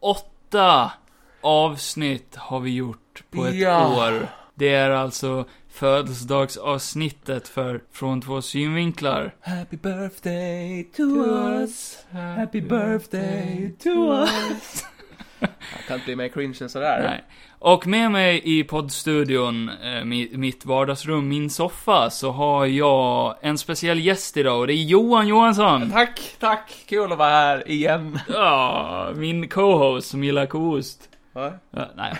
48 avsnitt har vi gjort på ett Ja. år. Det är alltså födelsedagsavsnittet för Från två synvinklar. Happy birthday to us. Happy birthday to us. Jag kan inte bli mer cringe än sådär. Nej. Och med mig i poddstudion, eh, mi- mitt vardagsrum, min soffa, så har jag en speciell gäst idag och det är Johan Johansson. Tack, tack. Kul att vara här igen. Ja, min co-host som gillar koost. Va? Ja, nej.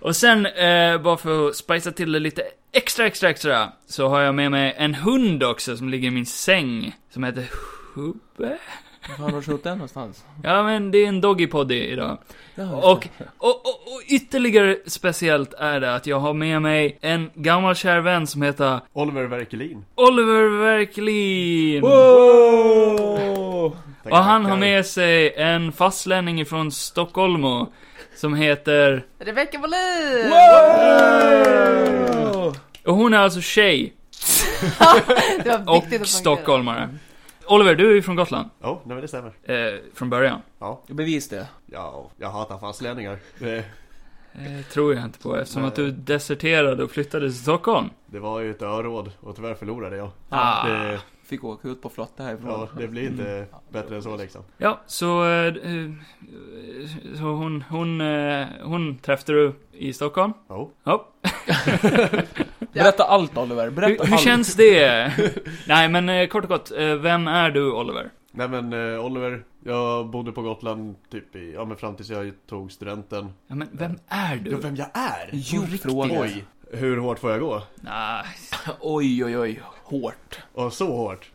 Och sen, eh, bara för att spicea till det lite extra, extra, extra, så har jag med mig en hund också som ligger i min säng, som heter Hubbe. Var fan har du snott den någonstans? Ja, men det är en doggy poddy idag. Ja, just det. Och, och, och, och ytterligare speciellt är det att jag har med mig en gammal kär vän som heter Oliver Verkelin. Oliver Verklin. Mm. Wow! Och han har med sig en fastlänning ifrån Stockholm som heter... Rebecka Bolin! Wow! Och hon är alltså tjej Det var och viktigt att stockholmare. Oliver, du är ju från Gotland. Ja, nej men det stämmer. Eh, från början. Ja, Bevis det. ja jag hatar fastlänningar. Det, Eh, tror jag inte på eftersom Nej. att du deserterade och flyttade till Stockholm. det var ju ett öråd och tyvärr förlorade jag. Ah. Det, Fick åka ut på flotte härifrån. ja, det blir inte bättre än så liksom. Ja, så, eh, eh, så hon, hon, eh, hon träffade du i Stockholm. Ja. Ja. Berätta allt Oliver, berätta Hur, hur allt. känns det? Nej, men eh, kort och gott, eh, vem är du Oliver? Nej men eh, Oliver, jag bodde på Gotland typ i, ja men fram tills jag tog studenten. Ja, men vem är Ja, du? vem jag är? Jo, fråga. Oj, hur hårt får jag gå? Nej, Oj, oj, oj. Hårt. Och så hårt.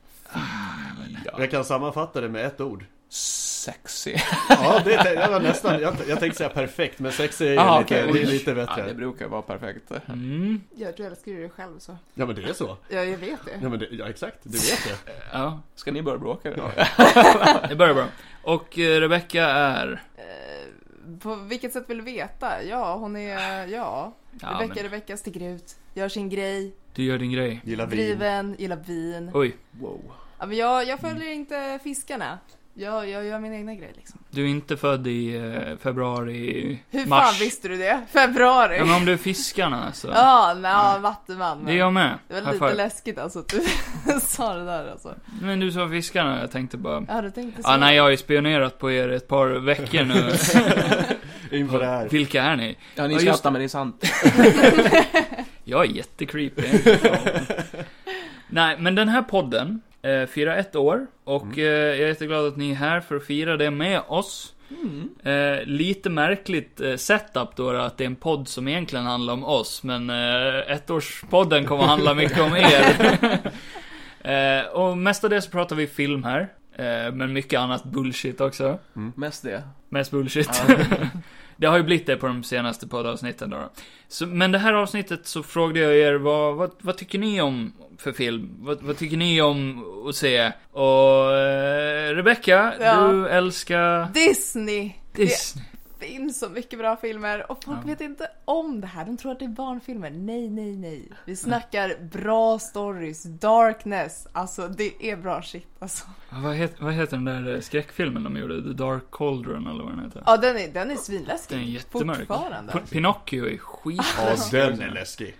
Ja. Jag kan sammanfatta det med ett ord. Sexy. Ja, det, är- jag var nästan, jag, jag tänkte säga perfekt men sex är, Ah, lite, okej. det är lite Ja, det bättre. brukar vara perfekt. mm, Jag tror jag älskar dig själv så. Ja men det är så. Ja, jag vet det. Ja men det, ja, exakt, du vet det. ja, Ska ni börja bråka nu? det börjar bra. Och eh, Rebecca är... Eh, på vilket sätt vill du veta? Ja, hon är... Ja. Ja, Rebecka, men, Rebecka sticker ut. Gör sin grej. du gör din grej. Gillar vin. Driven, gillar vin. Oj, Wow. Ja, men jag, jag följer inte fiskarna. Jag, jag gör min egna grej liksom. du är inte född i eh, februari, Hur mars. fan visste du det? Februari? Ja, men om du är fiskarna så. Ja, men, ja, vattenman. Det Men. är jag med. Det var High lite five. läskigt alltså att du sa det där alltså. Men du sa fiskarna, jag tänkte bara... Ja, du tänkte så. Ja, nej, jag har ju spionerat på er ett par veckor nu. In på Eh, det här. Vilka är ni? Ja, Ja, ni just- skrattar men det är sant. Jag är jättecreepy. Nej, men den här podden eh, firar ett år och Mm. eh, jag är jätteglad att ni är här för att fira det med oss. Mm. Eh, lite märkligt eh, setup då, att det är en podd som egentligen handlar om oss, men eh, ettårspodden kommer att handla mycket om er. eh, och mestadels så pratar vi film här, eh, men mycket annat bullshit också. Mest det. Mest bullshit. det har ju blivit det på de senaste poddavsnitten då. Så, men det här avsnittet så frågade jag er vad, vad, vad tycker ni om för film? Vad, vad tycker ni om att se? Och eh, Rebecca, Ja. du älskar Disney! Disney. Det finns så mycket bra filmer och folk Ja. vet inte om det här. De tror att det är barnfilmer. Nej, nej, nej. Vi snackar bra stories, darkness. Alltså det är bra shit alltså. Ja, Vad, het, vad heter den där eh, skräckfilmen de gjorde? The Dark Cauldron eller vad den heter? Ja, den är, den är svinläskig. Den är jättemörk. Fortfarande. P- Pinocchio är skit Ja, den är läskig.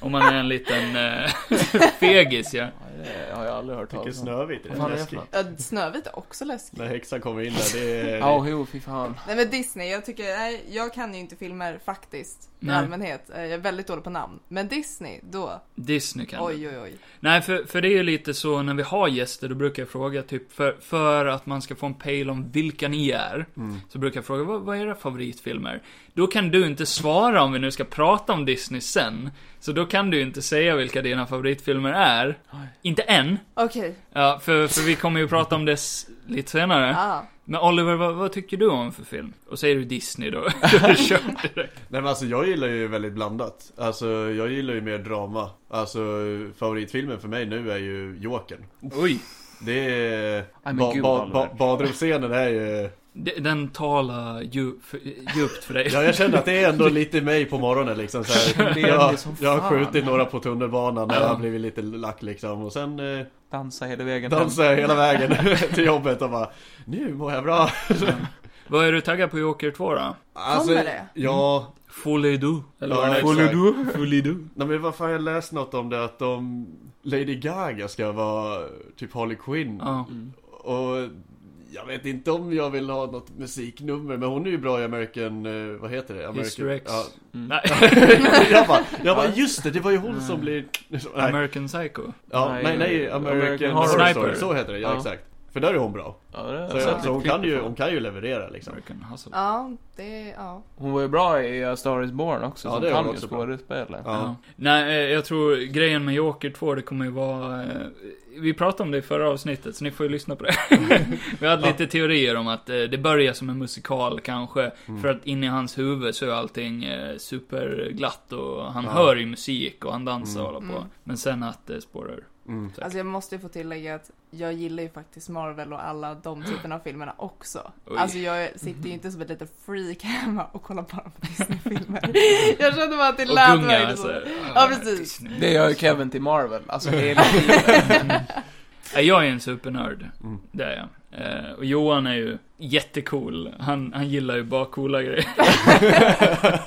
om man är en liten eh, fegis ja. Ja, det har jag aldrig hört Tycker talas om. Snövit Vad är fan är det för läskig. något? Ja, Snövit är också läskig. När häxan kommer in där, det är... Ja, jo, fy fan. Nej men Disney, jag tycker, nej jag kan ju inte filmer faktiskt. I Nej. allmänhet. Eh, Jag är väldigt dålig på namn. Men Disney, då. Disney kan Oj, oj, oj. Nej, för, för det är ju lite så när vi har gäster, då brukar jag fråga typ för, för att man ska få en pejl om vilka ni är. Mm. Så brukar jag fråga, vad, vad är era favoritfilmer? Då kan du inte svara om vi nu ska prata om Disney sen. Så då kan du ju inte säga vilka dina favoritfilmer är. Oj. Inte än. Okej, Ja, för, för vi kommer ju prata om det s- lite senare. ah. Men Oliver, vad, vad tycker du om för film? Och säger du Disney då, då är det kört direkt. Nej men alltså jag gillar ju väldigt blandat. Alltså jag gillar ju mer drama. Alltså favoritfilmen för mig nu är ju Jokern. Oj. Det är... men Ba- gud, ba- Oliver. ba- badrumsscenen är ju... d- den talar dju- för- djupt för dig. Ja, jag känner att det är ändå lite mig på morgonen liksom. Så här, Det är jag, det som jag har fan. skjutit några på tunnelbanan när Ja. jag har blivit lite lack liksom. Och sen eh, Dansa hela vägen hem. dansar jag hela vägen till jobbet och bara Nu mår jag bra. Alltså, Vad är du taggad på Joker 2 då? det? Ja, Mm. Fully do. Eller Ja, vad det exakt. är. Håller du? Fully do. nej, men vad fan jag läst något om det att de Lady Gaga ska vara typ Harley Quinn. Ja. Mm. Och jag vet inte om jag vill ha något musiknummer men hon är ju bra i American, eh, vad heter det? American, History X. Ja. Mm. Nej. jag bara, jag bara just det, det var ju hon Mm. som blev... Nej. American Psycho. Ja, Nej, nej, nej, American, American Horror Horror Story. Story. Så heter det, ja, Ja. exakt. För där är hon bra. Ja, det har Så, jag sett så hon, lite kan ju, klipp på. hon kan ju leverera liksom. American Hustle. Ja, det, ja. Hon var ju bra i A Star Is Born också, Ja, så det är hon kan hon ju också bra. skådespela. Ja. Nej, eh, jag tror grejen med Joker 2, det kommer ju vara... eh, Vi pratade om det i förra avsnittet, så ni får ju lyssna på det. vi hade lite teorier om att eh, det börjar som en musikal kanske, Mm. för att inne i hans huvud så är allting eh, superglatt och han Ja. hör ju musik och han dansar och Mm. håller på. Mm. Men sen att det spårar ur. Mm. Tack. Alltså jag måste ju få tillägga att jag gillar ju faktiskt Marvel och alla de typerna av filmerna också. Oj. Alltså jag sitter ju inte som ett litet freak hemma och kollar bara på Disney-filmer. jag kände bara att det Och lät gunga, verkligen alltså. så. Ah, precis. Disney. Det gör ju Kevin till Marvel. Alltså, det är Ja, Jag är en supernörd. Mm. Det är jag. Eh, och Johan är ju jättecool. Han, han gillar ju bara coola grejer.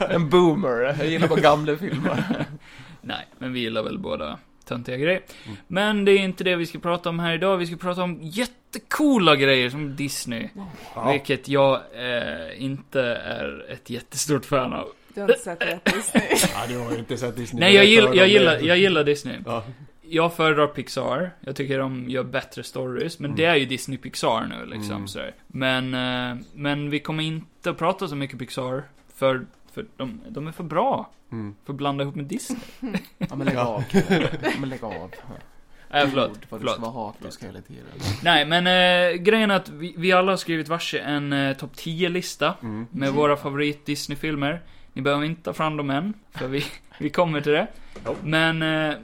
en boomer. Jag gillar bara gamla filmer. Nej, men vi gillar väl båda töntiga grejer. Mm. Men det är inte det vi ska prata om här idag. Vi ska prata om jättecoola grejer som Disney. Ja. Vilket jag eh, inte är ett jättestort fan av. Du har inte sett rätt Disney. ja, du har ju inte sett Disney. Nej, jag, Berätta gill, om jag, det. gillar, jag gillar Disney. Ja. Jag föredrar Pixar. Jag tycker de gör bättre stories. Men Mm. det är ju Disney Pixar nu liksom. Mm. sådär. Men, eh, men vi kommer inte att prata så mycket Pixar. För, för de, de är för bra. Mm. För att blanda ihop med Disney. Ja, men lägg Ja. av. Kevin. Ja, men lägg av. Nej, Äh, förlåt. Ord, Vad du förlåt. ska vara hatisk hela tiden. Nej, men eh, grejen är att vi, vi alla har skrivit varsin en eh, topp 10-lista Mm. med Mm. våra favorit Disney-filmer. Ni behöver inte ta fram dem än, för vi, vi kommer till det. Ja. Men, eh,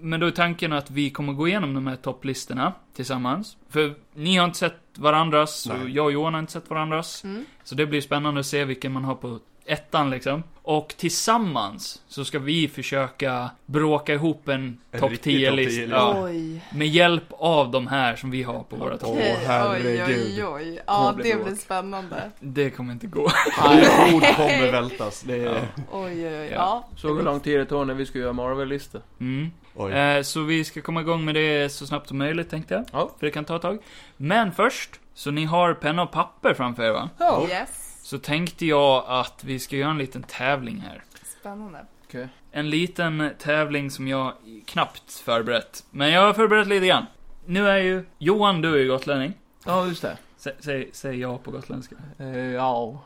men då är tanken att vi kommer gå igenom de här topplistorna tillsammans. För ni har inte sett varandras, och Nej. jag och Johan har inte sett varandras. Mm. Så det blir spännande att se vilken man har på ettan liksom. Och tillsammans så ska vi försöka bråka ihop en En topp riktig topp 10-lista. 10-lista. ja. Oj. Med hjälp av de här som vi har på våra topp Åh, Okej, herregud. Oj, oj, oj. Ja, Det blir det bråk. blir spännande. Det kommer inte gå. Alla ord kommer vältas. Det är... Oj, oj, oj. Ja. Ja. Såg hur lång tid det tog när vi skulle göra Marvel-listor. Mm. Oj. Eh, så vi ska komma igång med det så snabbt som möjligt tänkte jag. Ja. För det kan ta ett tag. Men först, så ni har penna och papper framför er va? Ja. Yes. Så tänkte jag att vi ska göra en liten tävling här. Spännande. Okej. En liten tävling som jag knappt förberett. Men jag har förberett lite grann. Nu är ju Johan, du är ju gotlänning. Ja, just det. Sä- Säg, säg ja på gotländska. Eh, Ja.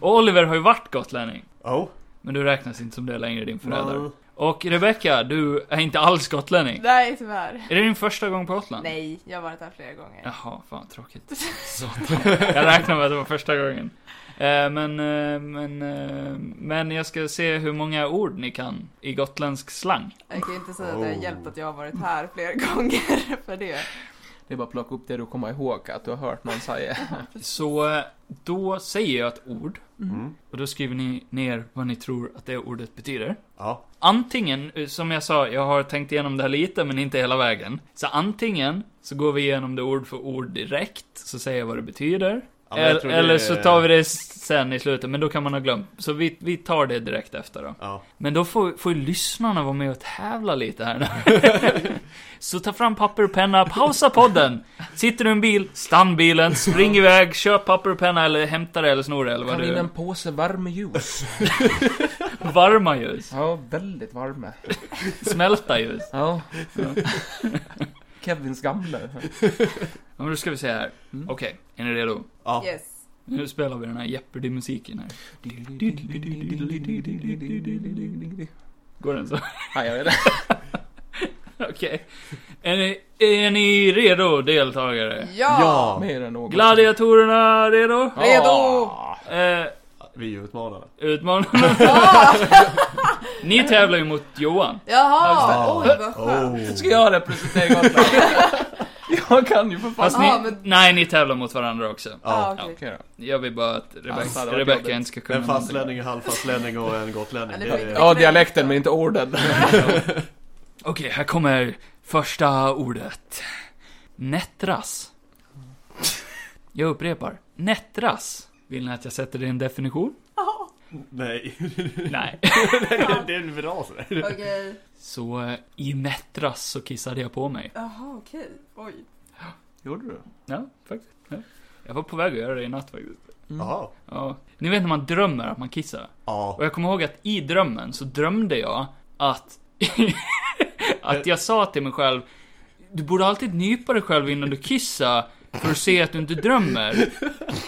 Och Oliver har ju varit gotlänning. Oh. Men du räknas inte som det längre, din förälder. Mm. Och Rebecca, du är inte alls gotlänning. Nej, tyvärr. Är det din första gång på Gotland? Nej, jag har varit där flera gånger. Jaha, fan tråkigt. Satan. jag räknade med att det var första gången. Eh, men, eh, men, eh, men jag ska se hur många ord ni kan i gotländsk slang. Jag kan ju inte säga att det har Oh. hjälpt att jag har varit här flera gånger för det. Det är bara att plocka upp det du kommer ihåg att du har hört någon säga. Så eh, då säger jag ett ord Mm. och då skriver ni ner vad ni tror att det ordet betyder. Ja. Antingen, eh, som jag sa, jag har tänkt igenom det här lite men inte hela vägen. Så antingen så går vi igenom det ord för ord direkt, så säger jag vad det betyder. Ja, men jag Eller, tror det eller är- så tar vi det s- sen i slutet, men då kan man ha glömt. Så vi, vi tar det direkt efter då. Ja. Men då får, får ju lyssnarna vara med och tävla lite här nu. Så ta fram papper och penna, pausa podden! Sitter du i en bil, stann bilen, spring iväg, köp papper och penna eller hämta det eller snor det eller vad Kan det vinna är. en påse varm juice. Varma ljus, Ja, väldigt varma. smälta ljus. Ja. Kevins gamla. Ja, men då ska vi se här. Mm. Okej, är ni redo? Ja. Yes. Nu spelar vi den här Jeopardy-musiken här. Går den så? Nej, jag vet inte. Okej. Är, ni, är ni redo, deltagare? Ja! Mer än något. Gladiatorerna redo? Ja. Redo! Eh, Vi är utmanade. Utmanarna. Ni tävlar ju mot Johan. Jaha! Ja. Oj, vad skönt. Oh. Ska jag representera Gotland? Jag kan ju för fan. Fast ni, Ah, men- nej, ni tävlar mot varandra också. Ah, Ja. okej. Okej då. Jag vill bara att Alltså, det Rebecca, var Rebecca jobbigt. inte ska kunna En fastlänning, en halvfastlänning och en gotlänning. Eller Det skit. är... Ja. Ja, dialekten men inte orden. någonting. Okej, här kommer första ordet. Nättras. Jag upprepar. Nättras. Vill ni att jag sätter det i en definition? Ja, Nej, Nej. det är en bra sådär. Okej. Så eh, i nättras så kissade jag på mig. Jaha, okej. Oj. Gjorde du? Ja, faktiskt. Ja. Jag var på väg att göra det i natt faktiskt. Jaha. Ja. Ni vet när man drömmer att man kissar? Ja. Och jag kommer ihåg att i drömmen så drömde jag att... att jag sa till mig själv Du borde alltid nypa dig själv innan du kissar för att se att du inte drömmer.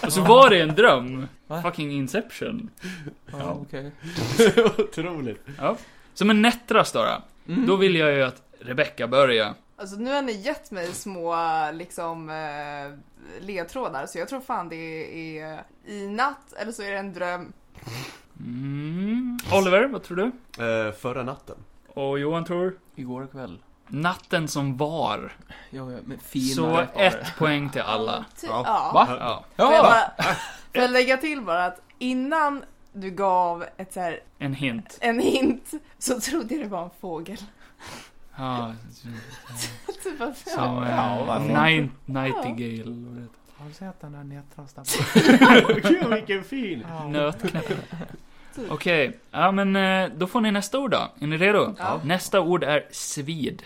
Och så var det en dröm. Va? Fucking Inception. Ja, okej. Otroligt. Ja. Som en nättras då. Då, Mm. då vill jag ju att Rebecca börjar. Alltså nu har ni gett mig små liksom eh, ledtrådar så jag tror fan det är i natt eller så är det en dröm. Mm. Oliver, vad tror du? Eh, förra natten. Och Johan tror? Igår kväll. Natten som var. Ja, ja, men fina så rätt var det. ett poäng till alla. Ty- Ja. Mm, typ. ja. Va? Ja. Får jag, Ja! bara, får jag lägga till bara att innan du gav ett så här, En hint. en hint så trodde jag det var en fågel. Ja. typ att, Som ja. Ja, ja, varför night, Nightingale. vad det heter. Har du sett den där nättrastan? Gud vilken fin! Nötknäpp. Typ. Okej, ja men eh, då får ni nästa ord då. Är ni redo? Ja. Nästa ord är svid.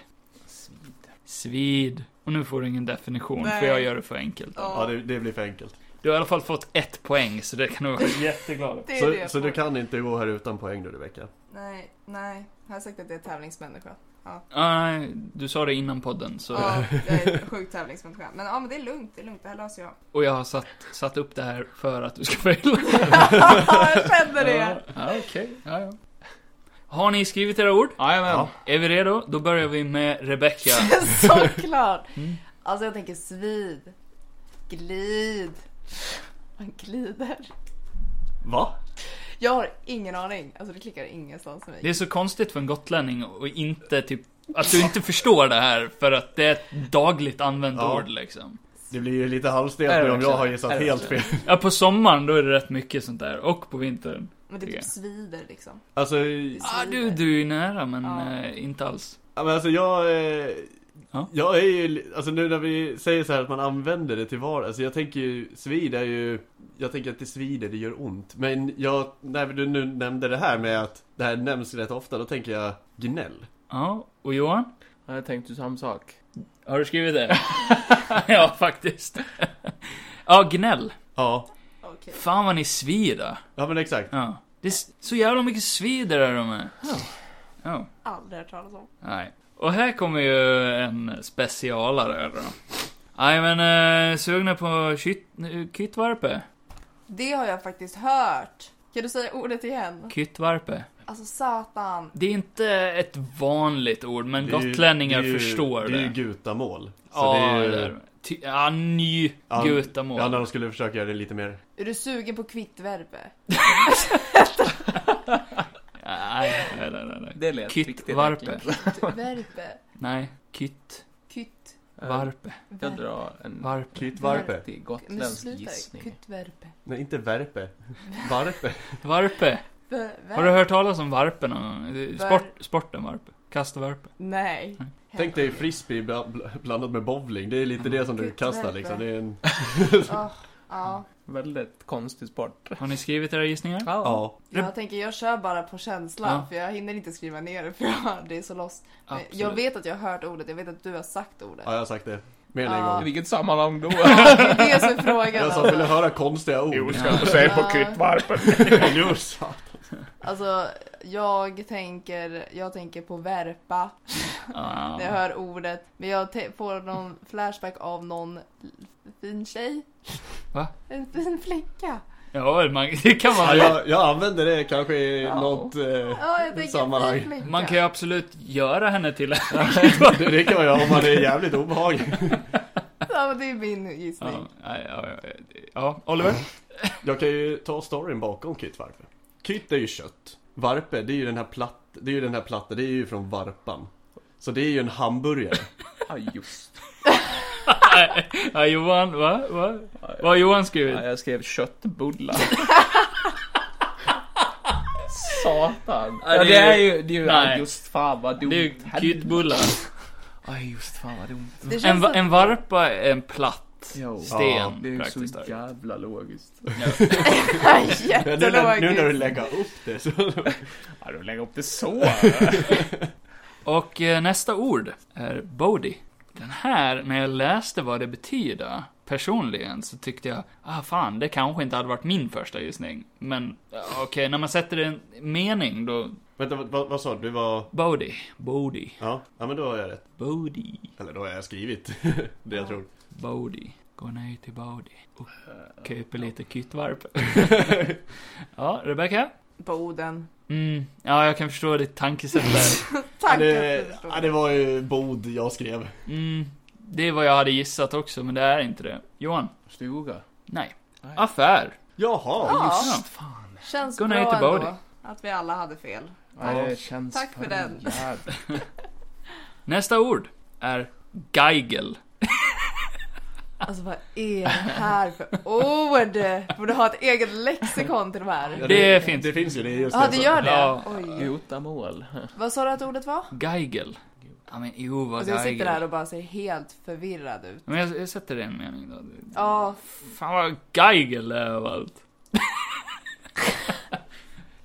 Svid. Och nu får du ingen definition, för Nej. jag gör det för enkelt. Ja, det, det blir för enkelt. Du har i alla fall fått ett poäng, så det kan du vara jätteglad över. det är det Så, jag så får. du kan inte gå här utan poäng nu Rebecka. Nej, nej. Jag har sagt att det är tävlingsmänniska. Nej, du sa det innan podden, så... Ja, jag är sjukt tävlingsmänniska. Men ja, men det är lugnt, det är lugnt. Det här löser jag. Och jag har satt, satt upp det här för att du ska faila. jag kände det! Ja, okej. Ja, ja. Har ni skrivit era ord? Jajamän. Är vi redo? Då börjar vi med Rebecca. Såklart! Mm. Alltså jag tänker svid. Glid. Man glider. Va? Jag har ingen aning. Alltså det klickar ingenstans för mig. Det är så konstigt för en gotlänning och inte typ att du inte förstår det här för att det är ett dagligt använt Ja. ord liksom. Det blir ju lite Är halvstelt det nu om jag verkligen? har Är gissat det helt fel. verkligen? Ja, på sommaren då är det rätt mycket sånt där och på vintern. Men det Ja. typ svider liksom. Alltså, Ah, du, du är ju nära men Ja. eh, inte alls. ja, men alltså jag... Eh, Ja. Jag är ju, li- alltså nu när vi säger så här att man använder det till vardags, alltså jag tänker ju, svid är ju, jag tänker att det svider, det gör ont. Men jag, när du nu nämnde det här med att det här nämns rätt ofta, då tänker jag gnäll. Ja, och Johan? Ja, Jag tänkte ju samma sak. Har du skrivit det? ja, faktiskt. ja, gnäll. Ja, Okej. Fan vad ni svider. ja men exakt. Ja. Det är s- så jävla mycket svider där de är. Ja. Aldrig hört talas om. Nej. Och här kommer ju en specialare då. Nej men, eh, sugna på kytt, eh, kyttvarpe? Det har jag faktiskt hört. Kan du säga ordet igen? Kyttvarpe. Alltså satan. Det är inte ett vanligt ord, men Det är ju- gotlänningar det är ju- förstår Det är ju det. gutamål. Så Ja, det är ju, eller- ty- ja, ny Ja, gutamål. Ja, när de skulle försöka göra det lite mer... Är du sugen på kvittvärme? Nej, nej, nej, nej, nej. Det lät riktigt Kyttvarpe. äckligt. Eh, Kvittvärme? Nej, kyttvarpe. Kytt? Jag drar en Varpe. Kyttvarpe. riktig Men gotländsk sluta. gissning. Kvittvärme. Nej, inte värpe. Varpe. Varpe. Har du hört talas om varpe någon gång? Det är Var- Sport, sporten varpe. Kastvarpe. Nej. Nej. Tänk dig frisbee bla- bla- blandat med bowling. Det är lite det som du Gud, kastar värpe. liksom. Det är en... Åh, ja. Väldigt konstig sport. Har ni skrivit era gissningar? Ja. Jag tänker jag kör bara på känslan Ja. för jag hinner inte skriva ner det för jag, det är så lost. Men Absolut. jag vet att jag har hört ordet, jag vet att du har sagt ordet. Ja, jag har sagt det. Mer än Ja. en I gång. vilket sammanhang då? Det är det som är frågan. Jag sa, vill du Alltså. höra konstiga ord? ska inte säga på kryddvarpen. Jo, sa- alltså, jag tänker, jag tänker på värpa Ah. när jag hör ordet. Men jag te- får någon flashback av någon fin tjej. Va? En fin flicka. Ja, man, det kan man ja, väl. jag, jag använder det kanske i Ja. något... Eh, Ja, jag tänker en Sammanhang. fin flicka. Man kan ju absolut göra henne till det, det kan man göra om man är jävligt obehaglig. Ja, men det är min ja, gissning. ja, ja, ja. ja, Oliver? Jag kan ju ta storyn bakom kyttvarpe. Kytt är ju kött. Varpe, det är ju den här platt... Det är ju den här platta, det är ju från varpan. Så det är ju en hamburgare. Ja, just ja, Johan, va? va? Vad har Johan skrivit? Ja, jag skrev köttbullar. Satan. Ja, Ja, det det är- är ju, det är ju nej. ah, just fan vad dumt. Det är ju kyttbullar. Ja, just fan vad dumt. Det känns En, va- som... en varpa är en platt Jo. sten. Det är ju Mm. praktiskt så taget. jävla logiskt. Ja, nu, när, nu när du Jättelogiskt. lägger upp det så... Ja, du lägger upp det så. Och eh, nästa ord är Bodhi. Den här, när jag läste vad det betyder personligen så tyckte jag, ah fan, det kanske inte hade varit min första gissning. Men ja, okej, när man sätter en mening då, Vänta, vad- vad, vad sa du? Du var... Bodhi, Bodhi, Ja. ja, men då har jag rätt. Bodhi, Eller då har jag skrivit det jag tror. Bodhi. Gå ner till Bodhi och köpa lite kyttvarp. ja, Rebecca? Boden. Mm, ja, jag kan förstå ditt tankesätt där. Tack. jag det, förstår. ja, det var ju bod jag skrev. Mm, det är vad jag hade gissat också, men det är inte det. Johan? Stuga. Nej. Nej. Affär. Jaha! Ja, Ja. känns Gå bra ner till Bodhi. ändå. Att vi alla hade fel. Ja, det känns Tack för den. jävla- Nästa ord är geigel. Alltså vad är det här för ord? Borde ha ett eget lexikon till de här. Ja, Det finns. Det finns ju, det är just Ja, det. det gör Ja. det? Oj. Gutamål. Vad sa du att ordet var? Geigel. Ja men jo vad Alltså jag sitter geigel. där och bara ser helt förvirrad ut. Men jag, jag sätter det i en mening då. Ja, Fan vad geigel det är överallt.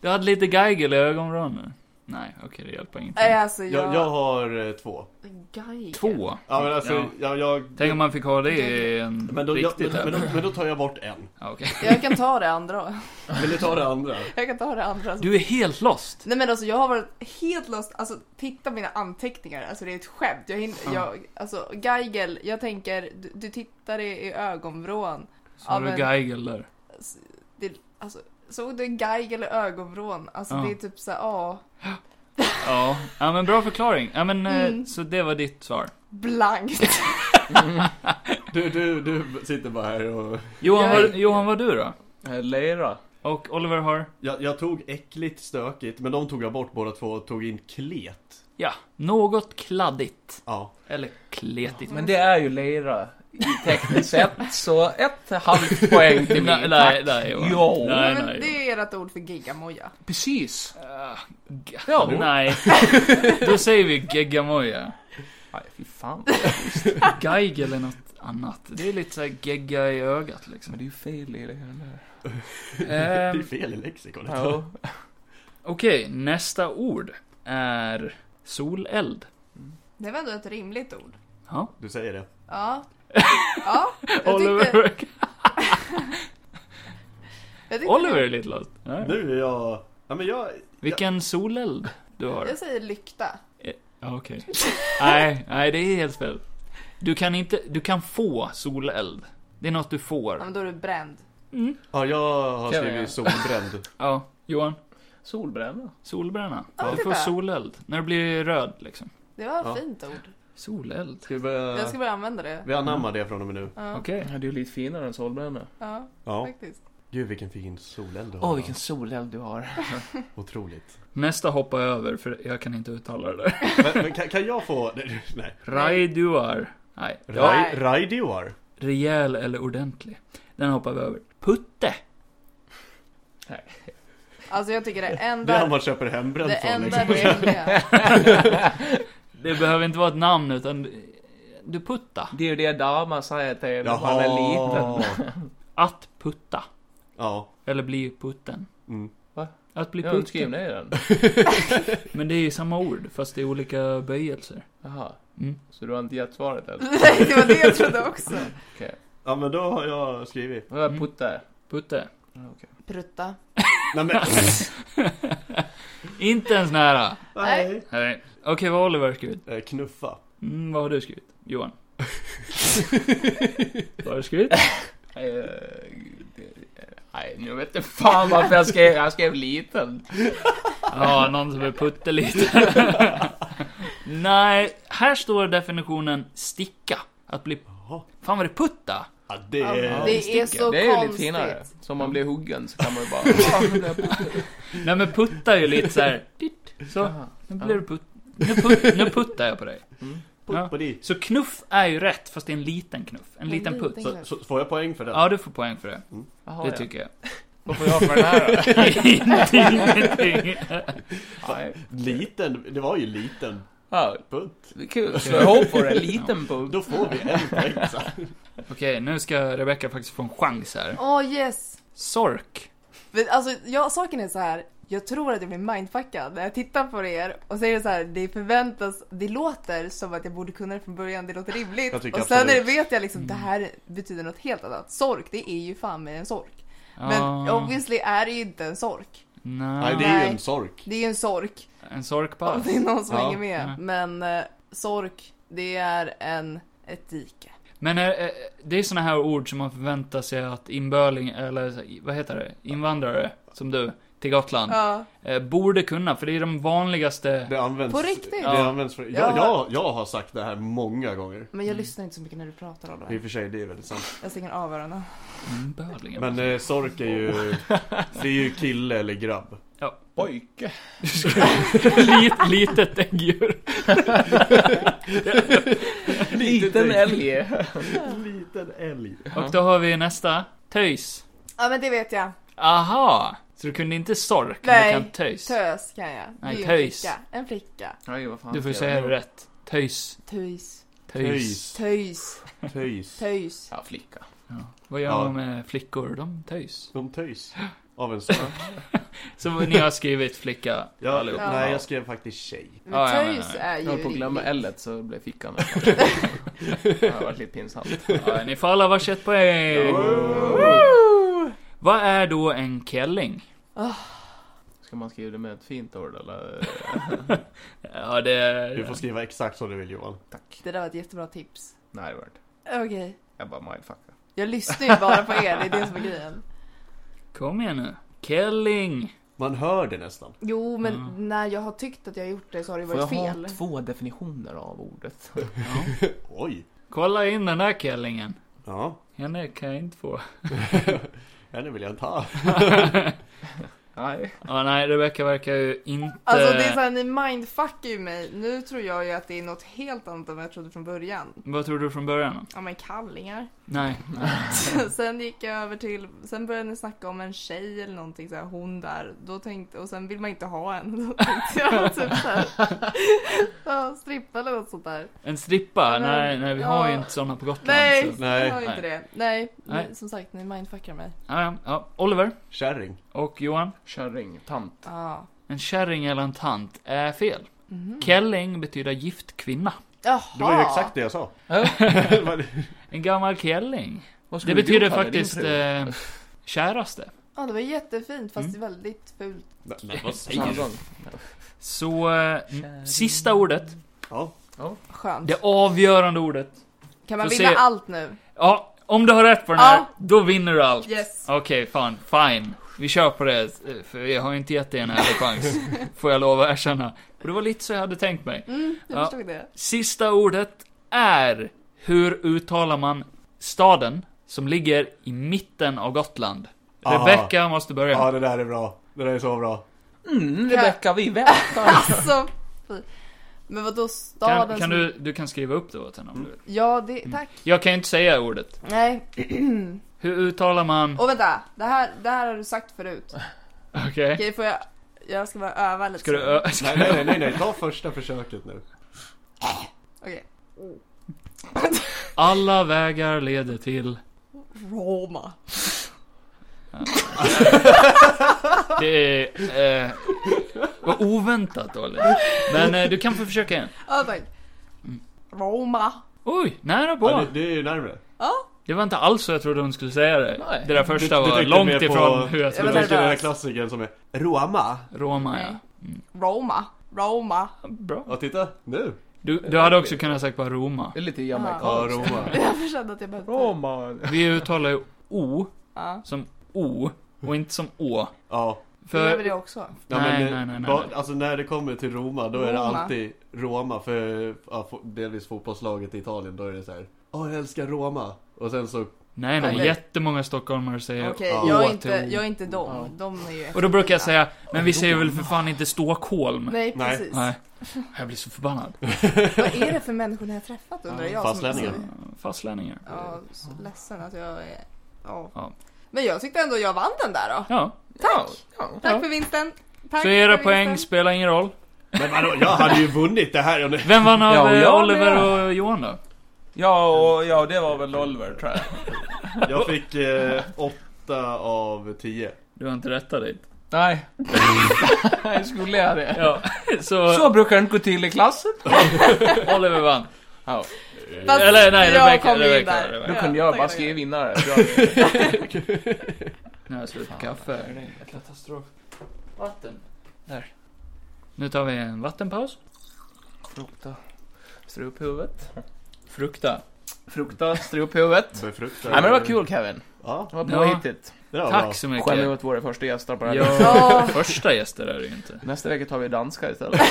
du hade lite geigel i ögonvrån nu. Nej, okej det hjälper inte. nej, alltså Jag, jag... jag har eh, två. Geiger. Två. Ja, men alltså, Ja. Jag, jag... Tänk om man fick ha det i en Men då, jag, men, riktigt men, men, då, men då tar jag bort en. okay. Jag kan ta det andra. Vill du ta det andra? Jag kan ta det andra. Du är helt lost. Nej men alltså jag har varit helt lost, alltså titta på mina anteckningar, alltså det är ett skämt. Jag hinner, Ja. jag, alltså Geigel, jag tänker, du, du tittar i, i ögonvrån. Så har Ja, du men- geigel där. S- Det, alltså, såg du en Geigel i ögonvrån? Alltså Ja. det är typ såhär, ja, Ja. ja, men bra förklaring. Ja men eh, Mm. så det var ditt svar. blankt. Du, du, du sitter bara här och... Johan, Jag- vad, Johan vad du då? Eh, Lera. Och Oliver har? Jag, jag tog äckligt, stökigt, men de tog jag bort båda två och tog in klet. Ja, något kladdigt. Ja. Eller kletigt. Men det är ju lera i tekniskt sett, så ett halvt poäng till mig. Nej, nej, tack. nej, Johan. Jo. Nej, men nej. det är ert ord för gigamoja. Precis. Ah, g- Ja. Nej. Då säger vi geggamoja. Nej, fy fan. Geig eller något annat. Det är lite såhär gegga i ögat liksom. Men det är ju fel i det här där. Det är Ehm, fel i lexikonet. Ja. Okej, nästa ord är soleld. Det var ändå ett rimligt ord. Ja. Du säger det. Ja. Ja, jag tyckte... Oliver, Jag tyckte Oliver är lite lost. Ja. Nu är jag... Ja, men jag... Vilken soleld du har. Jag säger lykta. Ja, Okej. Nej, nej, det är helt fel. Du kan inte, du kan få soleld. Det är något du Ja, men får. då är du bränd. Mm. Ja, jag har Kan skrivit jag? solbränd. Ja, Johan. Solbränna. Solbränna. Ja, Du får titta. soleld. När du blir röd liksom. Det var ett Ja. fint ord. Soleld. Ska vi Jag ska börja... börja använda det. Vi anammar det från och med nu. Ja, Okej. Ja, det är ju lite finare än solbränna. ja, Ja. faktiskt. Gud, vilken fin soleld du Åh, har. vilken soleld du har. Otroligt. Nästa hoppar jag över för jag kan inte uttala det där. Men, men kan, kan jag få... Nej. Raiduar. Nej. Ja. Rai- Raidior? Rejäl eller ordentlig. Den hoppar vi över. Putte. Alltså jag tycker det Det är han enda... man köper hembränt Det från enda liksom. rimliga. Det behöver inte vara ett namn utan du- du putta. Det är ju det damer säger till när man är liten. Att putta. Ja. Eller bli putten. Mm. Va? Att bli Jag har inte putten. skrivit ner den. Men det är ju samma ord fast det är olika böjelser. Jaha. Mm. Så du har inte gett svaret än? Nej, det var det jag trodde också. Okej. Ja, men då har jag skrivit. Vad är Mm. putte? Putte. Prutta. Nej, men... Inte ens nära. Nej. Nej. Okej, vad har Oliver skrivit? Eh, Knuffa. Mm, vad har du skrivit? Johan? vad har du skrivit? Eh, det- Nej, nu vet jag fan varför jag skrev, jag skrev liten. Ja, någon som är putteliten. Nej, här står definitionen sticka. Att bli... Jaha. Fan vad det putta? Ja, det Ja, är... Det är så det är ju lite konstigt. finare. Så om man blir huggen så kan man ju bara... Ja, men det är putte. Nej men putta är ju lite så här. titt, Så, Jaha. nu blir du putt... Nu, put... nu puttar jag på dig. Mm. Ja. putt på dig. Så knuff är ju rätt, fast det är en liten knuff. En liten putt. liten Så, så får jag poäng för det? Ja, du får poäng för det. Vad har Det jag? tycker jag. Vad får jag för den här då? Ingenting, ingenting. Nej. Liten, det var ju liten Ja, putt. det är kul. Slå ihop på det. Liten bugg. Då får vi en poäng. så. Okej, nu ska Rebecca faktiskt få en chans här. Åh yes! Sork. Men Alltså, jag, saken är så här. Jag tror att jag blir mindfuckad när jag tittar på er och säger så här, det förväntas, det låter som att jag borde kunna det från början, det låter rimligt. Jag Och sen tycker är det, absolut. vet jag liksom, det här betyder något helt annat. Sork, det är ju fan med en sork. Men Ja, obviously är det ju inte en sork. Nej, Nej, det är ju en sork. Det är ju en sork. en sorkpass. Om det är någon som Ja. hänger med. Ja. Men eh, sork, det är en, ett dike. Men eh, eh, det är såna här ord som man förväntar sig att inbörling, eller så- vad heter det, invandrare, som du, till Gotland, Ja. eh, borde kunna, för det är de vanligaste... Det används... På riktigt? Det Ja. används för, jag, Ja. jag, jag har sagt det här många gånger. Men jag Mm. lyssnar inte så mycket när du pratar I och Oliver. för sig, det är väldigt sant. Jag stänger av öronen. Inbörlingen. Men eh, sork är ju... Det är ju kille eller grabb. Ja. Pojke. Lit, litet äggdjur. Liten älg. Liten älg. Och då har vi nästa. Töjs. Ja men det vet jag. Aha! Så du kunde inte sork, Nej, men du kan töjs. Tös kan jag. Det är Nej, ju en töjs. flicka. En flicka. Oj, vad fan Du får ju ska jag säga göra? det rätt. Töjs. Töjs. Töjs. Töjs. Töjs. Töjs. Ja, flicka. Vad gör Ja. man med flickor? De töjs. De töjs. Av en sork. Så ni har skrivit flicka Ja, allihop. Ja. Nej, jag skrev faktiskt tjej. Men Ja, ja, töjs men, är ju Jag höll på att glömma rimligt. L så blev fickan Det har varit lite pinsamt. Ja, ni får alla varsitt poäng. Woo! Vad är då en kelling? Ska man skriva det med ett fint ord eller? Ja, det... Du får skriva exakt som du vill Johan. Tack. Det där var ett jättebra tips. Nej, det var det inte. Okej. Jag bara mindfuckar. Jag lyssnar ju bara på er, det är det som är grejen. Kom igen nu. Kelling. Man hör det nästan. Jo men Mm. när jag har tyckt att jag har gjort det så har det Får jag varit ha fel. två definitioner av ordet? Ja. Oj! Kolla in den där kellingen. Ja, Henne kan jag inte få. henne vill jag ta. Nej. Ja, nej, Rebecca verkar ju inte... Alltså Eh. det är såhär, ni mindfuckar ju mig. Nu tror jag ju att det är något helt annat än vad jag trodde från början. Vad tror du från början? då? Ja men kallingar. Nej. sen gick jag över till, sen började ni snacka om en tjej eller någonting såhär, hon där. Då tänkte, och sen vill man inte ha en. Då tänkte jag typ såhär, ja, strippa eller något sånt där. En strippa? Ja, men- nej, nej, vi har ju ja. inte sådana på Gotland. Nej, Så. Nej. jag har ju inte det. Nej, Nej. ni- som sagt ni mindfuckar mig. Ja, ja, ja. Oliver Kärring. och Johan. Kärring, tant. Ja. En kärring eller en tant är fel. Mhm. Kelling betyder gift kvinna. Jaha. Det var ju exakt det jag sa. Det var det. En gammal kelling. Vad Det skulle du betyder kalla faktiskt din fru? eh, käraste. Ja det var jättefint fast Mm. väldigt fult. Nej, men vad Samma säger du? gång. Så, eh, n- sista ordet. Ja, Skönt. Det avgörande ordet. Kan man får vinna se. allt nu? Ja, om du har rätt på den här, Ja. då vinner du allt. Yes. Okej, fan, fine. Vi kör på det, eh, för jag har inte gett dig en ärlig chans. Får jag lov att erkänna. Och det var lite så jag hade tänkt mig. Mm, jag Ja. förstod det. Sista ordet är hur uttalar man staden som ligger i mitten av Gotland? Aha. Rebecca måste börja. ja det där är bra. Det där är så bra. Mm, Rebecka, vi väntar. Alltså, fy. Men vadå staden kan, kan som... du, du kan skriva upp det åt henne om du vill. Ja, det, tack. Jag kan ju inte säga ordet. Nej. Hur uttalar man... Och vänta, det här, det här har du sagt förut. Okej. Okej, får jag... Jag ska bara öva lite. Ska du ö- ska- Nej, nej, nej, nej, nej. ta första försöket nu. Okej. Alla vägar leder till... Roma. Det är... Eh, vad oväntat dåligt. Men eh, du kan få försöka igen. Ja, tack. Mm. Roma. Oj, nära på. Ja, det... det, det är ju närmare. var inte alls så jag trodde hon skulle säga det. Nej. Det där första Du- du var tänkte mer långt på- ifrån hur jag Jag Jag trodde. menar- tänker den här klassikern som är Roma. Roma, ja. Mm. Nej. Roma. Roma. Bra. Ja, titta. Nu. Du, du hade också kunnat sagt bara Roma. Det är lite Ja, jamaikanskt. Roma. Jag kände att jag behövde... Roma. Vi uttalar ju O Ja. som O och inte som Å. Ja. För... Gör vi För... det också? Ja, Nej, eh, nej, nej, nej, ba- nej. Alltså när det kommer till Roma, då är det Roma. alltid Roma för ja, fo- delvis fotbollslaget i Italien. Då är det så här. Åh, jag älskar Roma. Och sen så Nej, nej, Okej. jättemånga stockholmare säger Okej, Ja. jag, är Å inte, till jag är O. inte Ja. dem. De är ju Och då brukar jag efterblivna. säga, men vi säger väl för fan inte Stockholm? Nej, Nej. precis. Nej. Jag blir så förbannad. Vad är det för människor ni har träffat undrar jag? som- Fastlänningar. Fastlänningar. Ja, så ledsen att jag är... Ja. Ja. Men jag tyckte ändå jag vann den där då. Ja. Tack! Ja. Tack Ja. för vinsten! Tack Så era för poäng vinsten. spelar ingen roll. Men vadå, jag hade ju vunnit det här. om det- Vem vann av Ja, och eh, jag Oliver och Johan då? Ja, och, ja, det var väl Oliver tror jag. Jag fick eh, åtta av tio. Du har inte rättat dig. Nej. Nej, skulle jag det? Ja, så, Så brukar det inte gå till i klassen. Oliver vann. Ja, Fast Eller nej, jag Rebecka. kom ju in Rebecka. där. Rebecka. då Ja, kunde jag tack, bara tack. skriva vinnare. Bra. Nu har jag slut på kaffe. Katastrof. Vatten. Där. Nu tar vi en vattenpaus. Frukta. Struphuvudet. Frukta. Frukta struphuvudet. Befruktad. Nej men det var kul Kevin. Ja, Det var Ja. påhittigt. det var bra. Tack så Skämmer mycket. ut våra första gäster på det här. Ja, Ja. första gäster är det ju inte. Nästa vecka tar vi danska istället.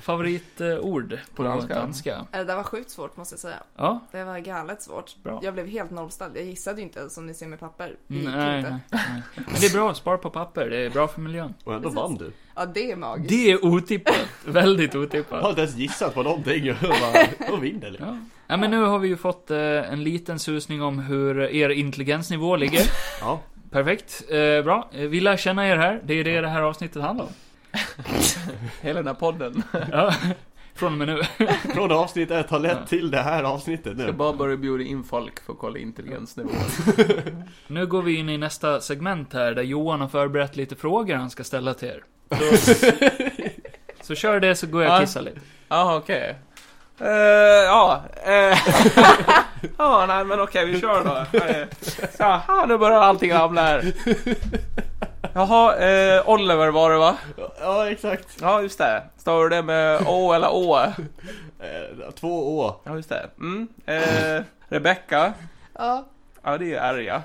Favoritord på På danska. danska. danska. Eh, Det var sjukt svårt måste jag säga. Ja, Det var galet svårt. Bra. Jag blev helt nollställd. Jag gissade ju inte ens som ni ser med papper. Det gick ju nej, inte. Mm, nej, nej. Men det är bra, spara på papper. Det är bra för miljön. Och ändå vann du. Ja, det är magiskt. Det är otippat. Väldigt Jag otippat. har inte ens gissat på någonting och bara, och vinner liksom. Ja. ja, men nu har vi ju fått eh, en liten susning om hur er intelligensnivå ligger. Ja. Perfekt, eh, bra. Eh, Vi lär känna er här, det är det det här avsnittet handlar om. Hela den här podden. Ja. Från och med nu. Från avsnitt ett har Ja. lett till det här avsnittet Ska nu. bara börja bjuda in folk för att kolla intelligensnivån. Nu går vi in i nästa segment här, där Johan har förberett lite frågor han ska ställa till er. Så, så kör det så går jag och kissar lite. Jaha, okej. Eh, ja, eh. ja, nej men okej vi kör då. Eh, Så, här, nu börjar allting hamna här. Jaha, eh, Oliver var det va? Ja, exakt. Ja, just det. Står det med Å eller Å? Eh, Två å. Ja, just det. Mm. Eh, Rebecka. Ja. Ja, det är arga.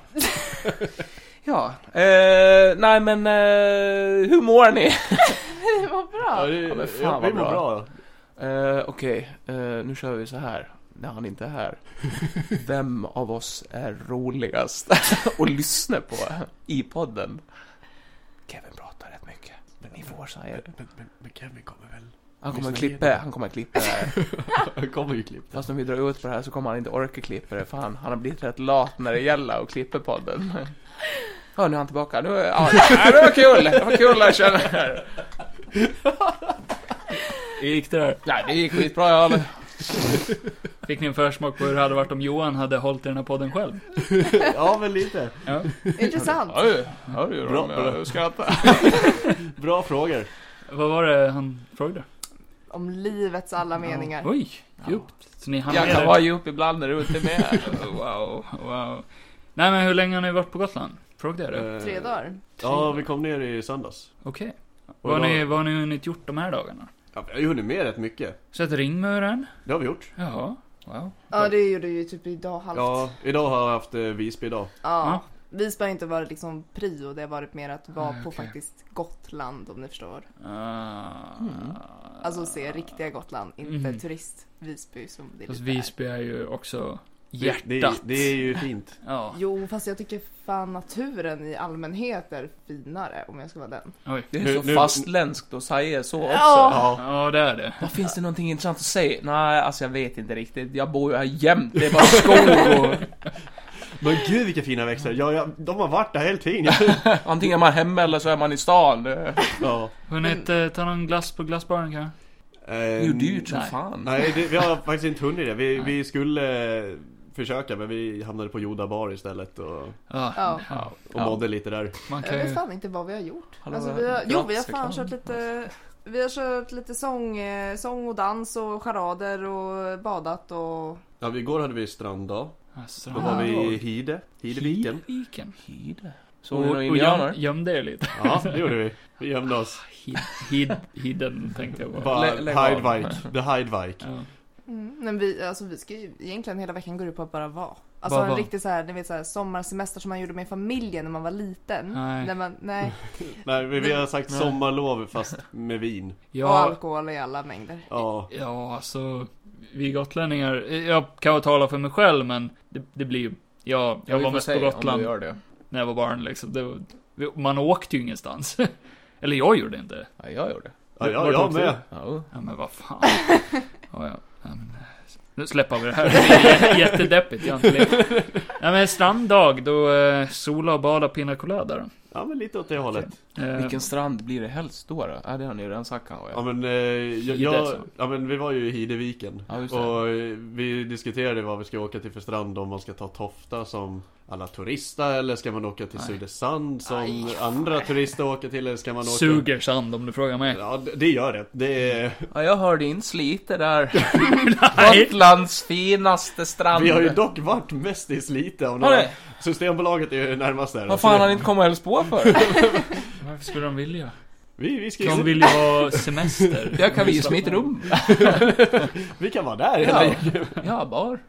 Ja, eh, nej men eh, hur mår ni? Det var Ja, bra. det, Ja, men fan ja, vi vad mår bra. bra. Eh, Okej, eh, nu kör vi så här. När han inte är här. Vem av oss är roligast att lyssna på i podden? Kevin pratar rätt mycket. Ni får säga det. Men, men, men Kevin kommer väl? Han kommer att klippa, han kommer att klippa det här. kommer ju klippt. Fast om vi drar ut på det här så kommer han inte orka klippa det för han, han har blivit rätt lat när det gäller att klippa podden. Ja, nu är han tillbaka. Nu, ja, det var kul! Det var kul att känna här. Gick det där? Nej, det gick skitbra. Jag Fick ni en försmak på hur det hade varit om Johan hade hållit i den här podden själv? Ja, men lite. Ja. Intressant. Oj, ja, det gjorde Bra, de. Jag skrattar. Bra frågor. Vad var det han frågade? Om livets alla meningar. Oj, djupt. Så ni hann Jag med kan det? vara djup ibland när du inte är med. Wow, wow. Nej men hur länge har ni varit på Gotland? Frågade jag det? Eh, Tre dagar. Ja, vi kom ner i söndags. Okej. Och Vad har då- ni, vad har ni hunnit gjort de här dagarna? Ja, vi har ju hunnit med rätt mycket. Sett ringmuren? Det har vi gjort. Jaha. Wow. Ja, det gjorde ju typ idag halvt. Ja. Ja, idag har jag haft eh, Visby idag. Ja. Visby har inte varit liksom prio. Det har varit mer att vara Ah, Nej, på okej. faktiskt Gotland om ni förstår. Ah. Mm. Alltså se riktiga Gotland, inte Mhm. turist Visby som det Fast lite Visby är ju också Det- hjärtat. Det, det är ju fint. Ja. är. Jo, fast jag tycker fan naturen i allmänhet är finare om jag ska vara den. Oj. Det Nu- är så nu- fastländskt att säga så också. Ja. Ja. Ja, det är det. Vad finns det någonting intressant att säga? Nej, alltså jag vet inte riktigt. Jag bor ju här jämt. Det är bara skog och... Men gud vilka fina växter. Ja, ja, de har varit där hela tiden. Antingen är man hemma eller så är man i stan. Det Ja. Hunnit eh, ta någon glass på glassbaren kanske? Eh, det är ju dyrt som Nej. fan. Nej, det, vi har faktiskt inte hunnit det. Vi, Nej. vi skulle eh, försöka men vi hamnade på Yoda Bar istället och, och Ja. Ja. Ja, mådde lite där. Man Jag kan vet ju... fan inte vad vi har gjort. Hallå, alltså, vi har, jo, vi har fan gratisreklam. kört lite... Vi har kört lite sång, eh, sång och dans och charader och badat och... Ja, vi- igår hade vi stranddag. Alltså, Då var vi i Stranddag. Ah. Hide, Hideviken. Hideviken. Hide. Så Och, ni några och göm, indianer? gömde er lite. Ja, det gjorde vi. Vi gömde oss. Hid, hid, hidden tänkte jag på. Bara Lä- lägg av. Hidevike, The Hidevike. Ja. Mm, men vi, alltså vi ska ju, egentligen hela veckan går ut på att bara vara. Alltså Bara en vara. riktig så här, ni vet så här, sommarsemester som man gjorde med familjen när man var liten. Nej. När man, nej. Nej, vi, vi har sagt Nej. sommarlov fast med vin. Och Ja, alkohol i alla mängder. Ja. ja, alltså. Vi gotlänningar. Jag kan ju tala för mig själv, men det, det blir ju. Jag, jag vi var får mest se på om Gotland du gör det. när jag var barn liksom. Det var, man åkte ju ingenstans. Eller jag gjorde inte. Ja, jag gör det. Ja, jag, Vart jag åkte med. du? Ja. Ja, men vad fan. Ja, ja. Ja, men, eh, nu släpper vi det här. Det är jä- jättedeppigt egentligen. Ja, men stranddag då eh, sola och bada pina colada då. Ja, men lite åt det hållet. Eh, Vilken strand blir det helst då? då? Ja, det har ni ju redan sagt kanske. Ja men, eh, jag, Hide, jag, så. ja men vi var ju i Hideviken Ja, just det. och eh, vi diskuterade vad vi ska åka till för strand om man ska ta Tofta som alla turister eller ska man åka till Nej. Sudesand som Aj, andra turister åker till eller ska man åka... Suger sand om du frågar mig. Ja det- det gör det. Det är... Ja, jag hörde in Slite där. Gotlands finaste strand. Vi har ju dock varit mest i Slite av Har några. det? Systembolaget är ju närmast där. Vad fan har ni inte kommit och hälsat på för? Varför skulle de vilja? Vi, vi, ska De vill ju ha semester. Jag kan visa mitt rum. vi kan vara där hela Ja, ja. ja bar.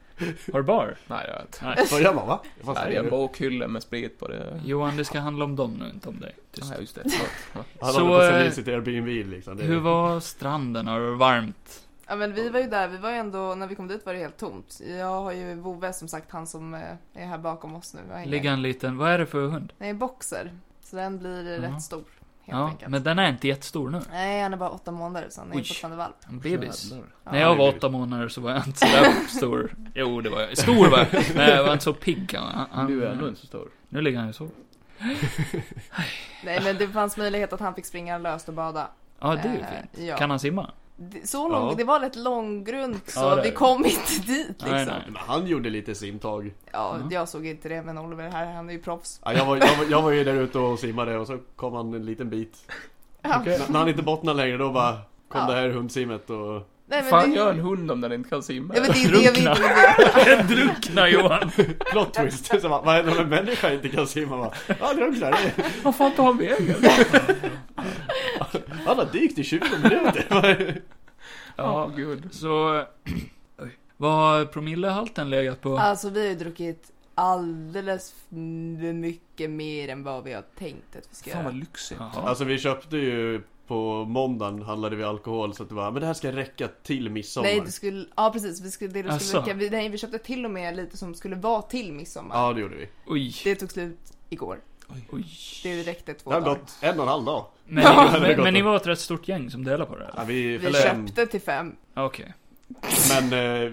Har du bar? Nej, jag vet inte. Nej. Vad gör man va? Vad Nej, det säger är en du? bokhylla med sprit på det. Johan, det ska handla om dem nu, inte om dig. Tyst. Ja, just det. Förlåt. Han Så, håller på att sälja eh, in sitt Airbnb liksom. Det är- Hur var stranden? Har det varit varmt? Ja men vi var ju där, vi var ju ändå, när vi kom dit var det helt tomt. Jag har ju Vove som sagt, han som eh, är här bakom oss nu. Jag hänger. Ligga en liten... Vad är det för hund? Nej, boxer. Så den blir eh, Ja. rätt stor. Helt Ja, enkelt. men den är inte jättestor nu. Nej, han är bara åtta månader så han är Oj. fortfarande valp. En bebis. Jävlar. Ja. När jag var det är åtta månader så var jag inte sådär stor. Jo, det var jag. Stor var jag. Men jag var inte så pigg. Han, han, Du är ändå inte så stor. Nu ligger han ju så. Nej men det fanns möjlighet att han fick springa löst och bada. Ja, det är ju Eh, fint. Ja. Kan han simma? Det- Så lång, Ja. det var rätt långgrunt så Ja, det är vi det. kom inte dit liksom. Nej, nej. Men han gjorde lite simtag. Ja, Ja. jag såg inte det men Oliver här, han är ju proffs. Ja, jag, var, jag, var, jag var ju där ute och simmade och så kom han en liten bit. Ja. N- När han inte bottnade längre då bara kom Ja. det här hundsimmet och... Nej, men Fan det, gör en hund om den inte kan simma? Ja, men det är det vi inte vill veta. Drunkna Johan! Plot twist! Så bara, vad händer om en människa inte kan simma? Bara, Ja, drunknar. det- Vad fan tar han vägen? Han har dykt i 20 minuter! Ja, gud. Så... Oj. Vad har promillehalten legat på? Alltså vi har ju druckit alldeles för mycket mer än vad vi har tänkt att vi ska Fan vad göra. lyxigt. Jaha. Alltså vi köpte ju på måndagen handlade vi alkohol så att det bara, men det här ska räcka till midsommar. Nej, det skulle, ja precis, vi skulle, det skulle Asså. räcka. Vi, nej, vi köpte till och med lite som skulle vara till midsommar. Ja, det gjorde vi. Oj. Det tog slut igår. Oj. Det räckte två Det har dagar. gått en och en halv dag. Men, Ja, det ni, är men, gott. men ni var ett rätt stort gäng som delade på det Ja, här? vi Vi fem, köpte till fem. Okej. men eh,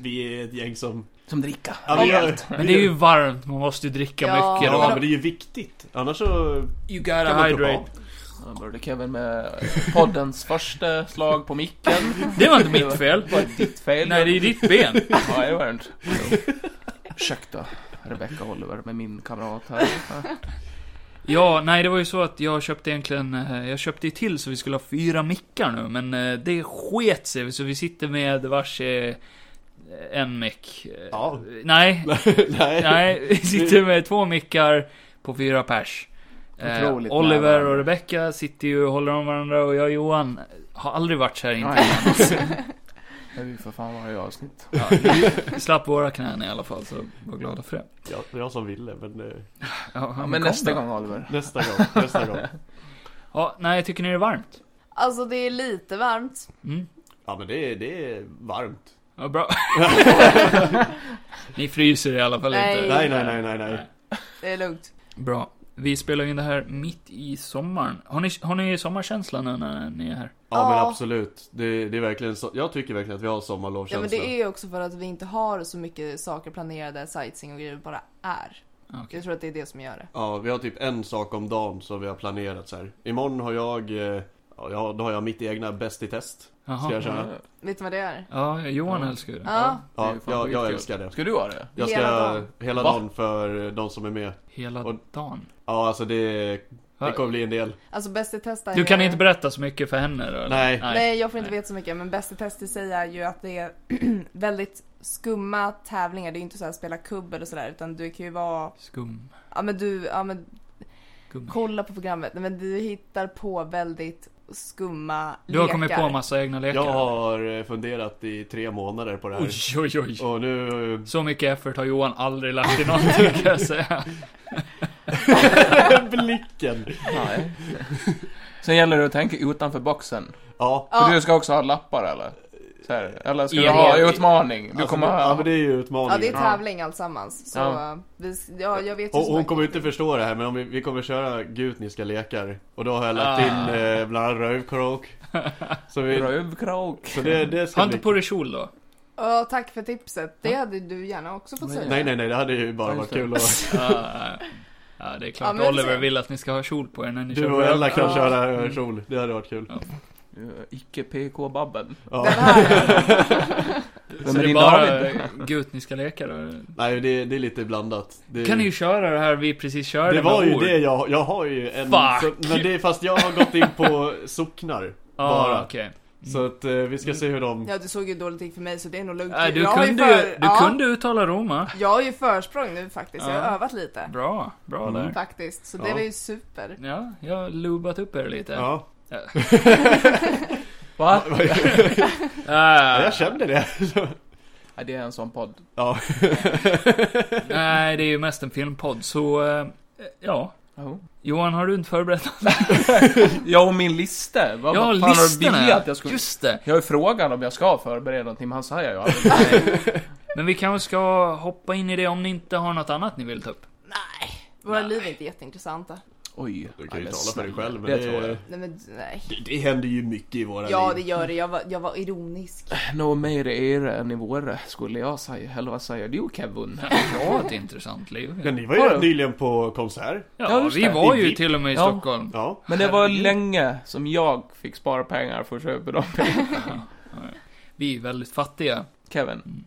vi är ett gäng som... Som dricka. Ja, vi gör, Men det är ju varmt, man måste ju dricka Ja. mycket. Ja, men då. det är ju viktigt. Annars så You kan gotta man inte hydrate. ha. Då började Kevin med poddens första slag på micken. Det var inte mitt fel. Det var ditt fel. Nej, det är ditt ben. Ja, det var det inte. Ursäkta, Rebecca Oliver med min kamrat här. Ja, nej det var ju så att jag köpte egentligen, eh, jag köpte ju till så vi skulle ha fyra mickar nu, men eh, det sket sig så vi sitter med varse eh, en mick. Eh, Ja. Nej, Nej. nej, vi sitter med två mickar på fyra pers. Eh, Otroligt nära Oliver varandra. och Rebecca sitter ju och håller om varandra och jag och Johan har aldrig varit så här inte. Nej. Det är ju för fan varje avsnitt. Ja, vi- vi slapp våra knän i alla fall så var glada för det. Jag, jag som ville, men eh, Ja, Ja, kom men nästa då. gång Oliver. nästa gång. Nästa gång. Ja, nej, tycker ni det är varmt? Alltså det är lite varmt. Mm. Ja men det är, det är varmt. Ja, bra. Ni fryser i alla fall Nej. inte. Nej, nej, nej, nej, nej. Det är lugnt. Bra. Vi spelar in det här mitt i sommaren. Har ni, har ni sommarkänsla nu när ni är här? Ja men Ja. absolut. Det, det är verkligen så. Jag tycker verkligen att vi har Ja, men sommarlovskänsla. det är ju också för att vi inte har så mycket saker planerade, sightseeing och grejer, vi bara är. Okej. Jag tror att det är det som gör det. Ja, vi har typ en sak om dagen som vi har planerat så här. Imorgon har jag, eh, ja jag har- då har jag mitt egna Bäst i test. Jaha. Ska jag köra? Vet du vad det är? Ja, Johan Ja. älskar ju det. Ja. Det är Ja, ju fan jag, jag skitkul. älskar det. Ska du ha det? Jag ska, Hela hela dagen. dagen, hela Va? dagen för eh, de som är med. Hela Och- dagen. Ja alltså det, det kommer bli en del. Alltså bäst i test är Du ju... kan inte berätta så mycket för henne då? eller? Nej. Nej, jag får inte Nej. veta så mycket, men bäst i test i sig är ju att det är väldigt skumma tävlingar. Det är ju inte så här spela kubb eller sådär, utan du kan ju vara... Skum. Ja men du, ja men Gummi. kolla på programmet. Nej, men du hittar på väldigt skumma Du har kommit lekar. på massa egna lekar? Jag har eh, funderat i tre månader på det här. Oj, oj, oj. Och nu... eh, Så mycket effort har Johan aldrig lagt i någonting kan jag säga. Blicken! Nej. Sen gäller det att tänka utanför boxen. Ja. För Ja, du ska också ha lappar eller? Så här. Eller ska du Ja, ha ja. utmaning? Du Alltså, kommer ja, men ha... det är ju ja, det är utmaningen. tävling alltsammans. Så Ja. eh, vi, ja, jag vet ju Och som hon sagt- kommer ju inte förstå det här men om vi, vi kommer köra gutniska lekar Och då har jag lagt Ah. in eh, bland annat rövkrok Så, vi, Rövkrok. så det, det ska Ha inte bli... på dig kjol då. Ja, tack för tipset. Det hade du gärna också fått Nej. säga. Nej nej nej det hade ju bara Ja, varit just kul att Ja, ja, det är Ja, klart men vi Oliver ser. vill att ni ska ha kjol på er när ni Du kör Mm. och Ella kan Ja. köra kjol Det hade varit kul Icke PK-babben. ja. Den här. Så Men det är din bara David. gut ni ska leka då? Nej det, det är lite blandat det, Kan ni ju köra det här vi precis körde det var med ju ord. det jag, jag har ju en Fuck. men det är fast jag har gått in på socknar Ja, bara. ah, okej. Så att eh, vi ska se hur de Ja, du såg ju dåligt ut för mig så det är nog lugnt. Äh, du Jag har ju kunde, för- ju, du ja, kunde uttala Roma. Jag har ju försprång nu faktiskt. Jag Ja. har övat lite. Bra, bra Mm. där. Faktiskt. Så det Ja. var ju super. Ja, jag har lubat upp er lite. Ja, Va? ja Äh, jag kände det Ja, det är en sån podd. Ja nej, det är ju mest en filmpodd, så eh, ja. Jo. Johan, har du inte förberett något? Ja, och min lista. Vad Ja, vad fan har du listorna begärt ja. att jag skulle... Just det. Jag har ju frågan om jag ska förbereda någonting, men han säger ju aldrig. Men vi kanske ska hoppa in i det om ni inte har något annat ni vill ta upp. Nej. Våra liv är inte jätteintressanta. Oj. Du nej, kan men ju tala för dig snälla, själv men Det det, tror jag. Nej men nej. det, det händer ju mycket i våra Ja liv det gör det. Jag var, jag var ironisk. Nå mer era än i våra, skulle jag säga. Eller vad säger du Kevin? Ja, ett intressant liv. Ja, ni var ju Har rätt du? nyligen på konsert. Ja, Ja, just vi det. var I ju Vip. till och med i Ja. Stockholm. Ja. Men det var Herregud. länge som jag fick spara pengar för att köpa dem. Vi är väldigt fattiga. Kevin.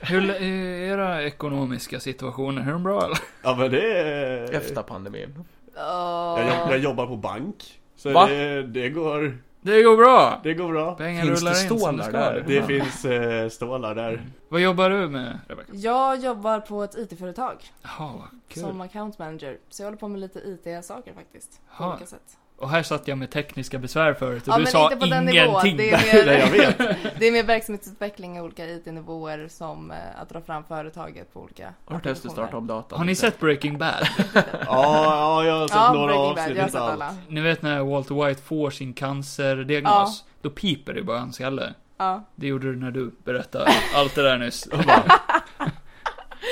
Hur är era ekonomiska situationer? Är de bra eller? Ja men det är... Efter pandemin. Jag, jobb, Oh. jag jobbar på bank. Så Va? det, det, går, Det går bra! det går bra. Pengar Finns rullar det in som det stålar ska. där? Det Ja. finns eh, stålar där. Vad jobbar du med, Rebecca? Jag jobbar på ett IT-företag Jaha, vad kul. som account manager. Så jag håller på med lite IT-saker faktiskt. På Ha. olika sätt. Och här satt jag med tekniska besvär förut och Ja du men sa inte på den ingenting. nivån. Det är, Nej, jag mer, vet. det är mer verksamhetsutveckling i olika IT-nivåer som eh, att dra fram företaget på olika Har testat starta om datorn. Har ni sett Breaking Bad? Ja, ja jag har sett Ja, några Breaking Bad. avsnitt. Jag har sett Inte allt. alla. Ni vet när Walter White får sin cancerdiagnos? Då piper det i bara hans skalle. Ja. Det gjorde du när du berättade allt det där nyss. Och bara,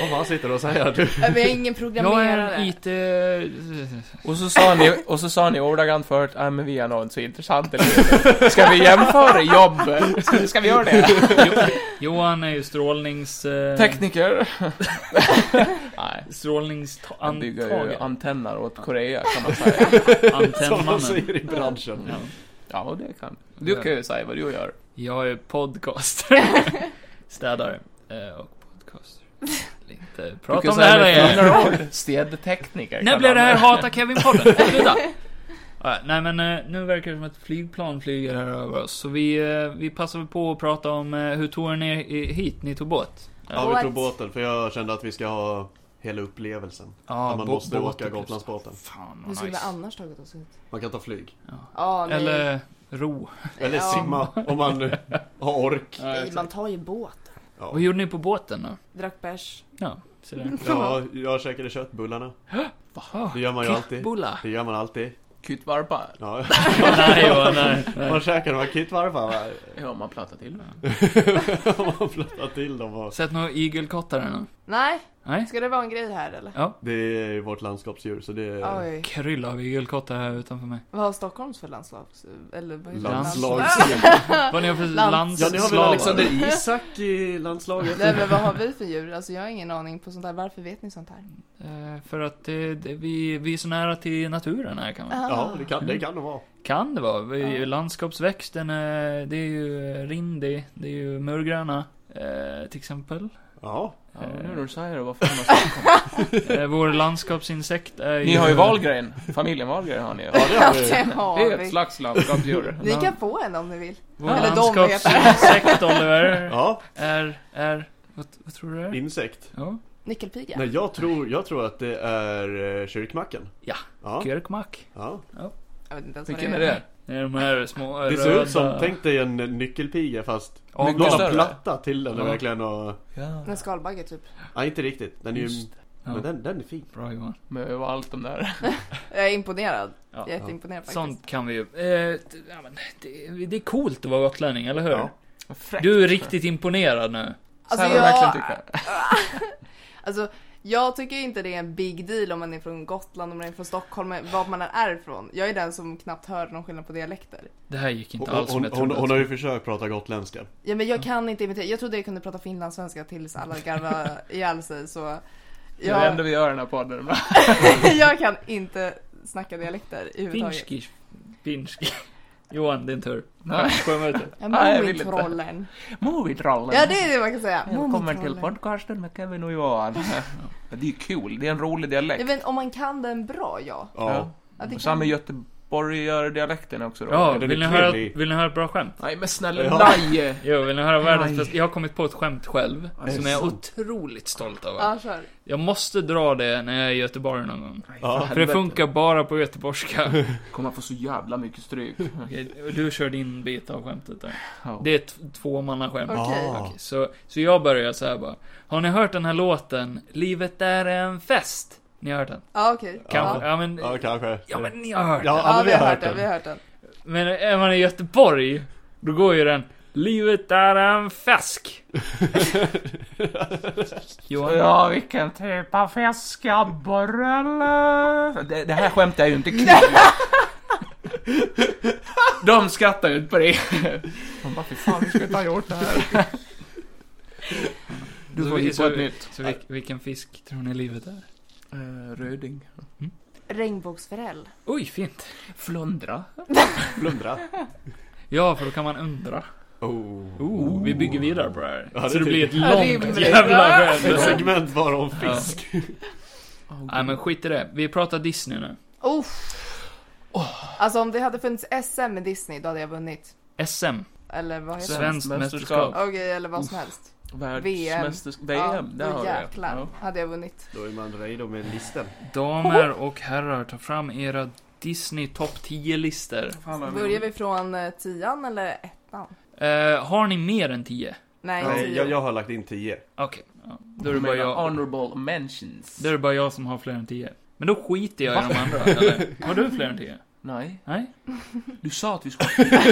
Vad fan sitter du och säger? Du, Men jag är ingen Jag är programmerare. en eh, IT... Och så sa ni, och så sa ni ordagrant förut, nej men vi är nog inte så intressanta längre." Ska vi jämföra jobb? Ska, ska vi göra det? Johan är ju strålnings... eh, Tekniker? Nej. Han bygger ju Strålningsantagen. antenner åt Korea kan man säga. som de Antennmannen. säger i branschen. Ja. Ja, och det kan Du kan ju säga vad du gör. Jag är podcaster. Städare. Eh, Och podcaster. Inte Du prata kan om det här säga med igen. andra ord, Städtekniker. När kan blir det man- här Hata Kevin-podden? Sluta! Ja, Nej men eh, nu verkar det som att ett flygplan flyger här över oss. Så vi, eh, vi passar väl på att prata om eh, hur tog ni er i- hit? Ni tog båt? Ja, vi What? tog båten för jag kände att vi ska ha hela upplevelsen. Ja, att man bo- måste båt åka och- Gotlandsbåten. Fan Hur vad skulle vi nice. annars tagit oss ut? Man kan ta flyg. Ja, nej. Eller ro. Eller Ja. simma om man eh, har ork. nej, man tar ju båt. Ja, Vad gjorde ni på båten då? Drack bärs. Ja, så där. ja jag käkade köttbullarna. Vaha, Det gör man ju alltid. Kickbulla. Det gör man alltid. Kuttvarpa? Ja. nej, Johan, nej, Man nej. käkar de här kittvarparna va? Ja, man plattar till det. Man flyttar till dem och... Sett några igelkottar ännu? Nej, Nej? ska det vara en grej här eller? Det är ju vårt landskapsdjur så det är... Oj. Krylla av igelkottar här utanför mig. Vad har Stockholms för landslags... Eller vad heter det? Landslagsdjur. Vad ni har för Lands- landsslavar? Ja, ni har väl Alexander Isak i landslaget? Nej men vad har vi för djur? Alltså jag har ingen aning på sånt där. Varför vet ni sånt här? Eh, För att det, det, vi, vi är så nära till naturen här kan man Ah. Ja, det kan det kan de vara. Kan det vara. Vi, Ja. Landskapsväxten, är, det är ju rindi, det är ju mörgröna. Eh, till exempel. Ja. Ja, nu när du säger det, varför man ska Eh, vår landskapsinsekt är ju... Ni har ju Wahlgren. Familjen Wahlgren har ni ju. Ja, det Ja, har vi. det Det har är ett vi. slags landskapsdjur. Ni kan få en om ni vill. Vår Eller de landskapsinsekt, Oliver, Ja, är, är... Vad, vad tror du det är? insekt. Ja. Nyckelpiga. Nej, jag tror, jag tror att det är eh, kyrkmacken. Ja. Ja. Kyrkmack. ja. Ja. Jag vet inte ens Vilken vad är det det? Det är de här små Det ser röda... ut som, tänk dig en nyckelpiga fast Ja, Mycket någon har större. platta till den Ja. verkligen och... Ja. En skalbagge typ. Nej inte riktigt. Den är ju... Just det. Ja. Men den, den är fin. Bra Johan. Med vad allt de där. Jag är imponerad. Ja. Jätteimponerad faktiskt. Sånt kan vi ju. Eh, t- ja, men det, det är coolt att vara gotlänning, eller hur? Ja. Fräckt. Du är riktigt imponerad nu. Så Alltså, här jag... jag- verkligen tycker. Alltså, jag tycker inte det är en big deal om man är från Gotland, om man är från Stockholm, vad man än är ifrån. Jag är den som knappt hör någon skillnad på dialekter. Det här gick Hon, inte alls som hon, jag hon, trodde. hon har ju försökt prata gotländska. Ja, men jag kan inte imitera. Jag trodde jag kunde prata finlandssvenska tills alla garvade ihjäl sig så Det är det jag, enda vi gör i den här podden. va? jag kan inte snacka dialekter i huvud taget. Finski. Finski. Johan, din tur. Nej. Sjömöte. Ja, Nej, jag vill inte. Mumintrollen. Movietrollen. Ja, det är det man kan säga. Välkommen till Mumintrollen. podcasten med Kevin och Johan. det är ju kul. Det är en rolig dialekt. Ja, men om man kan den bra, ja. Ja. ja det Och Samma kan... göteborgardialekten är också rolig. Ja, den är vill ni, höra, krullig. vill ni höra ett bra skämt? Nej men snälla, Ja. nej! Jo, vill ni höra världens Nej. bästa? Jag har kommit på ett skämt själv. Är det Som jag är sant? otroligt stolt över. Ja, kör. Jag måste dra det när jag är i Göteborg någon gång. Nej, Ja, För det helvete. funkar bara på göteborgska. Kommer få så jävla mycket stryk. Okej, och Du kör din bit av skämtet där. Ja. Det är ett tvåmannaskämt. Okej. Ah. Okej, Så, så jag börjar så här bara. Har ni hört den här låten? Livet är en fest. Ni har hört den? Ja, okej. Kanske? Ja. Ja, men, Ja, kanske. ja, men ni har hört Ja, den. Ja, men vi har hört den. Vi har hört den. Men är man i Göteborg, då går ju den. Livet är en fisk. Johan? Ja, vilken typ av fisk abborre det, det här skämtet är ju inte kul. De skrattar ju inte på det. De bara, fy fan, vi skulle inte ha gjort det här. Du Så får vi- hitta så ett vi- nytt. Så vil, vilken fisk tror ni livet är? Uh, röding. Regnbågsforell. Oj, fint. Flundra. Flundra. Ja, för då kan man undra. Oh. Oh, vi bygger vidare på det här. Ja, det så det tycker blir jag. ett Rimligt. långt jävla Ett skämt. segment bara om fisk. Nej, men skit i det. Vi pratar Disney nu. Oh. Alltså om det hade funnits SM med Disney då hade jag vunnit. SM. Eller vad heter det? Svenskt Svenskt mästerskap. Okej, eller vad som helst. Världsmästerskap. VM, där då har du jäklar det. hade jag vunnit. Då är man redo med listen. Damer och herrar, ta fram era Disney topp 10-listor. Fan, vad- Börjar vi från eh, tian eller ettan? Eh, har ni mer än 10? Nej, Nej, tio. jag, jag har lagt in 10. Okej. Ja, då är det bara Mina jag. Honorable mentions. Då är det bara jag som har fler än 10. Men då skiter jag i de andra, eller? Har du fler än 10? Nej, Nej? du sa att vi skulle...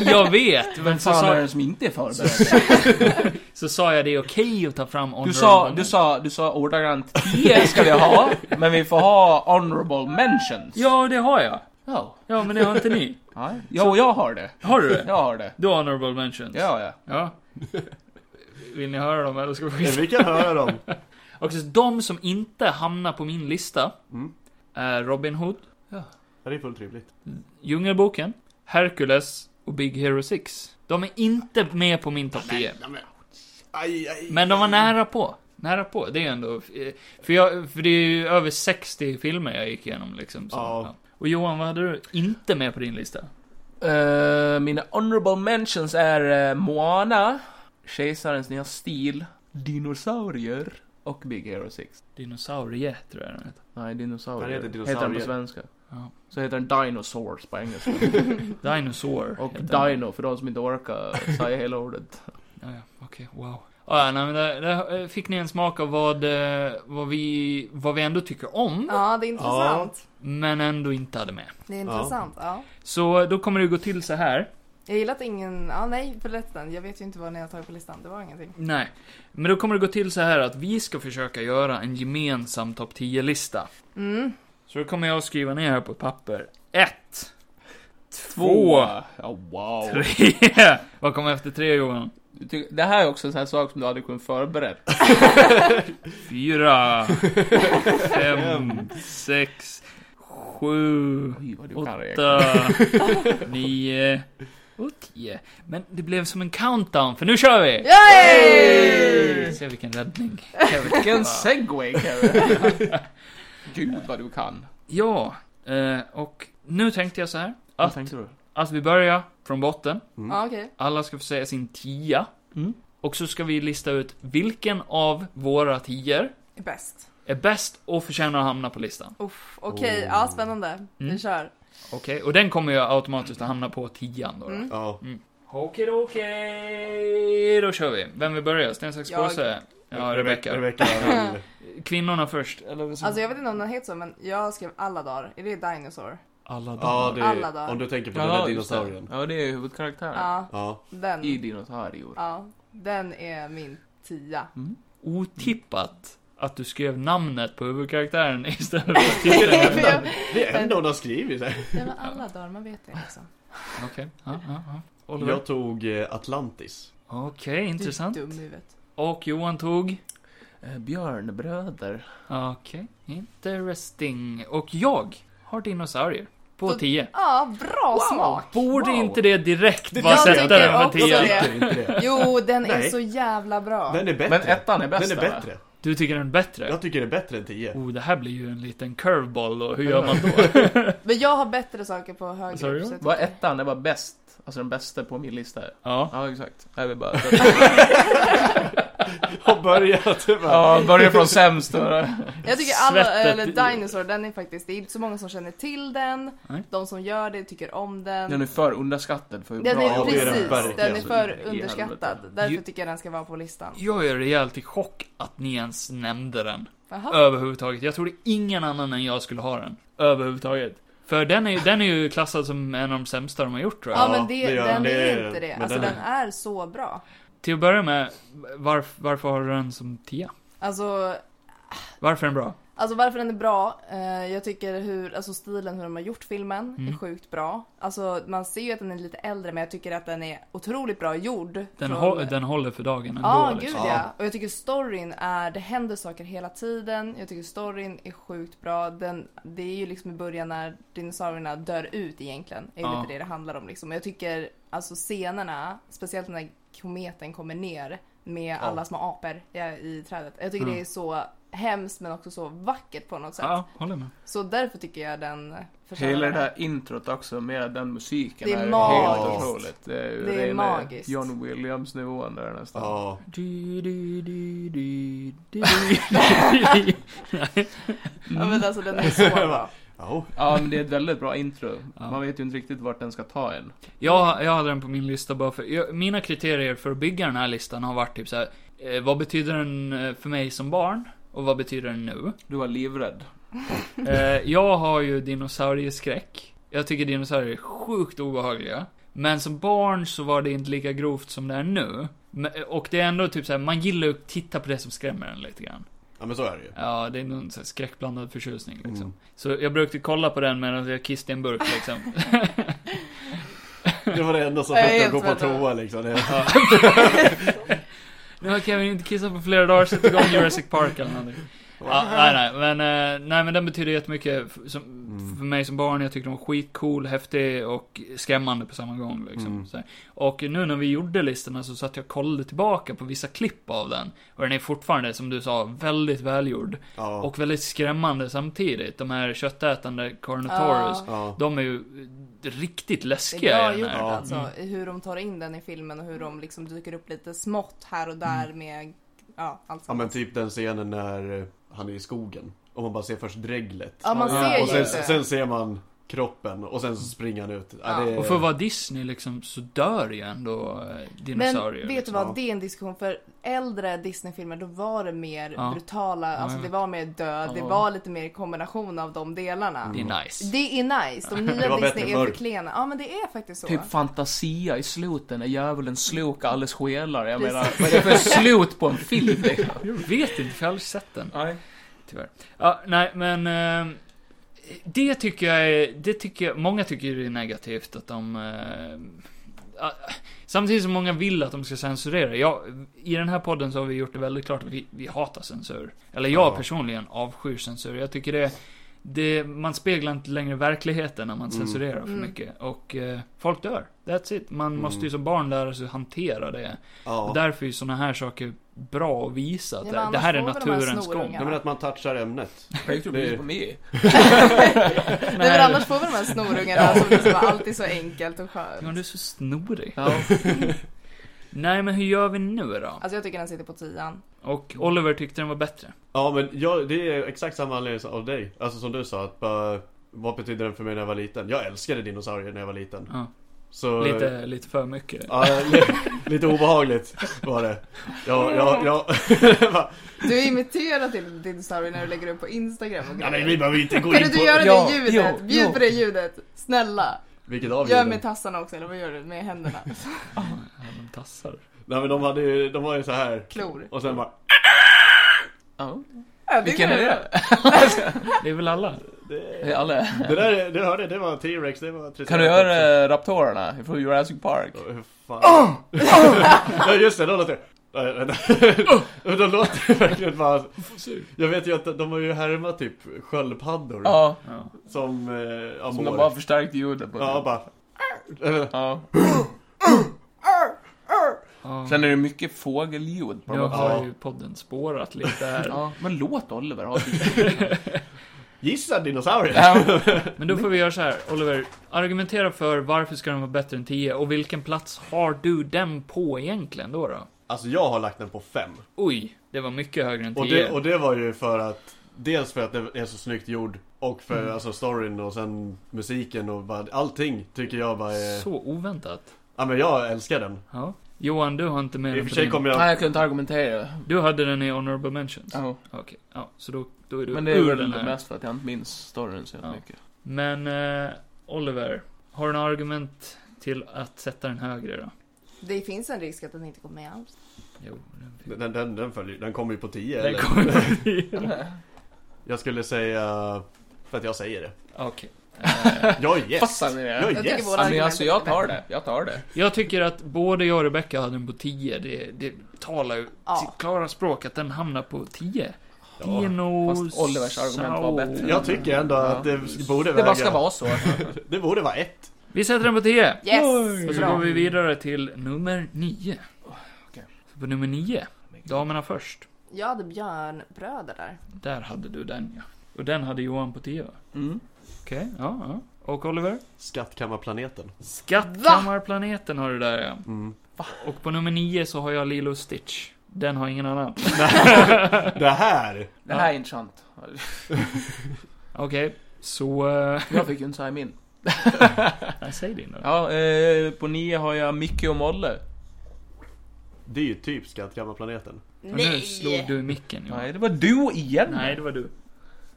Jag vet, men Vem så fan är sa, det som inte är förberedd? så sa jag det är okej att ta fram Du honorable sa, du mentions. sa, du sa ordagrant 10 ska vi ha, men vi får ha honorable mentions. Ja, det har jag. Ja. Ja, men det har inte ni. Nej. Jo, jag har det. Har du det? Jag har det. Du har honorable mentions? Det har jag. Ja. Vill ni höra dem eller ska vi skita Vi kan höra dem. Och så de som inte hamnar på min lista Mm. är Robin Hood, Det är fullt rimligt. Djungelboken, Hercules och Big Hero 6. De är inte med på min topp 10. Aj, aj. Men de var nära på. Nära på. Det är ju ändå... För, jag, för det är ju över 60 filmer jag gick igenom liksom. Så, Ja. Och Johan, vad hade du inte med på din lista? Eh, mina honorable mentions är eh, Moana, Kejsarens nya stil, Dinosaurier och Big Hero 6. Dinosaurie, tror jag den heter. Nej, dinosaurier. Den heter Heter den dinosaurier. på svenska. Ja. Så heter den Dinosaurs på engelska. Dinosaur. Och heter den. Dino för de som inte orkar säga hela ordet. Ja, ja, okej, wow. Ah, ja, nej, men där, där eh, fick ni en smak av vad, eh, vad, vi, vad vi ändå tycker om, Ja, det är intressant. men ändå inte hade med. Det är intressant, ja. Så eh, då kommer det gå till så här. Jag gillar att ingen... Ja, nej, förresten. Jag vet ju inte vad ni har tagit på listan. Det var ingenting. Nej. Men då kommer det gå till så här att vi ska försöka göra en gemensam topp 10-lista. Mm. Så då kommer jag skriva ner här på ett papper. 1, Två! 2, Ja, wow. 3. Vad kommer efter 3 Johan? Du tycker- Det här är också en sån här sak som du hade kunnat förberett. 4, 5, 6, 7, Oj, vad du kan räkna. åtta, eh, nio och tio. Men det blev som en countdown, för nu kör vi! Yay! Se vilken räddning. Vilken segway Kevin! Gud vad du kan. Ja, eh, och nu tänkte jag så här. Att, tänkte du? att vi börjar från botten. Ja, okej. Alla ska få säga sin tia. Mm. Och så ska vi lista ut vilken av våra tior Bäst. är bäst och förtjänar att hamna på listan. Uff, okej. Ja, spännande. Vi Mm. kör. Okej, och den kommer ju automatiskt att hamna på tian då. då. Mm. Ja. Okej, okej. Då kör vi. Vem vill börja? Sten, sax, Jag. påse? Ja, Rebecka. Rebecka. ja. Kvinnorna först. Eller liksom- så- Alltså jag vet inte om den heter så, men jag skrev alla dagar. Är det Dinosaur? Alla Ja, det Alla dagar. är, om du tänker på Ja, den där just dinosaurien. det. Ja, det är ju huvudkaraktären. Ja, Ja. den. I dinosaurier. Ja, den är min tia. Otippat att du skrev namnet på huvudkaraktären istället för titeln. För jag- Det är ändå hon har skrivit det. Det var alla dagar, man vet det liksom. Okej, ja, ja, ja. Oliver. Jag tog eh, Atlantis. Okej, intressant. Du är dum i huvudet. Och Johan tog? Eh, Björnbröder. Okej, interesting. Och jag har dinosaurier. På Så- 10. Ja, bra smak! Borde Wow. inte det direkt vara Jag sätta tycker den på också det. 10? Tycker inte det. Jo, den är Nej. så jävla bra. Den är Men bättre. ettan är bäst Den är va? bättre. Du tycker den är bättre? Jag tycker den är bättre än 10. Oh, det här blir ju en liten curveball då. Hur gör man då? Men jag har bättre saker på höger. Sorry, så jag Var tycker- ettan, det var bäst. Alltså den bästa på min lista. Ja. Ja, exakt. Jag vill bara... Har börjat. typ. va? ja, börja från sämst då. Jag tycker alla, Svettet eller i- Dinosaur, den är faktiskt, det är inte så många som känner till den. Nej. De som gör det tycker om den. Den är för underskattad för hur Den bra är Ja, jobb det är den precis, verkligen. den är för I helvete. underskattad. Därför Ju- tycker jag den ska vara på listan. Jag är rejält i chock att ni ens nämnde den. Jaha. Överhuvudtaget. Jag trodde ingen annan än jag skulle ha den. Överhuvudtaget. För den är, ju- den är ju klassad som en av de sämsta de har gjort tror jag. Ja Ja, men det, det gör den den. Det är är- inte det. men Alltså den den är- är så bra. Till att börja med, varf, varför har du den som 10? Alltså, Varför är den bra? alltså varför den är bra. Eh, jag tycker hur, alltså stilen hur de har gjort filmen är Mm. sjukt bra. Alltså man ser ju att den är lite äldre men jag tycker att den är otroligt bra gjord. Den, från- hå, den håller för dagen ändå. Ja, gud liksom. ja. Och jag tycker storyn är, det händer saker hela tiden. Jag tycker storyn är sjukt bra. Den, det är ju liksom i början när dinosaurierna dör ut egentligen. Det är ju Ja. lite det det handlar om liksom. Och jag tycker alltså scenerna, speciellt när kometen kommer ner med alla små apor i, i trädet. Jag tycker det Mm. är så hemskt men också så vackert på något sätt. Ja, håller med. Så därför tycker jag den förtjänar Hela det det. där introt också med den musiken Det är ju helt magiskt. otroligt. Det är, ju Det är rena magiskt. John Williams nivån där nästan. Ja. Du, du, du, du, du, du. Ja men alltså den är så bra. Ja. Ja, men det är ett väldigt bra intro. Ja. Man vet ju inte riktigt vart den ska ta en. Jag, jag hade den på min lista bara för, jag, mina kriterier för att bygga den här listan har varit typ så här, eh, vad betyder den eh, för mig som barn? Och vad betyder den nu? Du var livrädd. Eh, jag har ju dinosaurieskräck. Jag tycker dinosaurier är sjukt obehagliga. Men som barn så var det inte lika grovt som det är nu. Men- Och det är ändå typ så här, man gillar ju att titta på det som skrämmer en lite grann. ja, men så är det ju. Ja, det är någon så här skräckblandad förtjusning liksom. Mm. Så jag brukade kolla på den medan jag kissade i en burk liksom. Mm. Det var det enda som Jag är fick mig att helt gå på med dig. toa liksom. Det- Nu har Kevin inte kissat på flera dagar, sätt igång Jurassic Park eller någonting. Ja, nej, nej, men, eh, nej, men den betyder jättemycket f- som, Mm. för mig som barn. Jag tyckte den var skitcool, häftig och skrämmande på samma gång. Liksom, Mm. så här. Och nu när vi gjorde listorna så satt jag och kollade tillbaka på vissa klipp av den. Och den är fortfarande, som du sa, väldigt välgjord. Ja. Och väldigt skrämmande samtidigt. De här köttätande Carnotaurus. Ja. ja. De är ju eh, riktigt Det är läskiga bra i gjort den här. Ja. Mm. alltså, hur de tar in den i filmen och hur de liksom dyker upp lite smått här och där med, ja, allt Mm. ja men sånt. typ den scenen när eh, han är i skogen. Och man bara ser först dreglet. Ja, man Ja, ser och ju sen, inte. sen ser man kroppen och sen så springer han ut. Ja. det är- Och för att vara Disney liksom, så dör ju ändå eh, men dinosaurier. vet du liksom. vad, Ja. det är en diskussion för äldre Disney-filmer då var det mer Ja. brutala, alltså jag det var mer död, det Ja. var lite mer kombination av de delarna. Det är nice. Det är nice, de Mm. Det nya var bättre Disney är för förr. klena. Ja men det är faktiskt så. Typ Fantasia i slutet när djävulen slokar alles själar. Jag menar, Precis. vad är det för slut på en film? liksom? Jag vet inte, för jag har aldrig sett den. Nej. Tyvärr. Ja, nej, men... eh, det tycker jag är... Det tycker jag, många tycker det är negativt att de... eh, ah, samtidigt som många vill att de ska censurera. Jag, I den här podden så har vi gjort det väldigt klart att vi, vi hatar censur. Eller jag Ja. personligen avskyr censur. Jag tycker det... det man speglar inte längre verkligheten när man Mm. censurerar för Mm. mycket. Och eh, folk dör. That's it. Man Mm. måste ju som barn lära sig hantera det. ja. Och därför är ju såna här saker bra att visa. Att Ja, det- men det här är annars får väl de här naturens gång. snorungarna. Nej men att man touchar ämnet. Jag tror Det- precis på mig. Nej, men annars får vi de här snorungarna som liksom alltid är så enkelt och Ja, skönt. du är så snorig. Ja. Nej, men hur gör vi nu då? Alltså jag tycker den sitter på tian. Och Oliver tyckte den var bättre. Ja men jag, det är exakt samma anledning som av dig. Alltså som du sa att bara Vad betydde den för mig när jag var liten? Jag älskade dinosaurier när jag var liten. Ja. Så, Lite, lite för mycket. Ja, li, lite obehagligt var det. Ja, ja, ja. Du imiterar till dinosaurier när du lägger upp på Instagram och ja men grejer. vi behöver inte gå Kan in du på... göra Ja, det ljudet? jo, Bjud jo. på det ljudet. Snälla. Vilket av Gör ljuden? med tassarna också, eller vad gör du? Med händerna. Ja, de tassar. Nej men de hade ju, de var ju så här. Klor. Och sen bara... Ja. Ja, Vilken är går det? Det är väl alla? Det är Alla. Det där, det hörde jag, det var T-Rex, det var Kan du göra eh, Raptorerna från Jurassic Park? Åh, hur Fan. ja just det, då låter det... Nej, vänta. Då låter det verkligen bara... Jag vet ju att de har ju härmat typ sköldpaddor. Ja, Ja. Som... Eh, ja, som de mår. bara förstärkte ljudet på. Ja, bara... Jag vet inte. Ja. Ja. Sen är det mycket fågelljud på de Jag här. har ju podden spårat lite här. Ja, men låt Oliver ha sin Gissa dinosaurie! Ja, Men då får vi göra så här, Oliver. Argumentera för varför ska den vara bättre än 10 och vilken plats har du den på egentligen då? då? Alltså jag har lagt den på fem. Oj, det var mycket högre än 10. Och det, och det var ju för att... Dels för att den är så snyggt gjord. Och för alltså storyn och sen musiken och bara, allting tycker jag bara är... Så oväntat. Ja men jag älskar den. Ja. Johan, du har inte med I och den för på sig din... kommer Nej, jag... jag kunde inte argumentera. Du hade den i Honorable Mentions? Ja. Okej, ja, så då, då är du Men det är ur den väl här. mest för att jag inte minns storyn så Ja. mycket. Men eh, Oliver, har du några argument till att sätta den högre då? Det finns en risk att den inte går med alls. Jo, den fick... Den, den, den följer Den kommer ju på 10 Den eller? kommer vi- Jag skulle säga... För att jag säger det. Okej. Eh, Jag är gäst! Fattar ni det? Jag är Jag tycker gäst! båda- Ja, men alltså jag tar det, jag tar det. jag tycker att både jag och Rebecca hade den på 10. Det, det talar ju Ja. sitt klara språk att den hamnar på 10. Ja. Fast Olivers argument var bättre. Jag tycker ändå Ja. att det borde Det väga... bara ska vara så. Det borde vara ett. Vi sätter den på 10. Yes! Och så Bra. går vi vidare till nummer 9. På nummer 9, damerna först. Jag hade björnbröder där. Där hade du den ja. Och den hade Johan på 10 va? Mm. Okej, ja, ja. Och Oliver? Skattkammarplaneten. Skattkammarplaneten har du där ja. Mm. Och på nummer 9 så har jag Lilo och Stitch. Den har ingen annan. Det här! Det här är intressant. Okej, så... eh, Jag fick ju inte säga min. nej, säg din då. Ja, eh, på nio har jag Micke och Molle. Det är ju typ Skattkammarplaneten. Och nu slog du i micken Johan. Nej, det var du igen. Nej, det var du.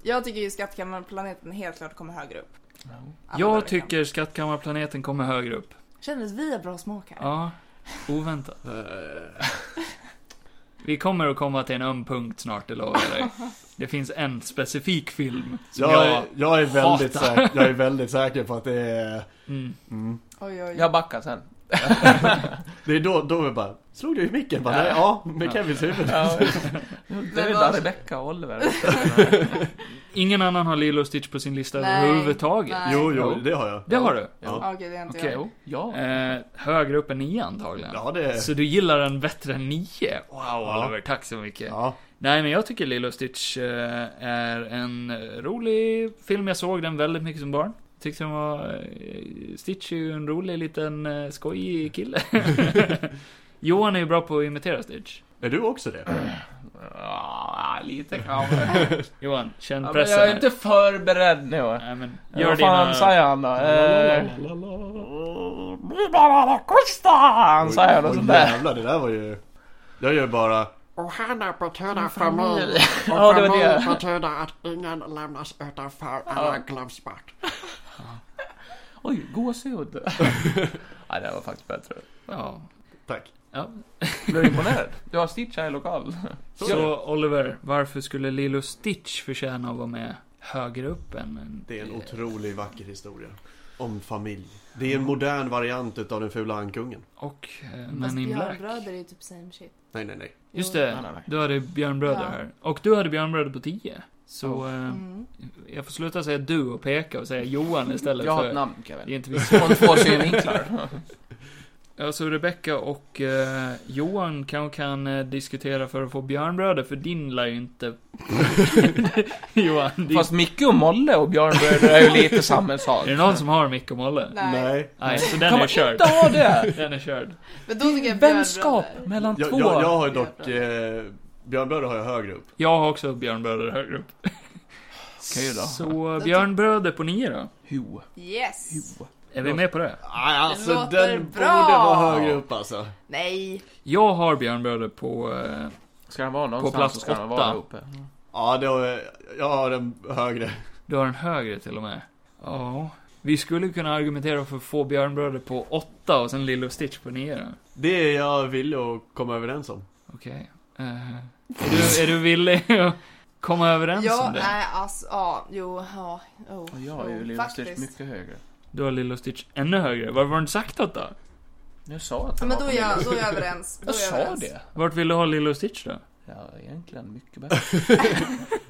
Jag tycker ju Skattkammarplaneten helt klart kommer högre upp. Alla dagar i Jag veckan. tycker Skattkammarplaneten kommer högre upp. Kändes vi har bra smak här? Ja, oväntat. Vi kommer att komma till en öm punkt snart, det lovar jag dig. Det finns en specifik film som jag, jag... är, jag, är väldigt hatar. säker, jag är väldigt säker på att det är... Mm. Mm. Oj, oj. Jag backar sen. Det är då, då vi bara... Slog du i micken? Bara, nej, ja, med Kevins huvud. Ja. Det är bara Rebecca och Oliver. Ingen annan har Lilo och Stitch på sin lista Nej, överhuvudtaget. nej. Jo, jo, det har jag. Det har du. Ja, Ja, Okej, det är inte Okej. jag. Jo, ja. Eh, högre upp än 9 antagligen. ja det... Så du gillar den bättre än 9? Wow, Ja. Oliver, tack så mycket. Ja. Nej, men jag tycker Lilo Stitch eh, är en eh, rolig film. Jag såg den väldigt mycket som barn. Tyckte den var... eh, Stitch är ju en rolig liten eh, skojig kille. Johan är ju bra på att imitera Stitch. Är du också det? Ja, lite kanske. Johan, känn Ja, men pressen. jag är här. inte förberedd nu. Nej, men, gör Vad fan dina... säger han då? Eh, Bli bara alla schyssta! Han säger något Oj, sånt där. jävlar, det där var ju... Jag gör bara... Och henne betyder för mig. Ja, Och det för var mig det. betyder att ingen lämnas utanför eller glöms bort. Oj, gåshud. Nej, det här var faktiskt bättre. Ja. Tack. ja. Blev du imponerad? Du har Stitch här i lokal. Så Oliver, varför skulle Lilo Stitch förtjäna att vara med högre upp än... en- Det är en otroligt vacker historia. Om familj. Det är en modern variant utav den fula ankungen. Och eh, Fast Men in Black. björnbröder är ju typ same shit. Nej, nej, nej. Just Nej, nej, det, nej. du hade Björnbröder Ja. här. Och du hade Björnbröder på 10. Så Oh. eh, Mm. jag får sluta säga du och peka och säga Johan istället Jag har ett för... namn, Det är Kevin. inte vi Från två synvinklar. Alltså Rebecca och eh, Johan kanske kan eh, diskutera för att få Björnbröder, för din lär ju inte... Johan, din... Fast Micke och Molle och Björnbröder är ju lite samma sak. Är det någon som har Micke och Molle? Nej. Nej, så den Kan är man körd. inte ha det? Den är körd. Men då tycker jag Vänskap björnbröder. mellan Jag, två. jag, jag har ju dock... Eh, Björnbröder har jag högre upp. Jag har också Björnbröder högre upp. Okej då. Så Björnbröder på nio då? Hu, hu. Yes. Är vi med på det? Nej, alltså Det låter den bra. borde vara högre upp alltså. Nej. Jag har Björnbröder på... Eh, Ska den vara någonstans plats så ska den åtta. vara uppe. Ja, då, eh, jag har den högre. du har en högre till och med. Ja. Vi skulle kunna argumentera för att få Björnbröder på åtta och sen Lilo och Stitch på nio då. Det är jag villig att komma överens om. Okej. Eh, är, du, är du villig att komma överens om Jag det? är alltså, ja, jo, ja. Oh, Och jag är ju oh, Lilo Stitch faktiskt. mycket högre. Du har Lilo och Stitch ännu högre. Varför har du inte sagt något då? Jag sa att Ja, den men var då på är jag, Lilo. då är jag överens. Då Jag är jag sa överens. det. Vart vill du ha Lilo och Stitch då? Ja, egentligen mycket bättre.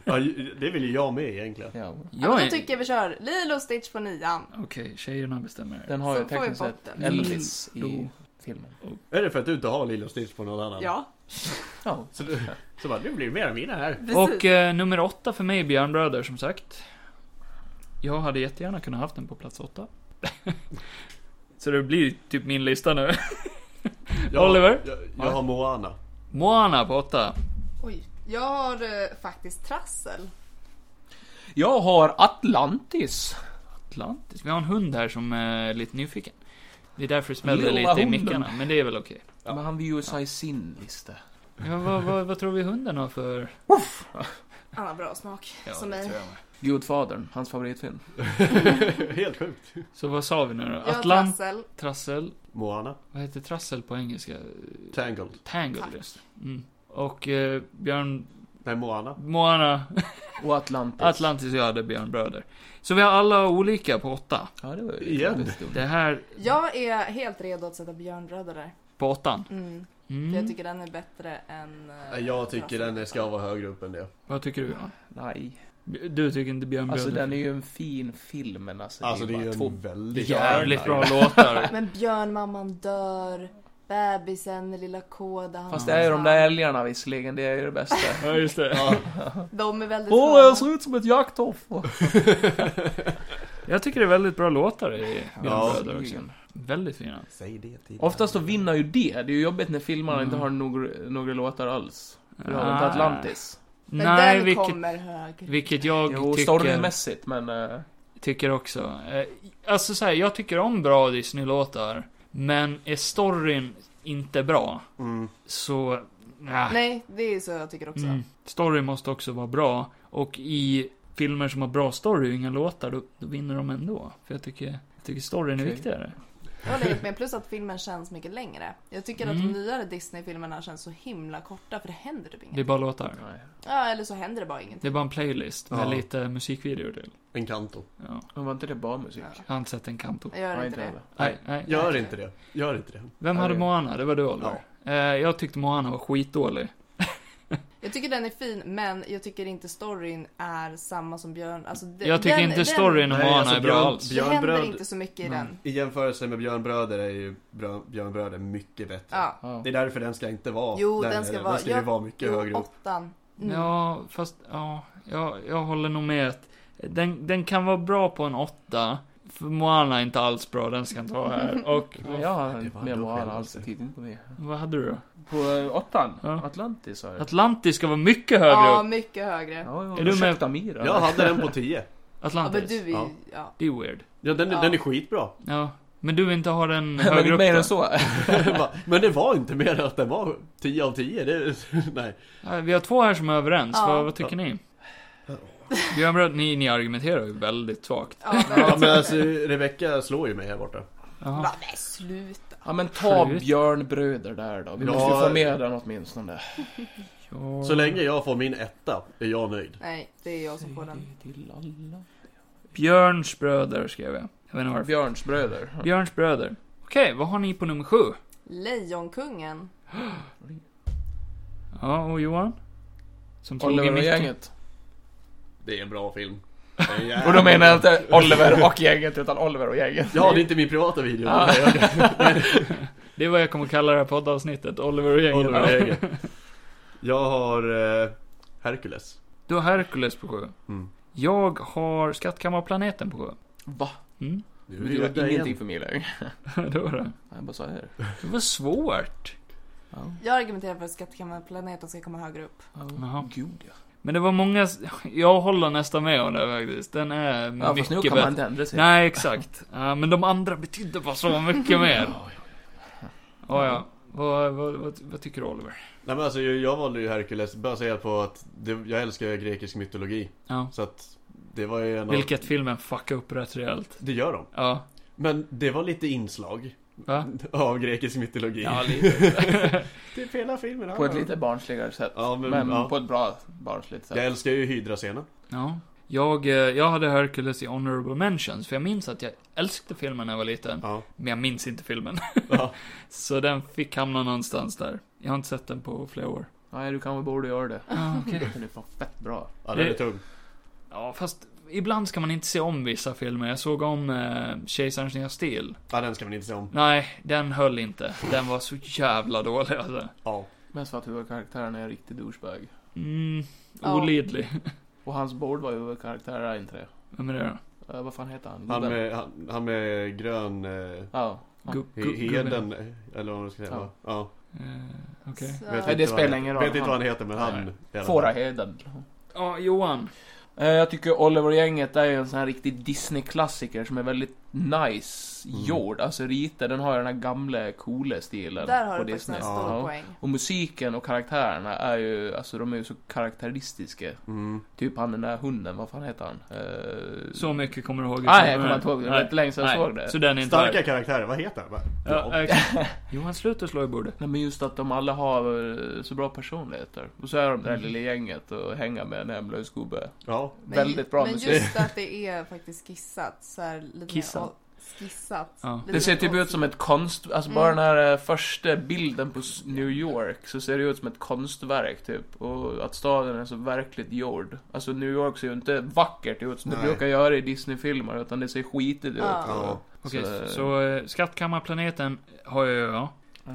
Ja, ju- det vill ju jag med egentligen. Ja. Ja, men är- då tycker jag vi kör Lilo och Stitch på nian. Okej, tjejerna bestämmer. Den har ju Så får vi tekniskt bort sett den. Elvis Lilo. i filmen. Är det för att du inte har Lilo och Stitch på någon annan? Ja, Ja. Så, du, så bara, nu blir det mer av mina här. precis. Och eh, nummer åtta för mig, Björnbröder, som sagt. Jag hade jättegärna kunnat haft den på plats åtta. Så det blir typ min lista nu. Jag, Oliver? Jag, Ja. jag har Moana. Moana på åtta. Oj. Jag har eh, faktiskt trassel. Jag har Atlantis. Atlantis. Vi har en hund här som är lite nyfiken. Det är därför det smäller Lilla lite i hunden. mickarna, men det är väl okej. Ja. Men han vill ju säga sin lista. Ja, vad, vad, vad tror vi hunden har för... Han har bra smak, Ja, som det mig. tror jag med. Gudfadern, hans favoritfilm. Helt sjukt. Så vad sa vi nu då? Jag har Atlant... trassel. Trassel. Moana. Vad heter trassel på engelska? Tangled. Tangle, Tack. just mm. Och eh, Björn... Nej, Moana. Moana. Och Atlantis. Atlantis och jag hade Björnbröder. Så vi har alla olika på åtta. Ja, det var ju Igen. jävligt dumt. Det här Jag är helt redo att sätta Björnbröder där. på åttan. Mm. Mm. För jag tycker den är bättre än... eh, Nej, Jag tycker trassel. den ska vara högre upp än det. Vad tycker du? Johan? Nej. Du tycker inte Björnbröder? Alltså den är ju en fin film men alltså, Alltså det är ju bara två... en väldigt jävligt bra låtar. Men björnmamman dör. Bebisen, lilla Koda. han Fast det har är ju de där hand. älgarna visserligen, det är ju det bästa. Ja, just det. De är väldigt Åh, sköna. jag ser ut som ett jakthoffer! Jag tycker det är väldigt bra låtar i Björnbröder Ja, också. Väldigt fina. Säg det till Oftast då vinner ju det, det är ju jobbigt när filmerna Mm. Ah. inte har några, några låtar alls. För då har vi inte Atlantis. Men Nej, den vilket, kommer högre. vilket jag Jo, tycker, storymässigt men... eh, tycker också. Eh, Alltså så här, jag tycker om bra Disney-låtar. Men är storyn inte bra, Mm. så... Nah. Nej, det är så jag tycker också. Mm. Story måste också vara bra. Och i filmer som har bra story och inga låtar, då, då vinner de ändå. För jag tycker, jag tycker storyn är Okej. viktigare. Jag håller helt med. Plus att filmen känns mycket längre. Jag tycker att Mm. de nyare Disney-filmerna känns så himla korta för det händer typ Det är inget. bara låtar. Nej. Ja, eller så händer det bara Det ingenting. är bara en playlist med Ja. lite musikvideor till. En kanto. Ja. Men Var inte det bara musik? Ja. Jag har inte sett en kanto. Jag gör Nej, inte det. heller. Nej, nej. Gör inte det. Gör inte det. Vem Nej, hade det- Moana? Det var du Oliver. Eh, jag tyckte Moana var skitdålig. Jag tycker den är fin, men jag tycker inte storyn är samma som Björn. Alltså, det- Jag tycker den, inte den, storyn om Nej, Moana alltså, är bra Björn- alls. Det händer Björnbröd- inte så mycket i Nej. den. I jämförelse med Björnbröder är ju Björn- Björnbröder mycket bättre. Ja. Ja. Det är därför den ska inte vara Jo, där den ska nere. vara- Den ska ju ja, vara mycket högre Jo, upp. åttan. Mm. Ja, fast ja, jag, jag håller nog med att den, den kan vara bra på en åtta. För Moana är inte alls bra, den ska inte vara här. Och Ja, jag har Det inte var med då Moana själv alls också. tidigt på det. vad hade du då? På eh, åttan? Ja. Atlantis sa jag. Atlantis ska vara mycket högre Ja, upp. mycket högre. Ja, ja, Är du med- ursäkta mig då. Jag hade den på 10. Ja, men Atlantis. du är ju... Ja. Ja. Det är weird. Ja, den, Ja. den är skitbra. Ja. Men du vill inte ha den Men högre inte upp mer då? än så. Bara, Men det var inte mer att den var 10 av 10. Det, nej. Ja, Vi har två här som är överens. Ja. Vad, vad tycker ni? Björn Bröd, ni, ni argumenterar ju väldigt svagt. Ja, Ja, men, men alltså, Rebecca slår ju mig här borta. Jaha. Va, men sluta. Ja men ta Förut. Björnbröder där då. Vi Ja. måste ju få med den åtminstone. Ja. Så länge jag får min etta är jag nöjd. Nej, det är jag som får den. Till alla. Björns bröder skrev jag. Jag vet inte varför. Björnsbröder. Björns bröder. Okej, vad har ni på nummer sju? Lejonkungen. Ja, och Johan? Som slog i Oliver och micken. gänget. Det är en bra film. Det är en jävla Och då menar jag bra inte Oliver och gänget utan Oliver och gänget. film. Ja, det är inte min privata video. Ah. Det är jag. Det är vad jag kommer kalla det här poddavsnittet. Oliver och gänget. Oliver och gänget. Jag har eh, Hercules. Du har Hercules på sju. Mm. Jag har Skattkammarplaneten på sju. Va? Mm. Du Det var ingenting för mig längre. det var det. Jag bara så här. Det var svårt. Ja. Jag argumenterar för att skattkammarplaneten ska komma högre upp. Ja. Jaha. Gud ja. Men det var många, jag håller nästan med om det faktiskt. Den är Ja, fast mycket nu kan bättre. man inte ändra sig. Nej, exakt. Ja, men de andra betydde bara så mycket mer. Ja, ja. Vad, vad, vad, vad tycker du Oliver? Nej men alltså jag, jag valde ju Herkules baserat på att det, jag älskar ju grekisk mytologi. Ja. Så att det var ju en av... Vilket filmen fuckar upp rätt rejält. Det gör de. Ja. Men det var lite inslag Va? av grekisk mytologi. Ja, lite. Typ hela filmen. På ett ja. lite barnsligare sätt. Ja, men, Men ja. på ett bra barnsligt sätt. Mm. Jag älskar ju Hydra-scenen. ja. Jag, eh, jag hade Hercules i Honorable Mentions, för jag minns att jag älskade filmen när jag var liten. Ja. Men jag minns inte filmen. Ja. Så den fick hamna någonstans där. Jag har inte sett den på flera år. Nej, du kanske borde göra det. Ah, okej. Den är fan fett bra. ja, den är Det- tung. Ja, fast ibland ska man inte se om vissa filmer. Jag såg om eh, Kejsarens nya stil. Ja, den ska man inte se om. Nej, den höll inte. Den var så jävla dålig alltså. Ja. Mest för att huvudkaraktären är en riktig douchebag. Mm, Ja. olidlig. Och hans bord var huvudkaraktär, är inte det? Vem är det då? Eh, vad fan heter han? Han Gubben? med, han, han med grön... Eh, Ja. Gu- gu- he- heden, eh, gubben. eller vad man ska säga. Ja. Ja. ja. Eh, Okej. Så- Vet Nej, inte det vad spelar han ingen heter. roll. Vet inte vad han heter, men Nej. han... i alla fall. Fåraheden. Ja, Johan. Eh, Jag tycker Oliver-gänget är ju en sån här riktig Disney-klassiker som är väldigt nice Mm. gjord. Alltså rita, den har ju den här gamla coola stilen Där har på du faktiskt en Disney. nästa. stor Ja. poäng. Och musiken och karaktärerna är ju, alltså de är ju så karaktäristiska. Mm. Typ han den där hunden, vad fan heter han? Eh, Så mycket kommer du ihåg. Nej, jag kommer inte ihåg. Det var Nej. inte länge sedan jag Nej, såg det. Så den är inte Starka värd. karaktärer, vad heter han? Ja, exakt. Johan, sluta slå i bordet. Nej, men just att de alla har eh, så bra personligheter. Och så är de det där Mm. lilla gänget och hänga med en hemlös gubbe. ja. Men, Väldigt bra Men musik. just att det är faktiskt skissat så här lite mer Kissat. o- skissat. Ja. Lite Det ser typ mer ut som ett konst... Alltså bara Mm. den här eh, första bilden på s- New York så ser det ut som ett konstverk typ. Och att staden är så verkligt gjord. Alltså New York ser ju inte vackert ut som det Nej. brukar göra i Disney-filmer utan det ser skitigt ut. Ja. Ja. Okej, Så- så, så eh, Skattkammarplaneten har ju jag.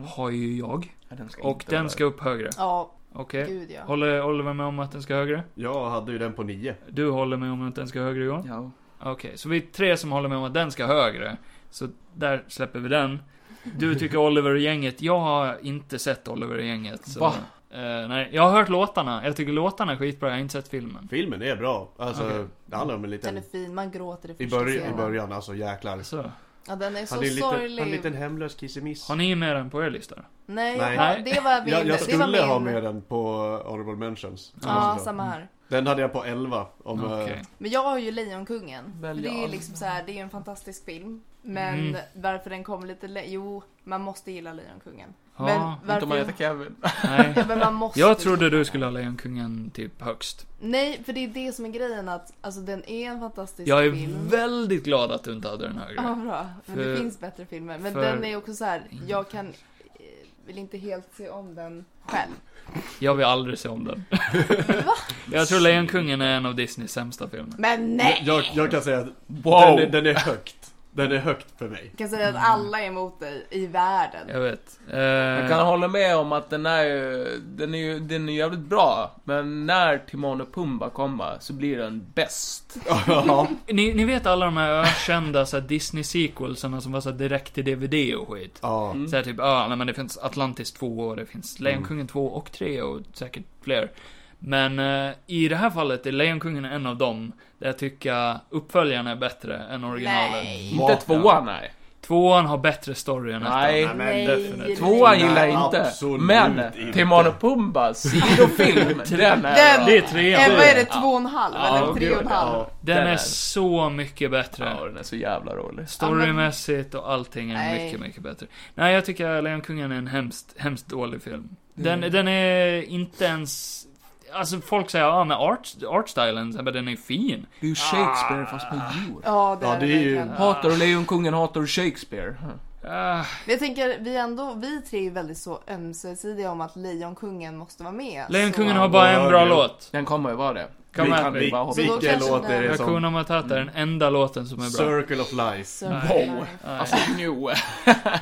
Har ju jag. Ja, den ska Och inte den vara- ska upp högre. Ja, Okej. gud ja. Håller Oliver med om att den ska högre? Jag hade ju den på nio. Du håller med om att den ska högre Johan? Ja. Okej, så vi är tre som håller med om att den ska högre. Så där släpper vi den. Du tycker Oliver och gänget. Jag har inte sett Oliver och gänget. Så, Va? Eh, nej, jag har hört låtarna. Jag tycker låtarna är skitbra. Jag har inte sett filmen. Filmen är bra. Alltså, Okej. det handlar om en Den liten... är fin, man gråter i I första början, i scenen. början alltså jäklar. Så, Ja, den är så Han är en liten, han sorglig. är en liten hemlös kissemiss. har ni med den på er lista? då? Nej, Nej. ja, det var min. Jag, jag det var skulle min. ha med den på Honorable Mentions. Ja, Alltså, samma här. Den hade jag på 11. Om, eh, Okej. Men jag har ju Lejonkungen. Väl Men det är ju ja. liksom så här, det är ju en fantastisk film. Men Mm. varför den kom lite le- Jo, man måste gilla Lejonkungen. Ja, Men Inte om man heter varför... Kevin. nej. Ja, men man måste Jag trodde du skulle ha Lejonkungen typ högst. Nej, för det är det som är grejen att alltså, den är en fantastisk Jag film. är väldigt glad att du inte hade den högre. Ja, bra. Men det För- finns bättre filmer. Men för- den är också så här, jag kan... eh, Vill inte helt se om den själv. Jag vill aldrig se om den. jag tror Lejonkungen är en av Disneys sämsta filmer. Men nej! jag, jag kan säga att Wow! den, är, den är högt. Den är högt för mig. Jag kan säga att alla är emot dig i världen. Jag vet. Eh, Jag kan hålla med om att den är ju, den är ju, den är jävligt bra. Men när Timon och Pumba kommer så blir den bäst. Ja. ni, ni vet alla de här ökända så här Disney-sequelserna som var så här direkt till DVD och skit? ja. Mm. Så här typ, ja, nej men det finns Atlantis 2 och det finns Lejonkungen 2 och 3 och säkert fler. Men eh, i det här fallet är Lejonkungen en av dem där jag tycker uppföljaren är bättre än originalet. Nej. Inte tvåan, nej. Tvåan har bättre story än ettan. Nej. Nej, men definitivt. Tvåan gillar Nej, jag inte. absolut Men inte. Timon och Pumba, sidofilm, den är Den, bra. Det är trean. Eh, vad är det, två och en halv? Ja, eller tre och en gud, halv? Ja. Den, Den är, är- så mycket bättre. Ja, den är så jävla rolig. Storymässigt och allting är Nej. mycket, mycket bättre. Nej, jag tycker Lejonkungen är en hemskt, hemskt dålig film. Den, Mm. den är inte ens... Alltså folk säger ja men art, artstylen, så här, men den är fin. Det är ju Shakespeare fast på djur. Ja, det, Ja, är det det är ju- verkligen. Ah. Hatar du Lejonkungen, hatar du Shakespeare. Ah, Men Jag tänker, vi ändå, vi tre är ju väldigt så ömsesidiga om att Lejonkungen måste vara med. Lejonkungen så... har bara en bra Ja, låt. Den kommer ju vara det. Come Vi at kan me. ju bara hoppa vi- på. vi- Vilken kanske låt den- är det som... Hakuna Matata är den enda låten som är bra. Circle of Life. Circle Wow. Life. Nej. Alltså, nu. Ja,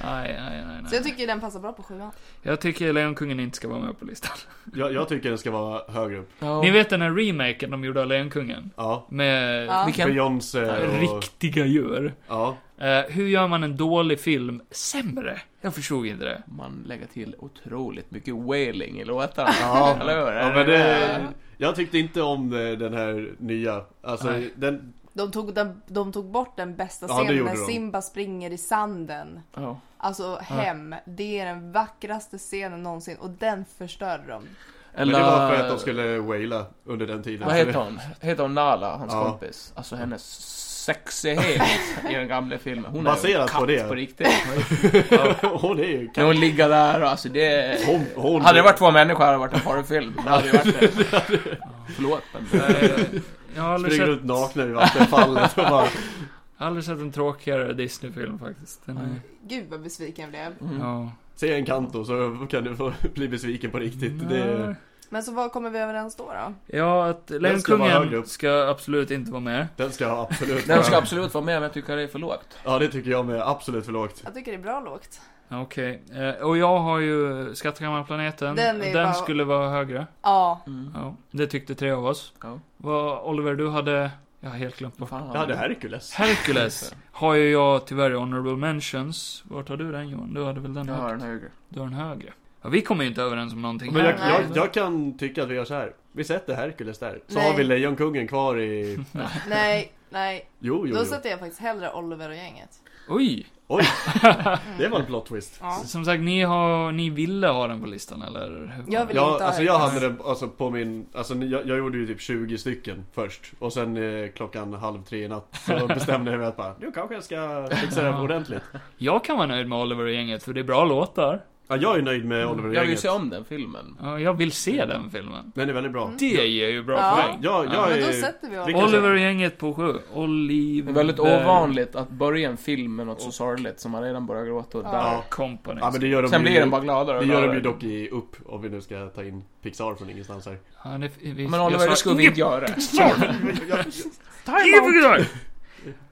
Aj, aj, nej, Så jag nej. tycker den passar bra på sjuan. Jag tycker Lejonkungen inte ska vara med på listan. Jag, jag tycker den ska vara högre upp. Ja. Ni vet den här remaken de gjorde av Lejonkungen? Ja. Med Ja. Vilken? Beyoncé och... riktiga djur. Ja. Eh, hur gör man en dålig film sämre? Jag förstod inte det. Man lägger till otroligt mycket wailing i låtarna. Ja. Eller hur? ja men det... Jag tyckte inte om eh, den här nya. Alltså, Nej. den... De tog, den, de tog bort den bästa Ja, det scenen gjorde när de. Simba springer i sanden. Ja. Alltså hem. Det är den vackraste scenen någonsin och den förstörde de. Men Eller... det var för att de skulle waila under den tiden. Vad heter hon? Heter hon Nala, hans Ja. kompis? Alltså hennes sexighet i den gamla filmen. Hon är ju en Baserat på katt det. på riktigt. hon är ju... När hon ligger där och alltså det... Hon, hon... Hade det varit två människor hade det varit en porrfilm. Det hade ju varit det. Förlåt men... Eh, jag har aldrig Springer sett, runt nakna i vattenfallet och bara... aldrig sett en tråkigare Disney-film faktiskt. Den är, Gud vad besviken jag blev. Mm. ja. Se en kanto så kan du få bli besviken på riktigt. Det är... Men så vad kommer vi överens då? då? Ja, att Den ska vara högre Lejonkungen upp. ska absolut inte vara med. Den ska jag absolut Den ska absolut vara med men jag tycker det är för lågt. Ja det tycker jag med, absolut för lågt. Jag tycker det är bra lågt. Okej. Eh, och jag har ju Skattkammarplaneten. Den, Den är bara- skulle vara högre. Ja, Mm. Ja, det tyckte tre av oss. Ja. Vad, Oliver, du hade... Jag har helt glömt bort. Fan, Jag hade Hercules. Hercules har ju jag tyvärr i Honorable Mentions. Vart har du den Johan? Du hade väl den Jag har högt? den högre. Du har den högre. Ja, vi kommer ju inte överens om någonting. Men jag, här. jag, jag kan tycka att vi gör så här. Vi sätter Hercules där. Så Nej. har vi Lejonkungen kvar i... nej, nej. Jo, jo, Då jo. sätter jag faktiskt hellre Oliver och gänget. Oj! Oj, det var en plot twist. Ja. Som sagt, ni, har, ni ville ha den på listan eller? hur? Jag vill Jag, inte ha alltså jag Hercules. hade den alltså, på min... Alltså, ni- jag, jag gjorde ju typ 20 stycken först. Och sen eh, klockan halv tre i natt så bestämde jag mig att bara, nu kanske jag ska fixa det här ordentligt. Jag kan vara nöjd med Oliver och gänget för det är bra låtar. Ja, jag är nöjd med Oliver och Jag vill ju gänget. se om den filmen. Ja, Jag vill se den filmen. Den är väldigt bra. Det ger ju bra Mm. Ja. poäng. Jag, jag Men då är... sätter vi Vilken- Oliver. Oliver och gänget på sju. Det Oliver... är väldigt ovanligt att börja en film med något så sorgligt som man redan börjar gråta och Ja. där. Ja. Company. Ja men det gör de Sen ju- blir den bara gladare och Det gör de gladare. ju dock i Upp, om vi nu ska ta in Pixar från ingenstans här. Ja, det, vi, Men jag Oliver, sa- det skulle vi inte göra.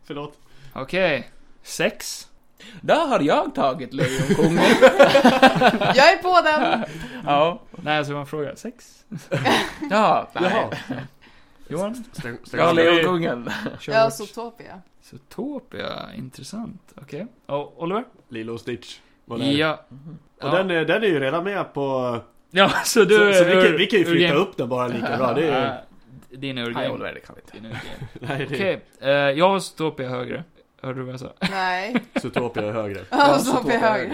Förlåt. Okej. Sex. Där har jag tagit Lejonkungen. Jag är på den! ja. Nej, alltså man frågar. Sex? Ja, nej. Jaha. Johan? Stäng, stäng Ja, av. Lejonkungen. Kör Jag har vårt- Zootopia. Zootopia, intressant. Okej. Och Oliver? Lilo och Stitch. var det här. Ja. Och ja. Den, är, den är ju redan med på... ja, så du... så så vi, kan, ur- vi kan ju ur flytta game- upp den bara lika bra. Det är, Ja, Din är Nej, urgame. Oliver, det kan vi inte. Din är urgame. nej, det är Okej, eh, jag har Zootopia högre. Hörde du vad jag sa? Nej. Zootopia är högre. Ja, Zootopia högre.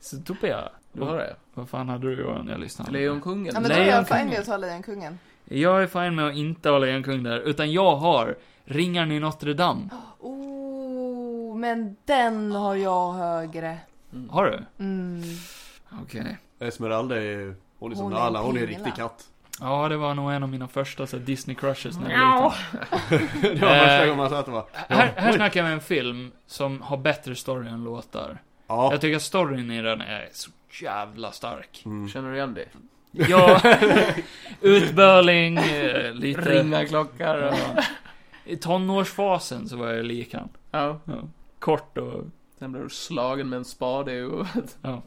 Zootopia? Du har det? Vad fan hade du Johan? Jag lyssnade. aldrig. Lejonkungen. Ja men då är jag Lejonkungen. fine med att ta Lejonkungen. Jag är fine med att inte ha Lejonkung där, utan jag har Ringaren i Notre Dame. Oh, men den har jag högre. Har du? Mm. Okej. Esmeralda är ju... Hon är som Hon är en Nala, hon är en pingla. riktig katt. Ja, det var nog en av mina första så här, Disney crushes när jag var liten. Ja. Det var första Eh. gången man sa att det var... Här, här snackar vi en film som har bättre story än låtar. Ja. Jag tycker att storyn i den är så jävla stark. Mm. Känner du igen det? Ja, utböling, eh, lite... Ringarklockor och... Ja. I tonårsfasen så var jag lik han. Ja. Ja. Kort och... Sen blir du slagen med en spade i huvudet. Ja,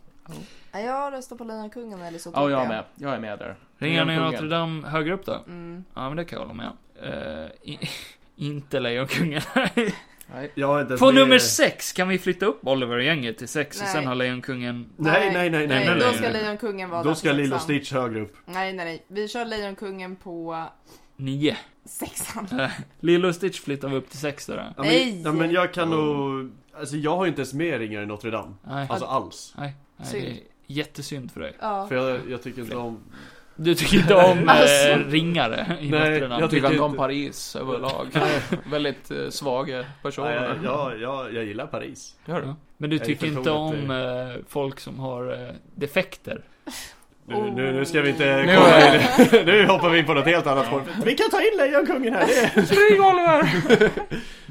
Jag röstar på Lejonkungen eller Zootopia. Ja, jag är med. Jag är med där. Ringarna i Lejonkungen. Notre Dame högre upp då? Mm. Ja, men det kan jag hålla med om. Eh, i- inte Lejonkungen. Nej. Jag har inte ens På med- nummer sex kan vi flytta upp Oliver och gänget till sex och Nej. sen ha Lejonkungen... Nej, nej, Nej, nej, nej. nej, Då nej, ska nej. Lejonkungen Då vara där liksom. ska på Lilo och sexan. Stitch högre upp. Nej, nej, nej. Vi kör Lejonkungen på Nio. sexan. Lilo och Stitch flyttar vi upp till sex då. då. Ja, Nej. men, ja, men jag kan nog... Alltså jag har ju inte ens med Ringar i Notre Dame. Nej. Alltså alls. Nej, nej Synd. det är jättesynd för dig. Ja. För jag, jag tycker inte om... Du tycker inte om Alltså. eh, ringare i Nej, Notre Dame? Jag Jag tycker inte tycker om inte- Paris överlag. Väldigt eh, svaga Nej, personer. jag, jag, jag, jag gillar Paris. Gör du? Ja. Men du Jag är tycker inte personligt, om eh, folk som har eh, defekter? Nu, Oh. nu, nu ska vi inte Nu komma är in. Nu hoppar vi in på något helt annat spår. Vi kan ta in Lejonkungen här! Det är... Spring Oliver!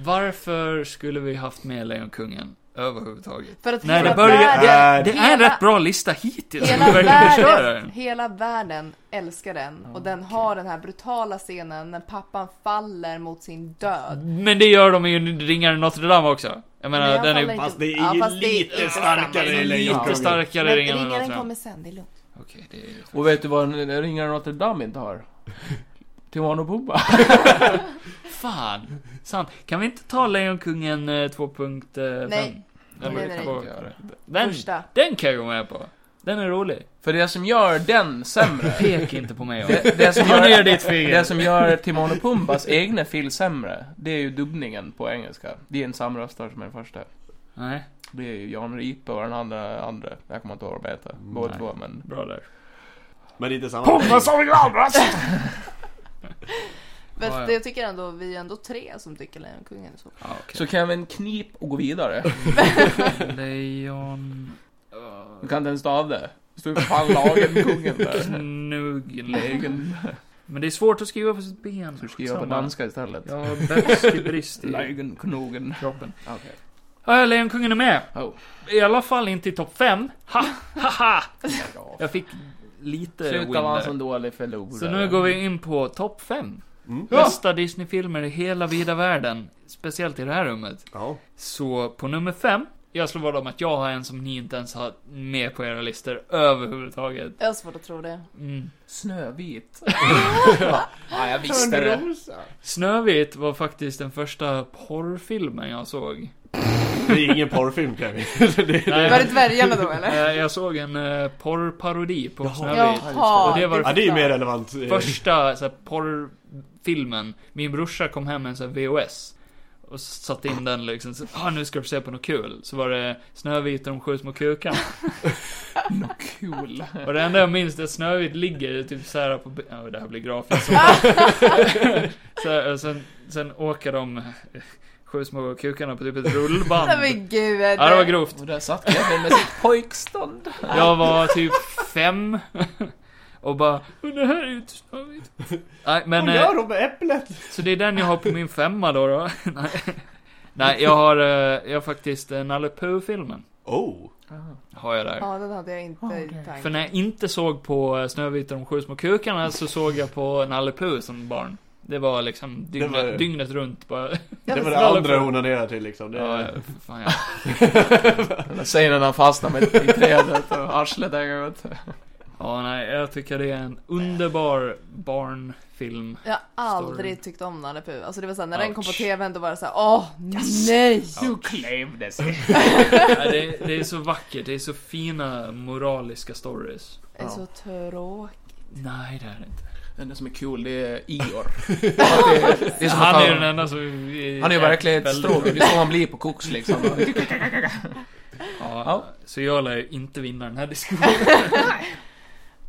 Varför skulle vi haft med Lejonkungen? överhuvudtaget. För att Nej, hela det börjar... världen, Det, det är en hela- rätt bra lista hittills. hela, om du verkligen förstöra världen, den. hela världen älskar den och den har den här brutala scenen när pappan faller mot sin död. Men det gör de ju i Ringaren i Notre Dame också. Jag menar, Men jag den är faller inte- Fast det är Ja, ju fast det är lite inte starkare samma. i lite Lejonkungen. starkare Men i Ringaren i Notre ringaren Dame. kommer sen, det är lugnt. Okej, det är... Och vet du vad en en ringare i Notre Dame inte har? Tijuan och Pumba. Fan! Sant. Kan vi inte ta Lejonkungen eh, 2.5? Nej. Den, Nej, var- nej, på- nej. den, Första. den kan jag gå med på. Den är rolig. För det som gör den sämre. Pek inte på mig. Det, det, som Ta ner gör, ditt finger. det som gör Timon och Pumbas egna film sämre, det är ju dubbningen på engelska. Det är en samröstare som är den första. Nej, Det är ju Jan Ripe och den andra, andra. jag kommer inte ihåg vad de heter. Båda Nej. två men... bra där. Men det är inte samma Pumba som Men Ja, ja. det jag tycker ändå, vi är ändå tre som tycker Lejonkungen är så. Ja, okej. Så kan vi en knip och gå vidare. Lejon... Du kan inte ens ta av det. Det står ju för fan lagen, kungen där. Knuggel. Lägen. Äh, Men det är svårt att skriva på sitt ben. Du ska göra på Samma. danska istället. Jag har bärskebrist i Lägen, knogen. kroppen. Okej. Ja, Lejonkungen är med. Oh. I alla fall inte i topp 5. Ha, ha, ha! Ja. Jag fick lite win Sluta vara en där. sån dålig förlorare. Så nu går vi in på topp 5. Mm. Bästa Disney-filmer i hela vida världen. Speciellt i det här rummet. Ja. Så på nummer 5. Jag slår vad om att jag har en som ni inte ens har med på era listor överhuvudtaget. Jag har svårt att tro det. Mm. Snövit. ja, jag visste det. Snövit var faktiskt den första porrfilmen jag såg. Det är ingen porrfilm kan vi. Nej, Var det dvärgarna då eller? eh, jag såg en eh, porrparodi på Jaha. Snövit. Och det var- Ja, det är ju mer relevant. eh, Första så här, porrfilmen. Min brorsa kom hem med en så här, VHS. Och satte in den liksom. Så, ah, nu ska du se på något kul. Så var det Snövit och de sju små kukarna. Något kul. Och det enda jag minns är att Snövit ligger typ så här på... Ja, det här blir grafiskt. så här, och sen, sen åker de eh, sju små kukarna på typ ett rullband. Nej men gud. Ja, det var grovt. Och där satt Kevin med sitt pojkstånd. Jag var typ fem. Och bara, men det här är ju inte Snövit. Nej, men... Vad eh, gör de med äpplet? Så det är den jag har på min femma då. då. Nej. Nej, jag har, eh, jag har faktiskt eh, Nalle Puh-filmen. Oh. Ah. Har jag där. Ja, den hade jag inte i För tanken. när jag inte såg på eh, Snövit och de sju små kukarna så såg jag på Nalle Puh som barn. Det var liksom dygnet, Det var- dygnet runt bara. Jag Det var vill- det andra hon onanerar till liksom. Det Ja, är... eh, fan, ja. Eller säger när han fastnar med i trädet och arslet hänger ut. ja, nej, jag tycker det är en underbar barnfilm. Jag har aldrig Storyn. tyckte om Nalle Puh. Alltså det var såhär, när den kom på Ouch. tvn då var det såhär, åh nej! You claim this. Nej, det, det är så vackert, det är så fina moraliska stories. Det är så tråkigt. Nej, det är det inte. Det enda som är kul, det är Ior. Det är, det är som Han att är ju den enda som... är- Han är ju verkligen ett väldigt stråk. Det är så han blir på koks liksom. Ja, Ja. Så jag lär ju inte vinna den här diskussionen.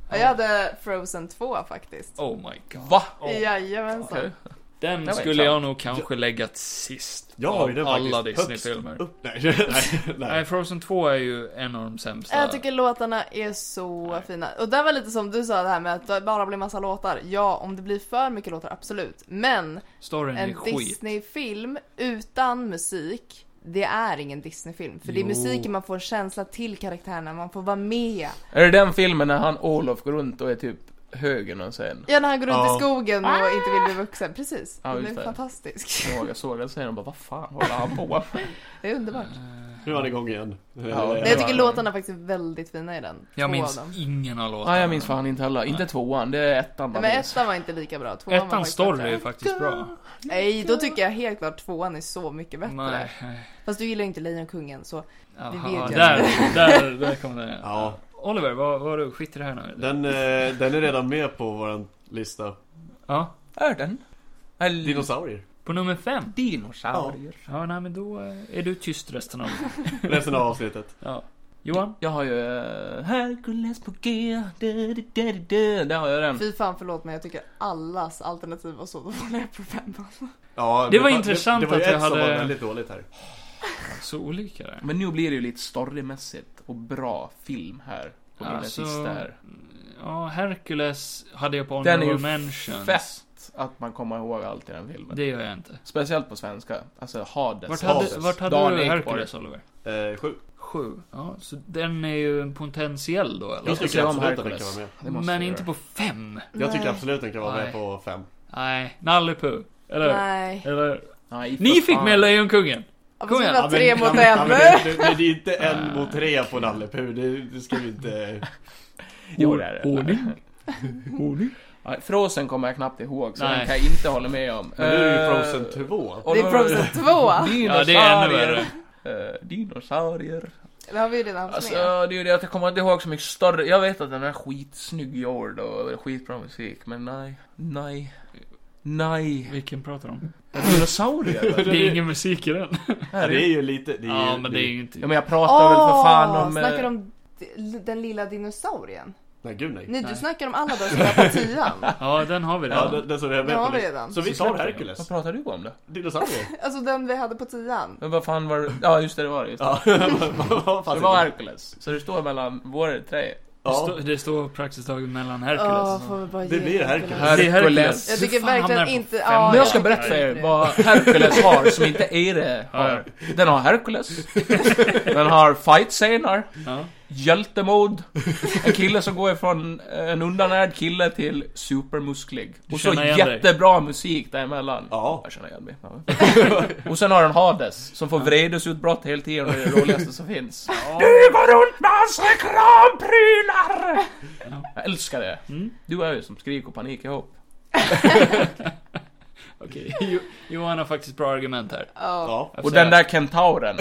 Ja, Jag hade Frozen 2 faktiskt. Oh my god. Va? Ja. Jajamensan. Okej. Den var skulle jag intressant. nog kanske lägga till sist. Jag har ju av den alla faktiskt högst Disney-filmer. Upp. Nej, nej, Nej, nej. Frozen 2 är ju en av de sämsta. Jag tycker låtarna är så fina. Och det var lite som du sa det här med att det bara blir massa låtar. Ja, om det blir för mycket låtar, absolut. Men Storyn är en skit. Disney-film utan musik, det är ingen Disney-film. För det är Jo. musiken man får en känsla till karaktärerna, man får vara med. Är det den filmen när han Olof går runt och är typ höger och sen? Ja, när han går runt Ja. i skogen och inte vill bli vuxen. Precis. Ja, Den just är det. fantastisk. Jag såg- Jag såg den sen och bara, vad fan håller han på med? Det är underbart. Mm. Nu är han igång igen. Eh, Ja. Men jag tycker Ja. låtarna faktiskt är väldigt fina i den. Jag Två minns av dem. ingen av låtarna. Nej, jag minns fan inte heller. Inte tvåan, det är ettan Nej, man men minns. ettan var inte lika bra. Tvåan var Ettans faktiskt story bättre. är faktiskt bra. Nej, då tycker jag helt klart tvåan är så mycket bättre. Nej. nej. Fast du gillar ju inte Lejonkungen så... Aha, vet ju. där, där, där kom den. igen. Ja, Oliver, vad, vad du? Skit i det här nu. den, eh, den är redan med på våran lista. Ja. Är den? Eller... Dinosaurier. På nummer fem. Dinosaurier. Ja, nej men då eh, är du tyst resten av... Resten av avsnittet. Ja. Johan? Jag har ju... eh, Hercules på G. Du, du, du, du, du. Där har jag den. Fy fan förlåt men jag tycker allas alternativ var så dåliga på femman. Ja, Det var intressant det, det var ju att jag ett som hade- var väldigt dåligt här. Så olika där. Men nu blir det ju lite storymässigt och bra film här. På mina Alltså, sista här. Ja, Hercules hade jag på Den är honorable ju mentions. fett att, att man kommer ihåg allt i den filmen. Det gör jag inte. Speciellt på svenska. Alltså Hades. Vart Hades. hade, vart Dan hade du Ekborg. Hercules Oliver? Eh, sju. Sju. Ja, så den är ju en potentiell då eller? Jag ska tycker se om absolut att den kan Hercules. vara med. Det måste Men vi inte göra. på fem. Jag tycker Nej. absolut den kan vara Nej. med på fem. Nej, Nalle Puh. Eller? Nej. Eller? Nej, för Ni fick fan. med Lejonkungen! Ja, Kom fast igen. vi var tre Ja, mot men- ja, en. men det- det- Det det är inte en mot tre på Nalle Puh, det, det ska vi inte... Jo, det är det. Ordning. Nej, Frozen kommer jag knappt ihåg, så Nej. den kan jag inte hålla med om. Men nu är Eh, det ju Frozen 2. och Det då- är Frozen 2. Ja, det är ännu värre. Eh, dinosaurier. Det har vi ju redan haft Alltså, med. det är ju det att jag kommer inte ihåg så mycket större. Jag vet att den är skitsnygg gjord och skitbra musik, men nej. Nej. Nej. Vilken pratar du om? Dinosaurier? Det är ingen musik i den. Ja, det är ju lite... Det är, Ja, ju- men det det är är... ju inte... Ja, men jag pratar väl för fan om... eh, snackar du om d- den lilla dinosaurien? Nej, gud nej. Nej, Nej. du snackar om alla dagar som var på tian. Ja, den har vi Ja, redan. den, den som är med Den har på vi listan. redan. Så vi tar Hercules. Vad pratar du om då? Dinosaurier. Alltså den vi hade på tian. Men vad fan var det? Ja, just det, det var det. Just det. Ja, vad- vad fan det var är Hercules. Så det står mellan våra tre. Det, Ja. står- det står praktiskt taget mellan Hercules. Åh, får vi bara Det ge blir Hercules. Det är Hercules. Jag Hur tycker fan hamnar verkligen den på inte- fem? ja, Men jag ska jag berätta tycker för er det. vad Hercules har som inte Eire har. Den har Hercules. Den har fight-scener. Ja. Hjältemod. En kille som går ifrån eh, en undernärd kille till supermusklig. Du Och så känner igen dig. jättebra musik däremellan. Ja. Jag känner igen mig. Ja. Och sen har den Hades, som får vredesutbrott hela tiden och det är det roligaste som finns. Du går runt med hans reklamprylar! Jag älskar det. Mm. Du och jag är ju som skrik och panik ihop. Okej, Jo- Johan har faktiskt bra argument här. Ja. Ja. Jag får Och säga, den där kentauren.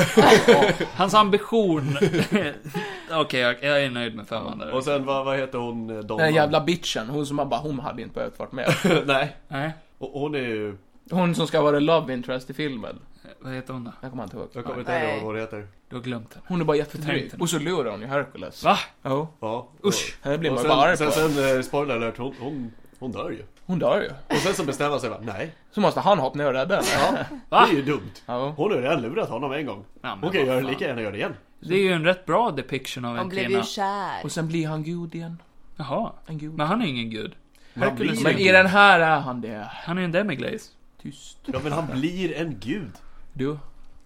Åh, Hans ambition. Okej, jag, jag är nöjd med femman där. Och sen vad, vad heter hon? eh, Donnan? den jävla bitchen, hon som man bara, hon hade inte behövt varit med. Nej. Nej, Och hon är ju... Hon som ska vara love interest i filmen. vad heter hon då? Jag kommer inte ihåg. Jag kommer inte ihåg Nej. vad hon heter. Du har glömt henne. Hon är bara Tänk jättedryg. den. Och så lurar hon ju Hercules. Va? Jo. Ja. Usch. Det blir Och man sen, bara arg sen, på. sen, eh, spoiler alert, hon, hon, hon dör ju. Hon dör ju. Och sen så bestämmer han sig bara, nej. Så måste han hoppa ner och rädda henne. Ja, Va? det är ju dumt. Ja. Hon har ju redan lurat honom en gång. Ja, men Hon kan vad göra fan. lika gärna göra det igen. Det är ju en rätt bra depiction av Hon en blev kvinna. ju kär. Och sen blir han gud igen. Jaha. En gud. Men han är ingen gud. Man blir Hercules ju är Men en i gud. den här är han det. Han är en demiglaze. Tyst. Ja men han blir en gud. Du.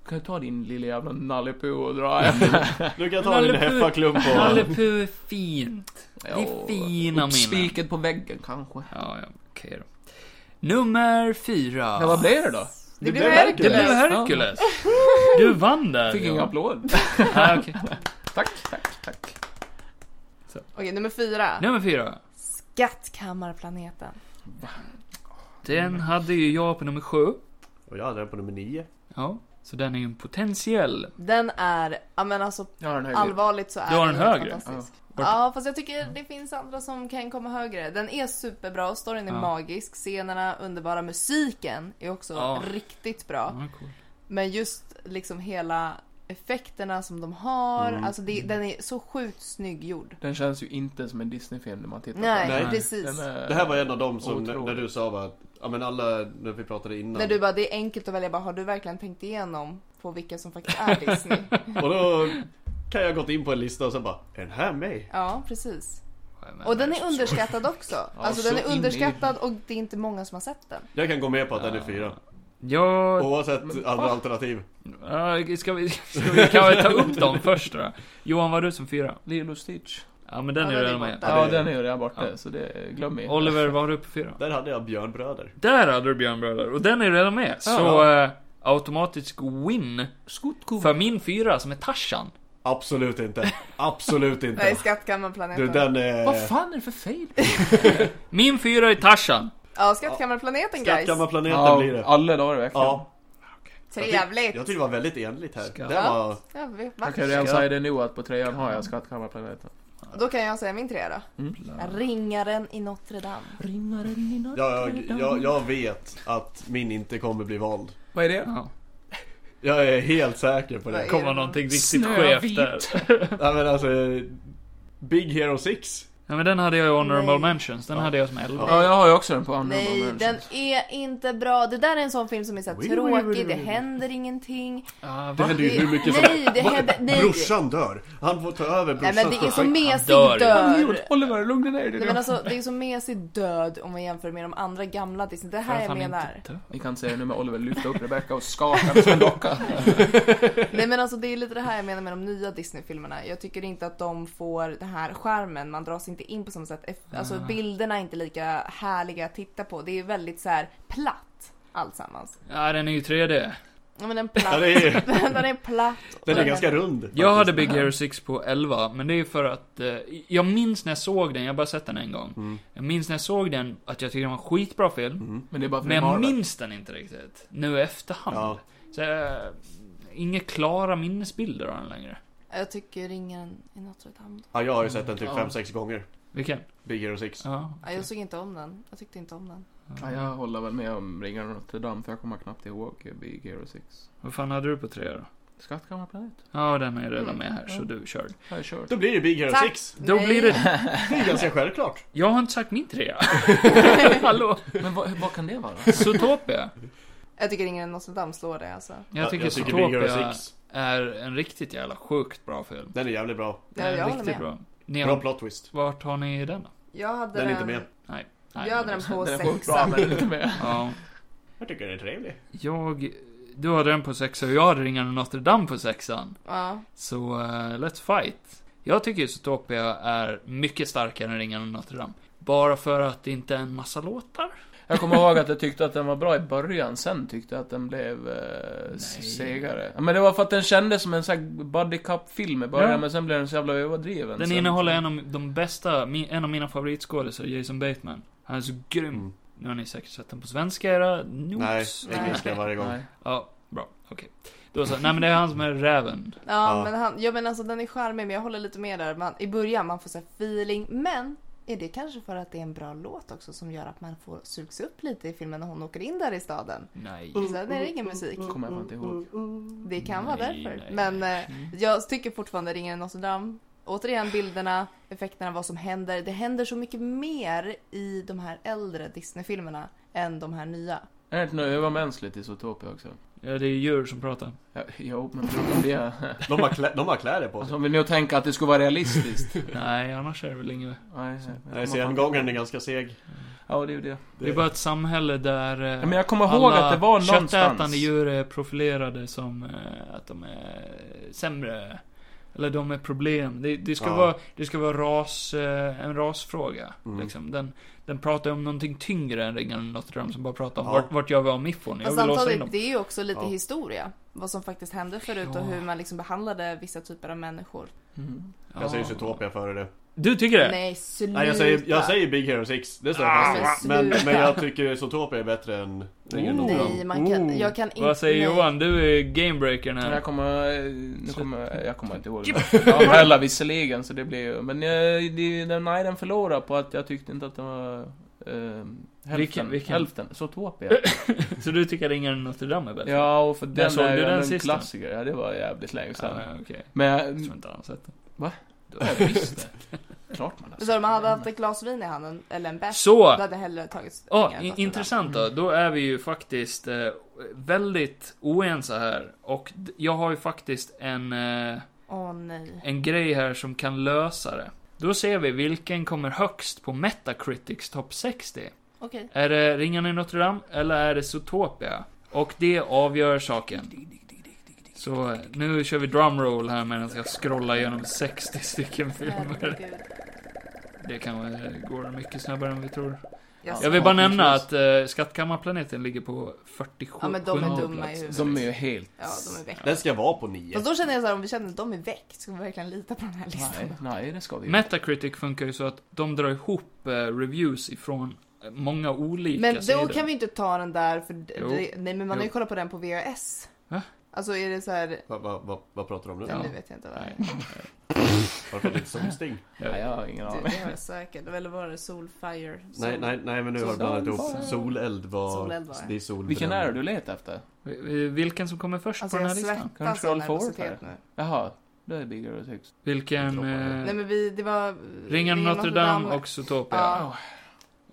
Kan du ta din lilla jävla nallepo och dra hem? Nu kan jag ta din Nalle Puh. heffaklump Nalle och... Puh är fint. Det är Ja, fina minnen. Spiket på väggen kanske. Ja, ja, okej då. Nummer fyra. Ja, vad blev det då? Det blev blev Det blev Hercules. Hercules. Hercules. Du vann där. Fick ingen Johan. applåd. Nej, okej. Tack, tack, tack. Okej, nummer fyra. Nummer fyra. Skattkammarplaneten. Den hade ju jag på nummer sju. Och jag hade den på nummer nio. Ja, så den är ju en potentiell. Den är, ja men alltså Jag har en hög allvarligt så är Du har en ju högre. fantastisk. Ja. Ja, fast jag tycker det finns andra som kan komma högre. Den är superbra, storyn är Ja. magisk, scenerna underbara, musiken är också Ja. riktigt bra. Ja, cool. Men just liksom hela effekterna som de har, Mm. alltså det, den är så sjukt snygggjord. Den känns ju inte som en Disney-film när man tittar Nej, på Nej. precis. den. Den är- Det här var en av dem som, Otroligt. när du sa bara att, ja men alla, när vi pratade innan. När du bara, det är enkelt att välja, bara, har du verkligen tänkt igenom på vilka som faktiskt är Disney? Och då kan jag gått in på en lista och sen bara, är den här med? ja, precis. Ja, men- Och den är underskattad också. alltså så den är in i- underskattad och det är inte många som har sett den. Jag kan gå med på att den är fyra. Ja, Oavsett andra alternativ. ja, ska vi, ska vi, kan vi ta upp dem först då? Johan, var du som fyra? Lilo och Stitch. Ja, men den Ja, är den ju är redan med. borta. Ja, det- den är ju redan borta, Ja. så det glöm inte. Oliver, var du på fyra? Där hade jag björnbröder. Där hade du Björnbröder, och den är ju redan med. Så Ja. eh, automatisk win Skotko. för min fyra som är Tarzan. Absolut inte. Absolut Nej, inte. Du Skattkammarplaneten. den är... Vad fan är det för fel? Min fyra är Tarzan. Ja, Skattkammarplaneten guys. Skattkammarplaneten blir det. alla dagar i veckan. Ja. Trevligt. Jag tyckte det var väldigt enligt här. Skatt. Det var... Ja, vi- va? Jag kan redan säga det nu att på trean har jag Skattkammarplaneten. Då kan jag säga min trea då. Mm. Ringaren i Notre Dame. Jag, jag, jag vet att min inte kommer bli vald. Vad är det? Ja. Jag är helt säker på det. Nej. Kommer någonting riktigt Snövit. skevt där. Nej men alltså... Big Hero 6. Nej men den hade jag i Honorable Nej. Mentions, den Ja. hade jag som 11. Ja, jag har ju också den på Honorable Nej, Mentions. den är inte bra. Det där är en sån film som är så här Oj, oj, oj, tråkig, oj, oj. det händer ingenting. Ah, Det va? händer ju hur mycket som Nej, det Va? händer- nej. Brorsan dör. Han får ta över Nej brorsans men det är så projekt. mesig dör ju. Vad har du gjort? död. Oliver, lugna ner dig Nej, nu. men alltså, det är så mesig död om man jämför med de andra gamla Disney. Det För här att jag han inte menar. dör. Vi kan säga nu med Oliver, lyfta upp Rebecca och skaka henne som en docka. Nej men alltså det är lite det här jag menar med de nya Disney-filmerna. Jag tycker inte att de får den här skärmen. Man dras inte in på samma sätt. Eff- Alltså Mm. bilderna är inte lika härliga att titta på. Det är väldigt så här platt alltsammans. Ja, den är ju 3D. Ja men den platt. Ja, det är, den är platt. den är ganska rund. Jag hade faktiskt. Big Hero 6 på 11, men det är ju för att eh, jag minns när jag såg den, jag har bara sett den en gång. Mm. Jag minns när jag såg den att jag tyckte den var en skitbra film, Mm. Men det är bara för men jag Marvel. minns den inte riktigt. Nu i efterhand. Ja. Så, eh, inga klara minnesbilder av den längre. Jag tycker ringen i Notre Dame. ja, jag har ju sett den typ Ja. 5-6 gånger. Vilken? Big Hero 6. Ja. Ja, jag såg inte om den. Jag tyckte inte om den. Ja, jag håller väl med om Ringar och Notre Dame, för jag kommer knappt ihåg Big Hero 6. Vad fan hade du på 3 då? Skattkammarplanet? Ja, den är redan Mm. med här, så du kör. Har jag kört. Då blir det Big Hero Tack. 6. Då Nej. blir det... Det är ganska självklart. Jag har inte sagt min trea. Hallå? Men vad, vad kan det vara? Zootopia. Jag tycker ringen i Notre Dame slår det alltså. Jag tycker Big Hero Zootopia 6. är en riktigt jävla sjukt bra film. Den är jävligt bra. Ja, Den är jag håller riktigt med. bra. Ni Bra har, plot twist. vart har ni den då? Jag hade Den är inte med. Nej, Jag hade men- den på Den är sjukt bra, sexan. men inte med. Ja. Jag tycker den är trevlig. Jag... Du hade den på sexa och jag hade Ringarna i Notre Dame på sexan. Ja. Så, eh, let's fight. Jag tycker Zootopia är mycket starkare än Ringarna i Notre Dame. Bara för att det inte är en massa låtar. Jag kommer ihåg att jag tyckte att den var bra i början, sen tyckte jag att den blev eh, segare. Ja, Men det var för att den kändes som en sån här buddy cup-film i början, Ja. men sen blev den så jävla överdriven. Den sen. innehåller en av de bästa, mi- en av mina favoritskådisar, Jason Bateman. Han är så grym. Mm. Nu har ni säkert sett den på svenska era Nej, notes. engelska varje gång. Nej. Ja, bra. Okej. Då så. Nej men det är han som är räven. Ja, Ja. men han, ja men alltså den är charmig men jag håller lite med där. Man, I början man får så här feeling men är det kanske för att det är en bra låt också som gör att man får sugs upp lite i filmen när hon åker in där i staden? Nej. Sen är mm, det ingen musik. Mm. Kommer jag fan inte ihåg. Det kan vara Nej, därför. nej, Men nej. eh, jag tycker fortfarande Ringen i Notre Dame. Återigen bilderna, effekterna, vad som händer. Det händer så mycket mer i de här äldre Disney-filmerna än de här nya. Är det inte något övermänskligt i Zootopia också? Ja, det är djur som pratar. Ja, jo, men prata om det. De har, klä, de har kläder på Alltså, sig. om vi nu tänker att det skulle vara realistiskt. Nej, annars är det väl inget. Nej, Alltså, Nej, scengången är ganska seg. Ja, det är ju det. Det är bara ett samhälle där eh, Ja, men jag kommer ihåg att det var någonstans. köttätande djur är profilerade som eh, att de är sämre. Eller de är problem. Det, det ska Ja. vara, det ska vara ras, eh, en rasfråga. Mm. Liksom. Den, den pratar ju om någonting tyngre än Ringen i Notre Dame som bara pratar om Ja. vart, vart gör vi av miffon? Jag Fast vill låsa in samtidigt, dem. det är ju också lite Ja. historia. Vad som faktiskt hände förut Ja. och hur man liksom behandlade vissa typer av människor. Mm. Jag säger Zootopia före det. Du tycker det? Nej, sluta! Nej, jag säger, jag säger Big Hero 6. Det står Ah, jag fast vid. men men, sluta. men jag tycker Zootopia är bättre än Ringen Oh. Nej, man kan, Oh. jag kan inte... Vad säger nej. Johan? Du är gamebreakern Men här. jag kommer... eh, Nu kommer jag kommer inte ihåg det. Ja, heller visserligen, så det blir ju... Men eh, det, den, nej, den förlorar på att jag tyckte inte att den var... Eh, hälften. Vilken- vilken? Hälften. Zootopia. Så du tycker Ringen i Notre Dame är bättre? Ja, och för den såg är du ju den ändå en sist då? klassiker. Ja, det var jävligt länge sedan. Ja, okej. Men mm, Jag jag- tror inte han har sett den. Va? Du har visst det. klart man har Så de hade sett haft ett glas vin i handen, eller en bärs. Så! Då hade jag hellre tagit Ja, Ringen i in Notre Dame. intressant då. Då är vi ju faktiskt eh, väldigt oense här. Och d- jag har ju faktiskt en, eh, Åh nej. en grej här som kan lösa det. Då ser vi vilken kommer högst på Metacritics topp 60. Okej. Är det Ringarna i Notre Dame eller är det Zootopia? Och det avgör saken. Så eh, nu kör vi drumroll här medan jag scrollar igenom 60 stycken filmer. Herregud. Det kan vara, eh, går mycket snabbare än vi tror. Jag Jag sa- vill bara nämna precis. att eh, Skattkammarplaneten ligger på 47 Ja, men de är dumma i plats. huvudet. De är ju helt... Ja, de är väck. Den ska vara på 9. Fast då känner jag så här, om vi känner att de är väck, ska vi verkligen lita på den här listan? Nej, nej, det ska vi ju inte. Metacritic funkar ju så att de drar ihop eh, reviews ifrån eh, många olika Men då sidor. kan vi inte ta den där för... d- Jo. Det, nej, men man har ju Jo. kollat på den på VHS. Va? Alltså är det så här... Vad va, va, vad pratar du om nu? Ja, Ja. nu vet jag inte vad det är. Nej. Varför lite solsting? Nej, jag har ingen Du, aning. det har jag säkert. Eller var det Soulfire? Sol... Nej, nej, nej men nu har du blandat ihop. Solfara. Soleld var... Soleld var det. det. är solbränd. Vilken är det du letar efter? Vilken som kommer först alltså på den jag här listan? svettas av Control forward nervositet här. nu. Jaha, Det är Bigger och Six. Vilken? Droppar det. Eh, Nej men vi, det var... Ringen i Notre Dame och Zootopia. Ja.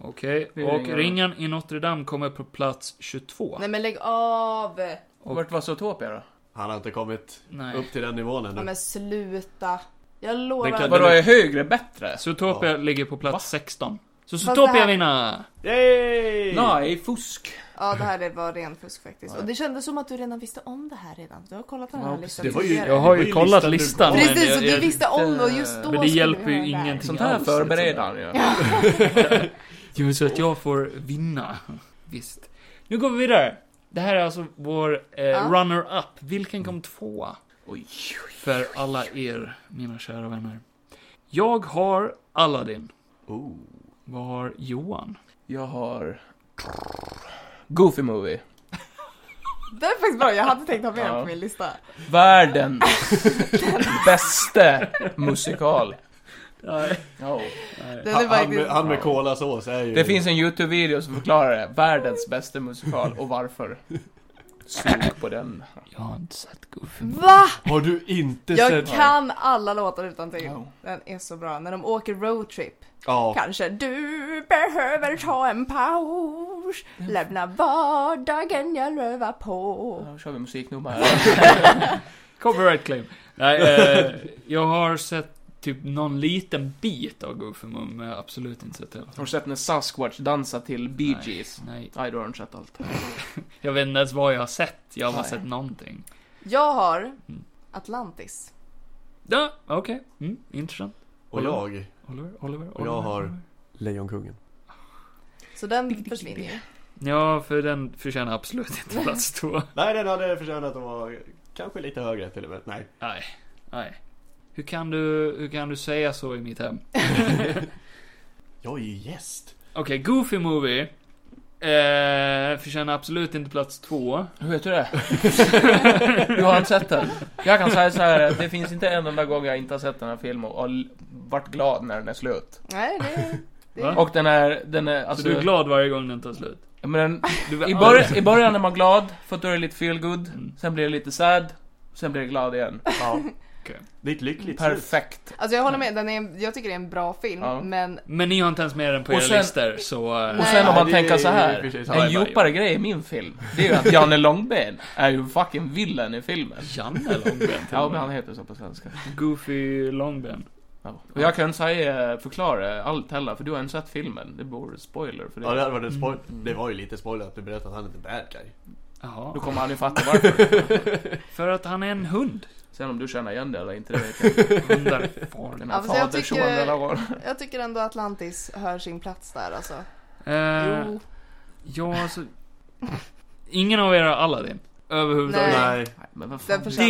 Okej, Det är och ringen. ringen i Notre Dame kommer på plats 22. Nej men lägg av! Och- Vart var Zootopia då? Han har inte kommit Nej. upp till den nivån ännu. Ja, men sluta. Jag lovar. Den kan- Vadå, är högre bättre? Zootopia ligger på plats Va? 16. Så Fast Zootopia det här- vinner! Yay! Nej, fusk. Ja det här var ren fusk faktiskt. Ja. Och det kändes som att du redan visste om det här redan. Du har kollat den Ja, här precis. listan Det var ju- tidigare. Jag har Det ju var ju kollat listan du- listan. men Precis, jag- och du jag- visste om det och just Men då det skulle hjälper vi ju ha det här. ingenting. Sånt här alls, förbereder liksom. han ju. Jo, så att jag får vinna. Visst. Nu går vi vidare. Det här är alltså vår eh, Ja. runner-up. Vilken kom tvåa? Oj. För alla er, mina kära vänner. Jag har Aladdin. Oh. Vad har Johan? Jag har... Goofy Movie. Det är faktiskt bra, jag hade tänkt ha med den Ja. på min lista. Världens bästa musikal. Nej. Ja. Den Han, han, är med, faktiskt... han med kolasås är ju... Det finns en YouTube-video som förklarar det. Världens bästa musikal och varför. Slog på den. Jag har inte sett Goofy. Va? Har du inte Jag sett... kan alla låtar utan till. Ja. Den är så bra. När de åker roadtrip. Ja. Kanske du behöver ta en paus. Lämna vardagen jag rövar på. Då kör vi musiknummer här. Copyright claim. Nej, eh, jag har sett typ någon liten bit av Goofy Moon, men jag har absolut inte sett hela. Har du sett när Sasquatch dansar till Bee Gees? Nej, Nej, då har du inte sett allt. jag vet inte ens vad jag har sett. Jag har bara Nej. sett någonting. Jag har Atlantis. Ja, okej. Mm, intressant. Och jag. Oliver, Oliver, Och Oliver. jag har- Oliver. Lejonkungen. Så den försvinner ju. Ja, för den förtjänar absolut inte plats två. Nej, den hade förtjänat att vara kanske lite högre till och med. Nej. Nej, nej. Hur kan du, hur kan du säga så i mitt hem? Jag är ju gäst. Okej, Goofy Movie. Eh, förtjänar absolut inte plats två. Hur vet du det? Du har inte sett den? Jag kan säga så här, det finns inte en enda gång jag inte har sett den här filmen och l- varit glad när den är slut. Nej, det... det Va? Och den är, den är, Så alltså... du är glad varje gång den tar slut? Ja, Men den, Du i, början, I början är man glad, för att då är det lite feel good. Mm. Sen blir det lite sad. Sen blir det glad igen. Ja. Okej. Det är ett lyckligt slut. Perfekt. Alltså jag håller med, den är, jag tycker det är en bra film, Ja. men Men ni har inte ens med den på Och era sen- listor, så... eh, Och Nej. sen om man Nej, det tänker så är här. precis samma En grej. djupare grej i min film, det är ju att Janne Långben är ju fucking villen i filmen. Janne Långben till Ja, och men han med. heter så på svenska. Goofy Långben. Ja. Och jag kan inte säga, förklara allt heller, för du har inte sett filmen. Det vore spoiler för Ja, det det. hade varit en spoil. Det var ju lite spoiler att du berättade att han inte är bad guy. Då Jaha. kommer han ju fatta varför. För att han är en hund. Sen om du känner igen det eller inte, det vet jag inte. Hundar far. Den här Alltså, jag faderson tycker- eller vad. jag tycker ändå Atlantis hör sin plats där alltså. Eh, Jo. ja, alltså... Ingen av er har Aladdin. Överhuvudtaget. Nej. Nej, men vad Den fan. förtjänar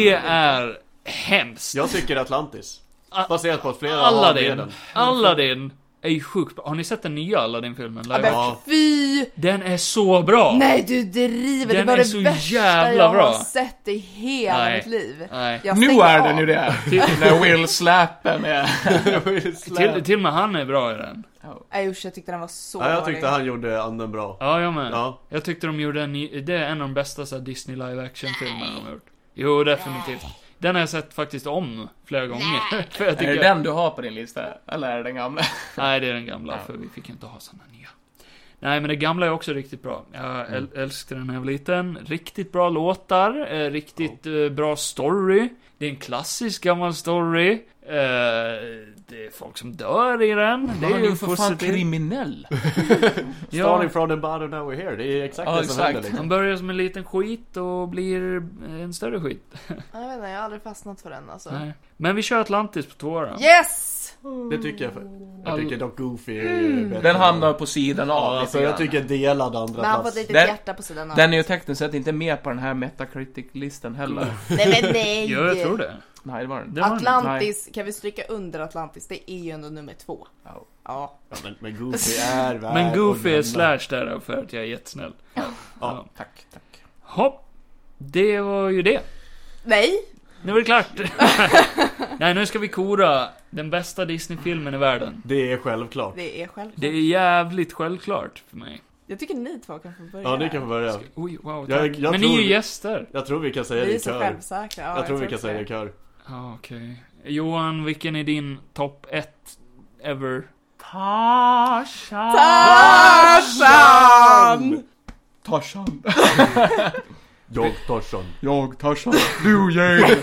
Det är hemskt. Jag tycker Atlantis. A- Baserat på att flera har med Aladdin. den. Aladdin är ju sjukt bra. Har ni sett den nya Aladdin-filmen? Ja, men Ja. fy! Den är så bra! Nej du driver, Den det var är det så värsta jävla jag bra. har sett i hela Nej. mitt liv. Nej. Jag Nu stänger är av. den ju det! När Will Slap är med. Till, till och med han är bra i den. Nej usch, jag tyckte den var så Ja, jag dålig. tyckte han gjorde anden bra. Ja, jag med. Ja. Jag tyckte de gjorde en, ny- det är en av de bästa så här, Disney live action filmerna de har gjort. Jo, definitivt. Den har jag sett faktiskt om flera gånger. För jag Är tycker, det den du har på din lista? Eller är det den gamla? Nej, det är den gamla, Ja. för vi fick ju inte ha såna nya. Nej, men den gamla är också riktigt bra. Jag Mm. äl- älskade den när jag var liten. Riktigt bra låtar, eh, riktigt eh, bra story. Det är en klassisk gammal story. Eh, det är folk som dör i den. Det är han är ju ju för fan positivt. kriminell! Ja. Starting from the bottom now we're here. Det är exakt Ja, det som exakt. händer liksom. Han börjar som en liten skit och blir en större skit. Jag vet inte, jag har aldrig fastnat för den alltså. Nej. Men vi kör Atlantis på två då. Yes! liksom. Det tycker jag. Jag All- tycker dock Goofy är ju bättre. Den hamnar på sidan av Ja, alltså lite jag grann. tycker delad andra Men han får ett plats. litet Den- hjärta på sidan av. Den är ju tekniskt sett inte med på den här Metacritic-listan heller. Nej men nej! Ja, jag tror det. Nej, det var den det var den. Atlantis, kan vi stryka under Atlantis? Det är ju ändå nummer två. Ja. Ja. Ja, men, men Goofy är värd Men Goofy är att nämna. slash där då, för att jag är jättesnäll. Ja. Tack, tack. Hopp. Det var ju det. Nej! Nu är det klart. Nej, nu ska vi kora den bästa Disney-filmen i världen. Det är självklart. Det är självklart. Det är jävligt självklart för mig. Jag tycker ni två kan få börja. Ja, ni kan få börja. Oj, wow, tack. Jag- jag Men ni är tror- ju gäster. Jag tror vi kan säga det Vi är i så kör. självsäkra. Ja, Jag tror vi kan också säga det i kör. Ja, okej. Johan, vilken är din topp 1 ever? Tarzan! Tarzan! Tarzan! Jag Tarzan. Jag Tarzan! Du Jane!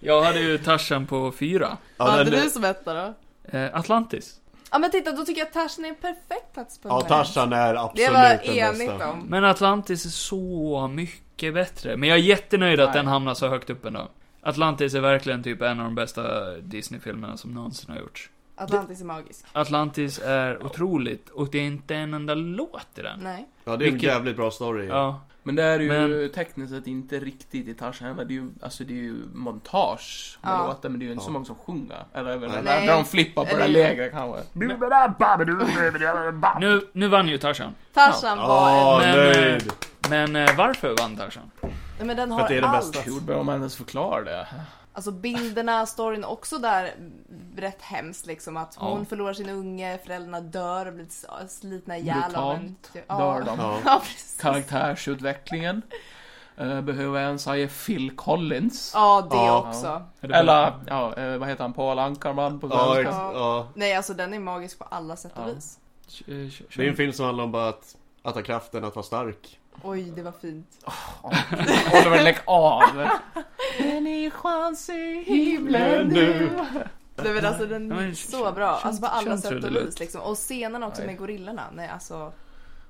Jag hade ju Tarzan på 4. Vad hade du som etta då? Eh, Atlantis. Ja men titta, då tycker jag Tarzan är en perfekt plats på Ja, nummer Tarzan är ett. absolut Det var den enigt bästa. om. Men Atlantis är så mycket bättre. Men jag är jättenöjd att Nej. den hamnar så högt upp ändå. Atlantis är verkligen typ en av de bästa Disney-filmerna som någonsin har gjorts. Atlantis är magisk. Atlantis är otroligt och det är inte en enda låt i Mm. den. Nej. Ja, det är en Vilket- jävligt bra story. Ja. Men det är ju Men- tekniskt sett inte riktigt i Tarzan heller. Det är ju, alltså det är ju montage med Ja. låtar men det är ju inte så Ja. många som sjunger. Eller jag vet inte, Nej. där de flippar på det här Eller- lägret kanske. Nu, nu vann ju Tarzan. Tarzan var Ah, en... Men, nöjd! Men eh, varför vann Tarzan? Nej, men den För att har det är den allt. bästa. Hur bör man ens förklara det? Alltså bilderna, storyn också där mm, rätt hemskt liksom att hon Ja. förlorar sin unge, föräldrarna dör och blir s- slitna ihjäl av en... typ- Brutalt. Ja. Dör de? Ja. Ja, precis. Karaktärsutvecklingen. Eh, behöver jag ens säga Phil Collins? Ja, det Ja. också. Är det Eller, ja, eh, vad heter han? Paul Ankarman på Ja, svenska? ex- ja. Nej, alltså den är magisk på alla sätt och Ja. vis. Ch- ch- Det är en film som handlar om bara att, att ha kraften att vara stark. Oj, det var fint. Oliver, lägg av! Människan ser himlen nu. Nej men alltså den Ja, men är så bra. känns- Alltså på alla känns sätt och trudelutt. vis liksom. Och scenen också Nej. med gorillorna. Nej alltså.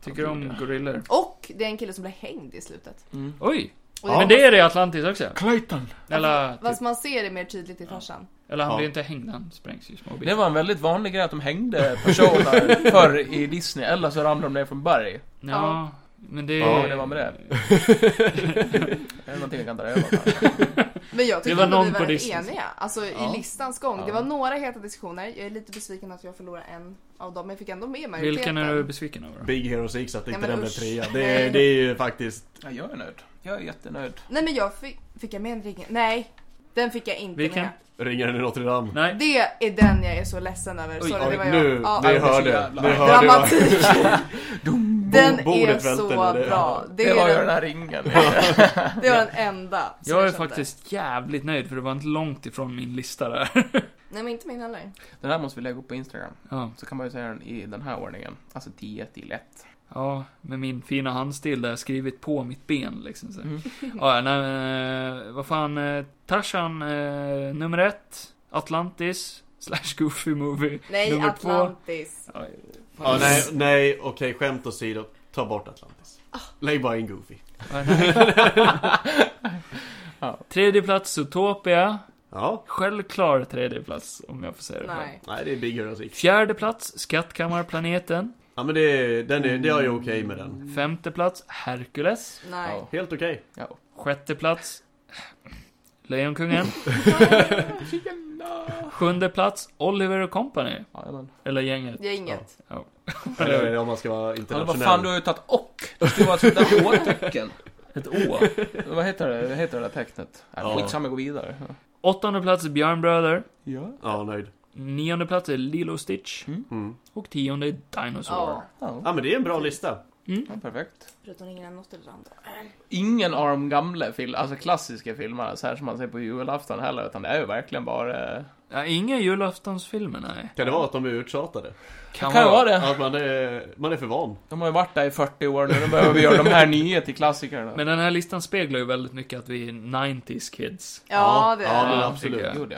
Tycker du om gorillor? Och det är en kille som blir hängd i slutet. Mm. Oj! Och Men det är det i Atlantis också. Clayton! Eller, Fast typ, man ser det mer tydligt i farsan. eller han Ja. blir inte hängd, han sprängs ju i små Det bitar. var en väldigt vanlig grej att de hängde personer förr i Disney, eller så ramlade de ner från berg. Ja, men det... Ja, det var med det. Det är någonting vi kan dra över. Men jag Det tycker var att någon vi på var rätt Disney. eniga. Alltså Ja. i listans gång. Det Ja. var några heta diskussioner. Jag är lite besviken att jag förlorade en av dem. Men jag fick ändå med majoriteten. Vilken är du besviken över då? Big Hero 6, att Nej, inte men den blev usch. trea. Det, är- det är ju faktiskt... Ja, jag är nöjd. Jag är jättenöjd. Nej men jag fick, fick jag med en ring? Nej. Den fick jag inte Vilken? med. Ringaren i Notre Dame. Nej, Det är den jag är så ledsen över. Oj, Sorry, oj, det var jag. Nu, Ja, nu det är hör så du. jävla- Nu hör du. vad- Dramatik! Den är Bordet så välter nu, det- bra. Det, Det var ju är den den, här ringen. det var den enda. som jag är kände. faktiskt jävligt nöjd för det var inte långt ifrån min lista där. Nej men inte min heller. Den här måste vi lägga upp på Instagram. Ja, Så kan man ju säga den i den här ordningen. Alltså 10 till 1. ja med min fina handstil där jag skrivit på mitt ben liksom så. Mm. Ja, nej men, eh, vad fan, eh, Tarzan eh, nummer ett, Atlantis, slash Goofy Movie. Nej, Nummer två. Atlantis. Ja, Ja, nej, nej, okej, skämt åsido. Ta bort Atlantis. Ah. Lägg bara in Goofy. ja, nej. Tredje plats, Zootopia. Ja. Självklar tredje plats om jag får säga det själv. Nej. Nej, det är Big Hero 6. Fjärde plats, Skattkammarplaneten. Ja, men det, är- den är, det är Mm. ju okej med den. Femte plats, Hercules. Nej. Ja. Helt okej. Ja. Sjätte plats, Lejonkungen. Sjunde plats, Oliver och Company. Ja, men. Eller gänget. Det är inget. Eller om man ska vara Eller internationell. vad fan, du har ju tagit och. Det skulle vara ett sånt där å-tecken. Ett Å. Vad heter det, vad heter det där tecknet? Ja. Ja. Skitsamma, gå vidare. Åttonde plats, Björnbröder. Ja. Ja, nöjd. Nionde plats är Lilo Stitch. Mm. Och tionde är Dinosaur. Ja. Ja, Ja, men det är en bra lista. Mm. ja, perfekt. Förutom ingen något eller annat. Ingen av de gamla film, alltså klassiska filmerna så här som man ser på julafton heller, utan det är ju verkligen bara... eh, Ja, inga julaftonsfilmer, nej. Kan det vara att de är uttjatade? Kan, kan ju vara det. Att man är, man är för van. De har ju varit där i 40 år nu, nu behöver vi göra de här nya till klassikerna. Men den här listan speglar ju väldigt mycket att vi är 90s kids. Ja, det ja, är men Ja, absolut. tycker Jo, det.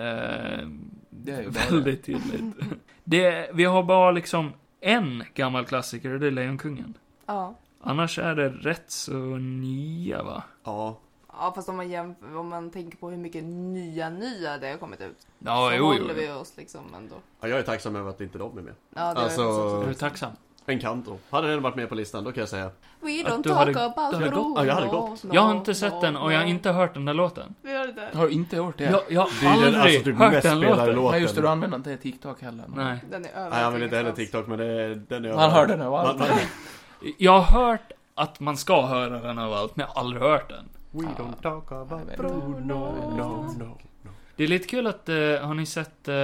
Eh, det är ju bara väldigt tydligt. Det, vi har bara liksom en gammal klassiker och det är Lejonkungen. Ja. Annars är det rätt så nya va? Ja. Ja, fast om man, jämför, om man tänker på hur mycket nya, nya det har kommit ut. Ja, så jo, jo. håller vi jo. oss liksom ändå. ja, jag är tacksam över att inte de är med. Ja, Alltså- det alltså... Är också. du tacksam? En kanto. Hade den varit med på listan, då kan jag säga. We Att don't du talk hade- about du hade Bruno. gått- ja, jag hade gått. No, Jag har inte sett no, den och jag har no. inte hört den där låten. Vi har det. Har du inte gjort det? Jag, jag Det är har den, aldrig alltså, typ hört mest den spelade låten. låten. Nej, just det, du använder inte TikTok heller. Nej. Den är över. Nej, jag använder inte heller TikTok, men det, den är Man hör den Man- överallt. man- Jag har hört att man ska höra den av allt, men jag har aldrig hört den. We Ja. don't talk Jag about vet Bruno. inte. No, no, no. Det är lite kul att, eh, har ni sett... Eh,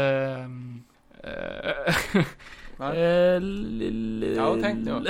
eh, Va? eh, lille- Ja, jag tänkte jag.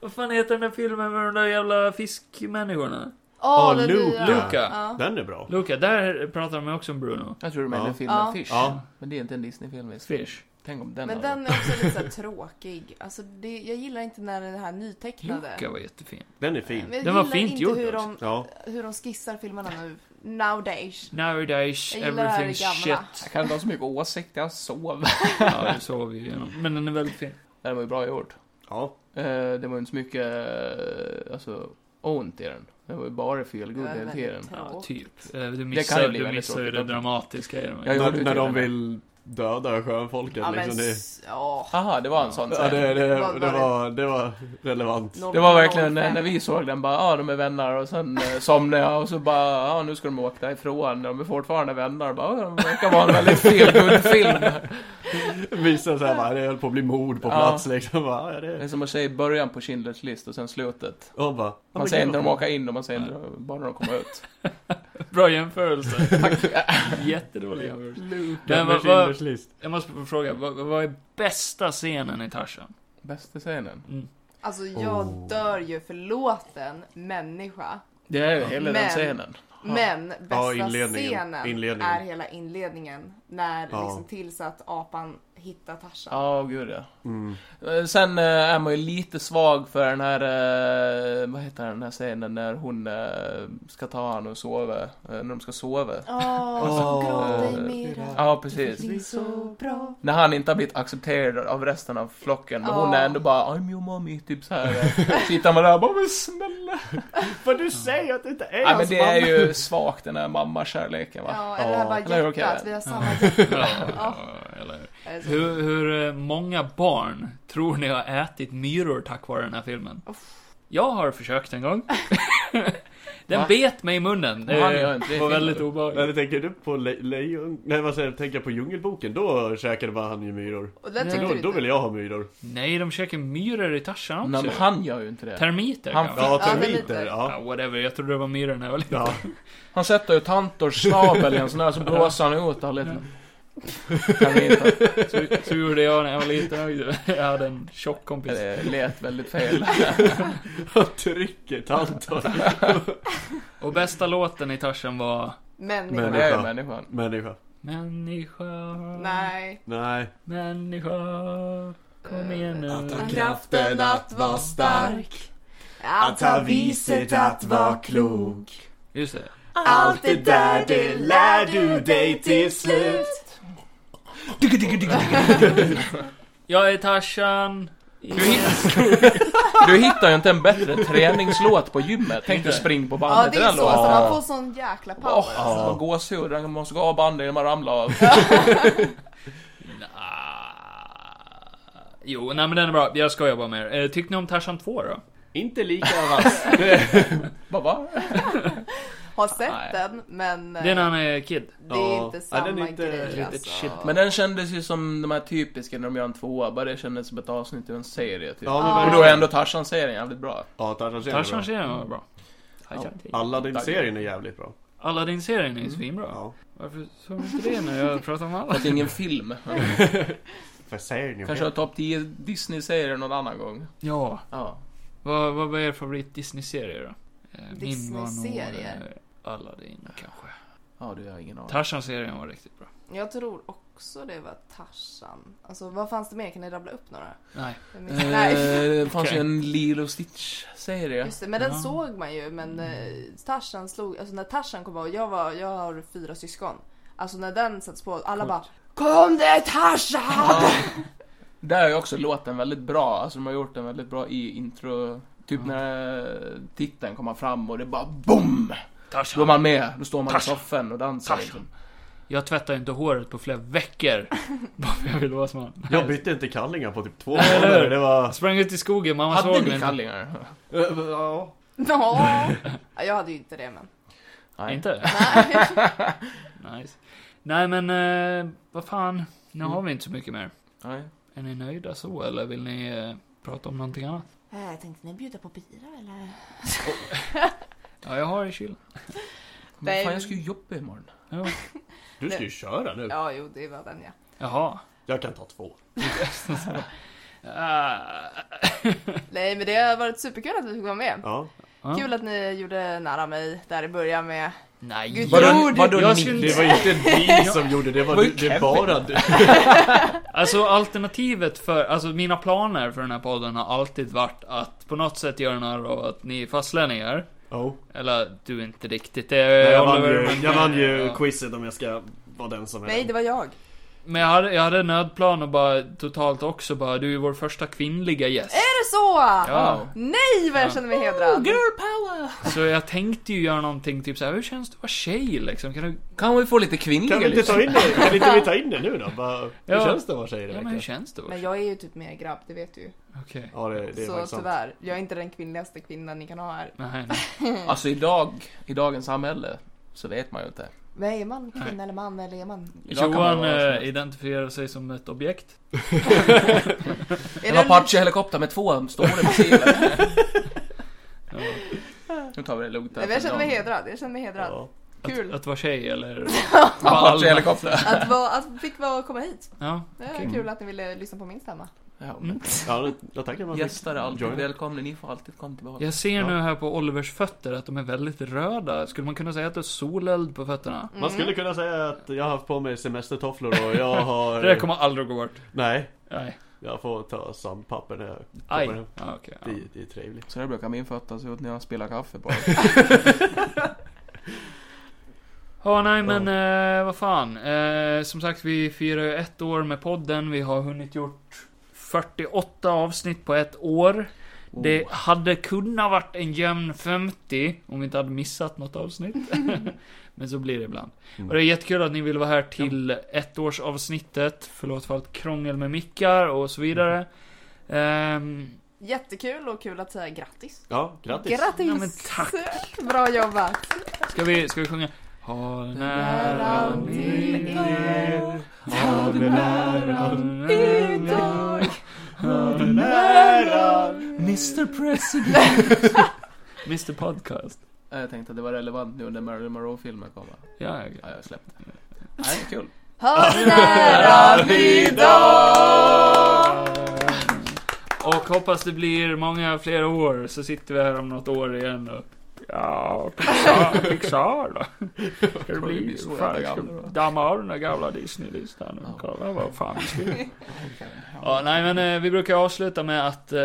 Vad fan heter den där filmen med de där jävla fiskmänniskorna? Åh, Ah, den Luca. nya. Luca. Ja. Den är bra. Luca, där pratar de också om Bruno. Jag tror du menar Ja. filmen Ja. Fish. Ja. Men det är inte en Disney-film visst? Fish. Tänk om den Men hade- den är också lite så här tråkig. Alltså det, jag gillar inte när den här nytecknade. Luca var jättefin. Den är Men fin. jag Den var gillar fint inte gjord hur också. de, Ja. hur de skissar filmerna nu. Nowadays. Nowadays, Jag gillar det här everything's gamla. shit. Jag kan inte ha så mycket åsikter, jag sov. Ja, det såg vi igenom. Men den är väldigt fin. Den var ju bra gjord. Ja. Eh, det var ju inte så mycket eh, alltså, ont i den. Det var ju bara fel good Det var hela väldigt tiden. Ja, tråkigt. typ. Eh, Du kan missar, ju bli du väldigt missar ju tråkigt det också. dramatiska i den. Jag När, gjorde när tydligen. de vill döda sjöfolket Ja men liksom. Det, s- ja. Aha, det var en sån ja, scen. det, det, Vad var det, var, det var relevant. noll- Det var verkligen eh, 05. när vi såg den bara, ja ah, de är vänner och sen eh, somnade jag och så bara, ja ah, nu ska de åka därifrån. De är fortfarande vänner. Bara, ah, de verkar vara en väldigt feel good film Vissa såhär bara, det höll på att bli mord på Ja. plats liksom. Bara, ja, det. Det är är- som att säga början på Schindler's list och sen slutet. Och bara, ja, men Man säger gud, inte när de vad- åker in och man säger inte bara när de kommer ut. Bra jämförelse. Jättedålig jämförelse. Men vad- Schindler's vad- list. Jag måste få fråga, vad, vad är bästa scenen i Tarzan? Bästa scenen. Mm. Alltså jag Oh. dör ju för låten människa. Det är ju hela den Men- scenen. Ja. Men bästa inledningen. scenen Inledningen. är hela inledningen. När Ja. liksom tillsatt apan hittar Tarzan. Ja, gud ja. Mm. Eh, Sen eh, är man ju lite svag för den här, eh, vad heter den här scenen när hon eh, ska ta han och sova, eh, när de ska sova. Åh, Åh. gråt Eh, dig mera. Ja, precis. Det blir så bra. När han inte har blivit accepterad av resten av flocken, men hon Ja. är ändå bara I'm your mommy, typ så här. eh. Sitter man där och bara men snälla. För du säger att det inte är Ja, men hans det är mamma. ju svagt den här mammakärleken va. Ja, eller det här bara Eller okej. hjärtat. Vi har samma Ja, hjärta. eller- Ja. Alltså, Hur, hur eh, många barn tror ni har ätit myror tack vare den här filmen? Jag har försökt en gång. Den Va? bet mig i munnen. Men han gör inte det i Det var filmen. väldigt obehagligt. Eller tänker du på le- lejon? Nej vad säger du? Tänker jag på Djungelboken? Då käkade bara han ju myror. Och det Ja. tycker Då, du Typ. då vill inte. jag ha myror. Nej, de käkar myror i Tarzan Nej, också. men han gör ju inte det. Termiter Han- kanske? Ja, Ja, men termiter. lite. Ja, Ja. whatever. Jag trodde det var myror när jag var liten. ja. Han sätter ju Tantors snabel i en sån här så blåser han ut all liten. Kan vi inte. Så, så gjorde jag när jag var liten också. Jag hade en tjock kompis. Det lät väldigt fel. Han trycker tantor. Och bästa låten i Tarzan var... Människa. Men det är ju människan. Människa. Människa, Nej. Nej. människa, kom igen nu. Att han Kraften kraften att vara stark, att ha viset att vara klok. Just det. Allt det där det lär du dig till slut. Jag är Tarzan. Du, hitt- du hittar ju inte en bättre träningslåt på gymmet. Tänk dig spring på Ja, bandet det till är den så. Alltså, låten. man får sån jäkla power. Åh, Alltså. alltså, gåshud. Man måste gå av bandet innan man ramlar av. Nja. Ah. Jo, nej men den är bra. Jag skojar bara med er. Eh, Tyckte ni om Tarzan 2 då? Inte lika vass. Bara, va? Har sett Nej. den, men eh, Det är när han är kid. det är Ja. inte Ja, samma den är inte grej riktigt alltså. shit. Men den kändes ju som de här typiska när de gör en tvåa. Bara det kändes som ett avsnitt ur en serie typ. Ja, men Ja. Och verkligen. då är ändå Tarzan-serien jävligt bra. Ja, Tarzan ser Tarzan bra. serien var bra. Aladdin-serien är jävligt bra. Aladdin-serien är ju svinbra. Ja. Varför sa du inte det när jag pratade om Aladdin? Fast ingen film. För serien är Kanske bra. har topp 10 Disney-serier någon annan gång. Ja. Ja. Vad, vad var er favorit Disney-serie då? Eh, Min var nog Disney-serier? eh, Aladdin kanske. Ja, du har ingen aning. Tarzan-serien var riktigt bra. Jag tror också det var Tarzan. Alltså, vad fanns det mer? Kan ni rabbla upp några? Nej. Jag minns- Nej. Eh, det fanns ju Okej. en Lilo Stitch-serie. Just det, men den Ja. såg man ju. Men eh, Tarzan slog... Alltså när Tarzan kom på... Jag, var, jag har fyra syskon. Alltså när den sattes på, alla bara Kom det är Tarzan! Där är ju också låten väldigt bra. Alltså de har gjort den väldigt bra i intro. Typ när titeln kommer fram och det bara BOOM! Då är Tarzan. man med. Då står man i Tarzan. soffan och dansar. Tarzan. Liksom. Jag tvättar inte håret på flera veckor. Bara för jag vill vara som han. Jag bytte inte kallingar på typ två Nej, eller månader. hur? Det var... Jag sprang ut i skogen, mamma Hade såg ni mig kallingar? Ja. Ja. Ja, jag hade ju inte det men. Nej, Nej. Inte? Nej. Nice. Nej men, eh, vad fan. Nu Mm. har vi inte så mycket mer. Nej. Är ni nöjda så, eller vill ni eh, prata om någonting annat? Eh, Tänkte ni bjuda på bira eller? Ja, jag har i kylen. Men fan, Nej. jag ska ju jobba imorgon. Ja. Du ska ju köra nu. Ja, jo det var den ja. Jaha. Jag kan ta två. Ah. Nej men det har varit superkul att du fick vara med. Ja. Ja. Kul att ni gjorde nära mig där i början med Nej. Gud, Vadå- jo, det- vadå jag ni? skulle Det inte... var inte vi som gjorde det, var, var det, ju det Kevin. bara du. Alltså alternativet för, alltså mina planer för den här podden har alltid varit att på något sätt göra narr av att ni är fastlänningar. Oh. Eller du är inte riktigt det, Nej, jag, vann Oliver. ju, men- jag vann ju ja. quizet om jag ska vara den som är Nej, det var jag. Men jag hade, jag hade en nödplan och bara totalt också bara, du är vår första kvinnliga gäst. Är det så? Eh, ah. Ja. Nej, vad jag känner mig Oh, hedrad. Så jag tänkte ju göra någonting typ såhär, hur känns det att vara tjej liksom? Kan du, Kan vi få lite Kan kvinnliga vi inte ta in det? Kan inte vi ta in det nu då? Bara, hur Ja. känns det att vara tjej i det ja men hur veckan? känns det? Men jag är ju typ mer grabb, det vet du ju. Okej. Ja det, det är Så faktiskt sant. tyvärr, jag är inte den kvinnligaste kvinnan ni kan ha här. Nej, nej. Alltså idag, i dagens samhälle, så vet man ju inte. Men är man kvinna eller man eller är man? Idag kan man Johan vara liksom- vad eh, som helst. identifierar sig som ett objekt. Är En Apache-helikopter med två stående missiler. Ja. Nu tar vi det lugnt. Nej, men jag känner mig hedrad, jag känner mig hedrad. Ja. Att, Kul. att vara tjej eller? alltså, Apache-helikopter. Att, vara, att fick vara komma hit. Ja. Det är Okej. kul att ni ville lyssna på min stämma. Ja, men- Mm. Ja, jag tackar man fick Gäster är alltid join. välkomna, ni får alltid komma tillbaka. Jag ser Ja. nu här på Olivers fötter att de är väldigt röda. Skulle man kunna säga att det är soleld på fötterna? Mm. Man skulle kunna säga att jag har haft på mig semestertofflor och jag har... Det där kommer aldrig att gå bort. Nej, Nej. jag får ta sandpapper när jag Aj. kommer hem. Ja, okej. ja. Det, det är trevligt. Så där brukar min fötter se ut när jag spelar kaffe bara. Ja, nej men eh, vad fan. Eh, som sagt, vi firar ju ett år med podden. Vi har hunnit gjort 48 avsnitt på ett år. Oh. Det hade kunnat varit en jämn 50 om vi inte hade missat något avsnitt. Men så blir det ibland. Mm. Och det är jättekul att ni vill vara här till ettårsavsnittet. Förlåt för allt krångel med mickar och så vidare. Ehm, Jättekul och kul att säga grattis. Ja, grattis! Grattis! Ja, men tack. Bra jobbat! ska, vi, ska vi sjunga? Ha den här Äran till er, ha den äran, idag, ha den äran. Mr President. Mr Podcast. Ja, Jag tänkte att det var relevant nu när Marilyn Monroe-filmen kommer. Ja, Ja, ja. jag släppte. Nej, kul. Ha den äran idag! Och hoppas det blir många fler år, så sitter vi här om något år igen och... Ja, Pixar, Pixar då. Ska det Tror det bli... blir så Fan, jävla ska gamla då. damma av den där gamla Disney-listan Ja. och kolla vad fan vi ska göra. Ja, nej men eh, vi brukar avsluta med att eh,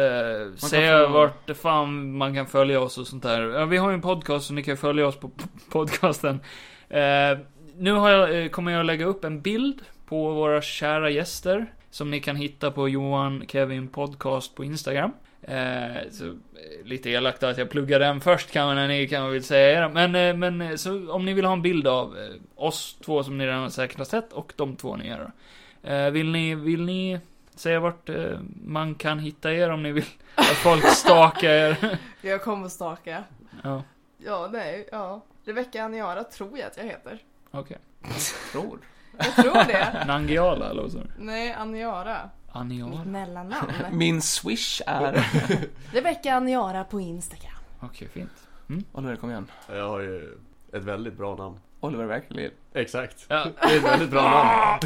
säga följa- vart fan man kan följa oss och sånt där. Ja, vi har ju en podcast så ni kan följa oss på p- podcasten. Eh, nu har jag, eh, kommer jag lägga upp en bild på våra kära gäster. Som ni kan hitta på Johan Kevin Podcast på Instagram. Eh, så, eh, lite elakt att jag pluggar den först kan man, när ni kan väl säga era. Men, eh, men eh, så, om ni vill ha en bild av eh, oss två som ni redan har säkert har sett och de två ni gör. Eh, vill ni, vill ni säga vart eh, man kan hitta er om ni vill att folk stalkar er? Jag kommer att staka. ja, Ja, nej, ja. Rebecka Aniara tror jag att jag heter. okej. Tror. Jag tror det. Nangiala eller vad sa du? Nej, Aniara. Mitt Aniala? mellannamn. Min swish är... Rebecka Aniara på Instagram. Okej, fint. Oliver, kom igen. Jag har ju ett väldigt bra namn. Oliver Verkelid. Exakt. Ja, Det är ett väldigt bra namn.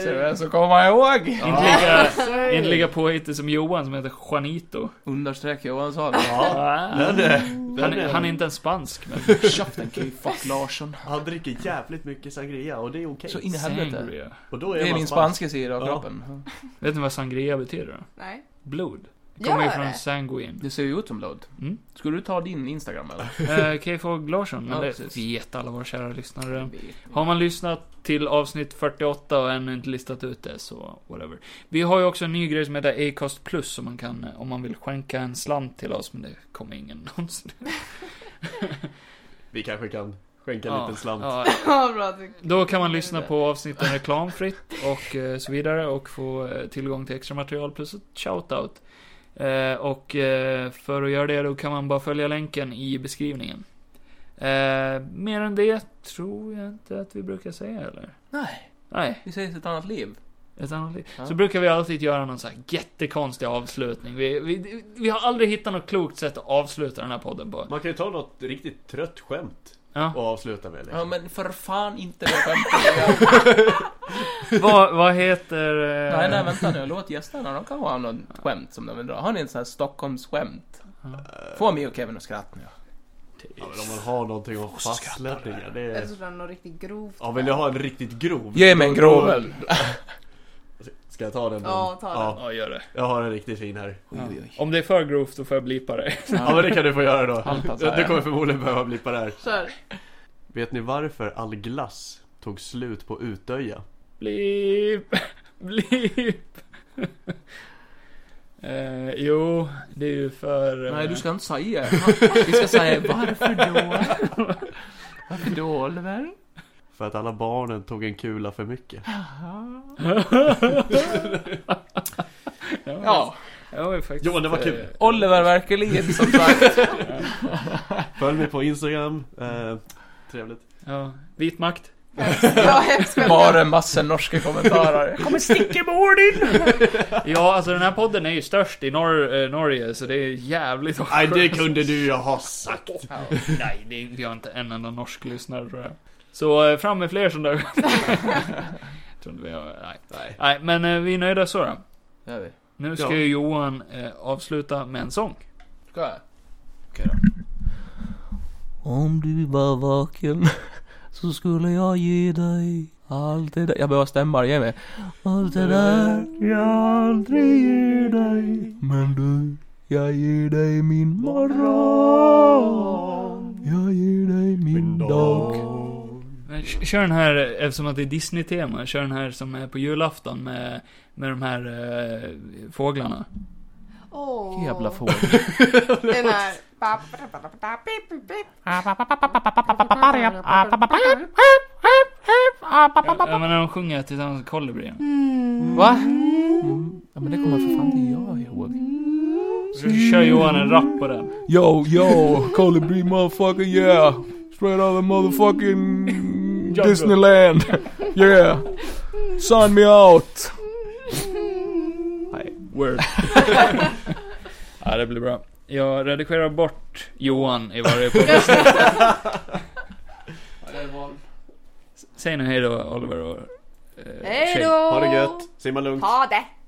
Ser du vem som kommer ihåg? inte lika, inte lika påhittig som Johan som heter Juanito. Understreck Johansson. Ah. Den är, Han, den är- är, han är inte ens spansk, men... Käften K. Fuck Larsson. han dricker jävligt mycket sangria och det är okej. Så in i helvete. Sangria. Och då är, Det är man min spansk. spanska sida av Ja. kroppen. Vet ni vad sangria betyder då? Nej. Blod. Det Gör kommer ju det? från sanguin. Det ser ju ut som blod. Mm. Ska du ta din Instagram eller? Eh, KFOG Larsson, men Ja, det precis. vet alla våra kära lyssnare. Jag vet inte. Har man lyssnat till avsnitt 48 och ännu inte listat ut det, så whatever. Vi har ju också en ny grej som heter Acast Plus, som man kan, om man vill skänka en slant till oss, men det kommer ingen någonsin. Vi kanske kan skänka en Ja, liten slant. ja. Ja, bra. att du- Då kan man lyssna på avsnitten reklamfritt och eh, så vidare och få eh, tillgång till extra material plus ett shoutout. Eh, Och eh, för att göra det då kan man bara följa länken i beskrivningen. Eh, Mer än det tror jag inte att vi brukar säga eller? Nej, Nej, vi ses i ett annat liv. ett annat liv. Ja. Så brukar vi alltid göra någon så här jättekonstig avslutning. Vi, vi, vi har aldrig hittat något klokt sätt att avsluta den här podden på. Man kan ju ta något riktigt trött skämt och Ja. avsluta med. Liksom. Ja men för fan inte det skämtet. Vad, vad heter... eh, Nej nej vänta nu, låt gästerna, de kan ha något skämt som de vill dra. Har ni en sån här Stockholmsskämt? Få mig och Kevin att skratta nu. Ja, men om man har någonting om fastlämningar, det Eller är... Alltså, så tror jag något riktigt grovt. Ja, vill jag ha en riktigt grov? Ge mig en grovel. Ska jag ta den? då? Ja, ta den. Ja, gör det. jag har en riktigt fin här. Oj, oj, oj. Om det är för grovt då får jag blipa det. Ja, men det kan du få göra då. Allt han säger. Du kommer förmodligen behöva blippa det här. Kör. Vet ni varför all glass tog slut på Utöja? Blip! Blip! eh, jo, det är ju för... eh, Nej, du ska inte säga. Vi ska säga varför då? Varför då, Oliver? För att alla barnen tog en kula för mycket. Ja, det var ju faktiskt... Johan, det var kul. eh, Oliver Verkelin som sagt. Följ mig på Instagram. Eh, trevligt. Ja, vit makt. Ja, hemskt. Bara en massa norska kommentarer. Kommer sticka med ordin! Ja, alltså den här podden är ju störst i norr, eh, Norge, så det är jävligt Nej, det kunde du ju ha sagt. Nej, det är, vi har inte en enda norsk lyssnare tror jag. Så eh, fram med fler sådana där. tror inte vi har, nej. Nej. nej, men eh, vi är nöjda så då. Gör vi. Nu Ja. ska ju Johan eh, avsluta med en sång. Ska jag? Okej då. Om du var vaken så skulle jag ge dig allt det där. Jag behöver stämma, ge mig. Allt det där jag aldrig ger dig. Men du, jag ger dig min morgon. Jag ger dig min dag. Men k- Kör den här, eh, eftersom att det är Disney-tema, kör den här som är på julafton med, med de här eh, fåglarna. Åh. Jävla fågel. Den här. Ja, ja, men när de sjunger tillsammans med kolibrierna. Va? Ja men det kommer för fan inte jag ihåg. Så kör Johan en rap på den. Yo, yo, Colibri motherfucker, yeah. Straight out of motherfucking Disneyland. Yeah. Sign me out. Word. ja, det blir bra. Jag redigerar bort Johan i varje podcast. Säg nu hej då Oliver och eh, Hej Shay. då! eh, Ha det gött. Simma lugnt. Ha det!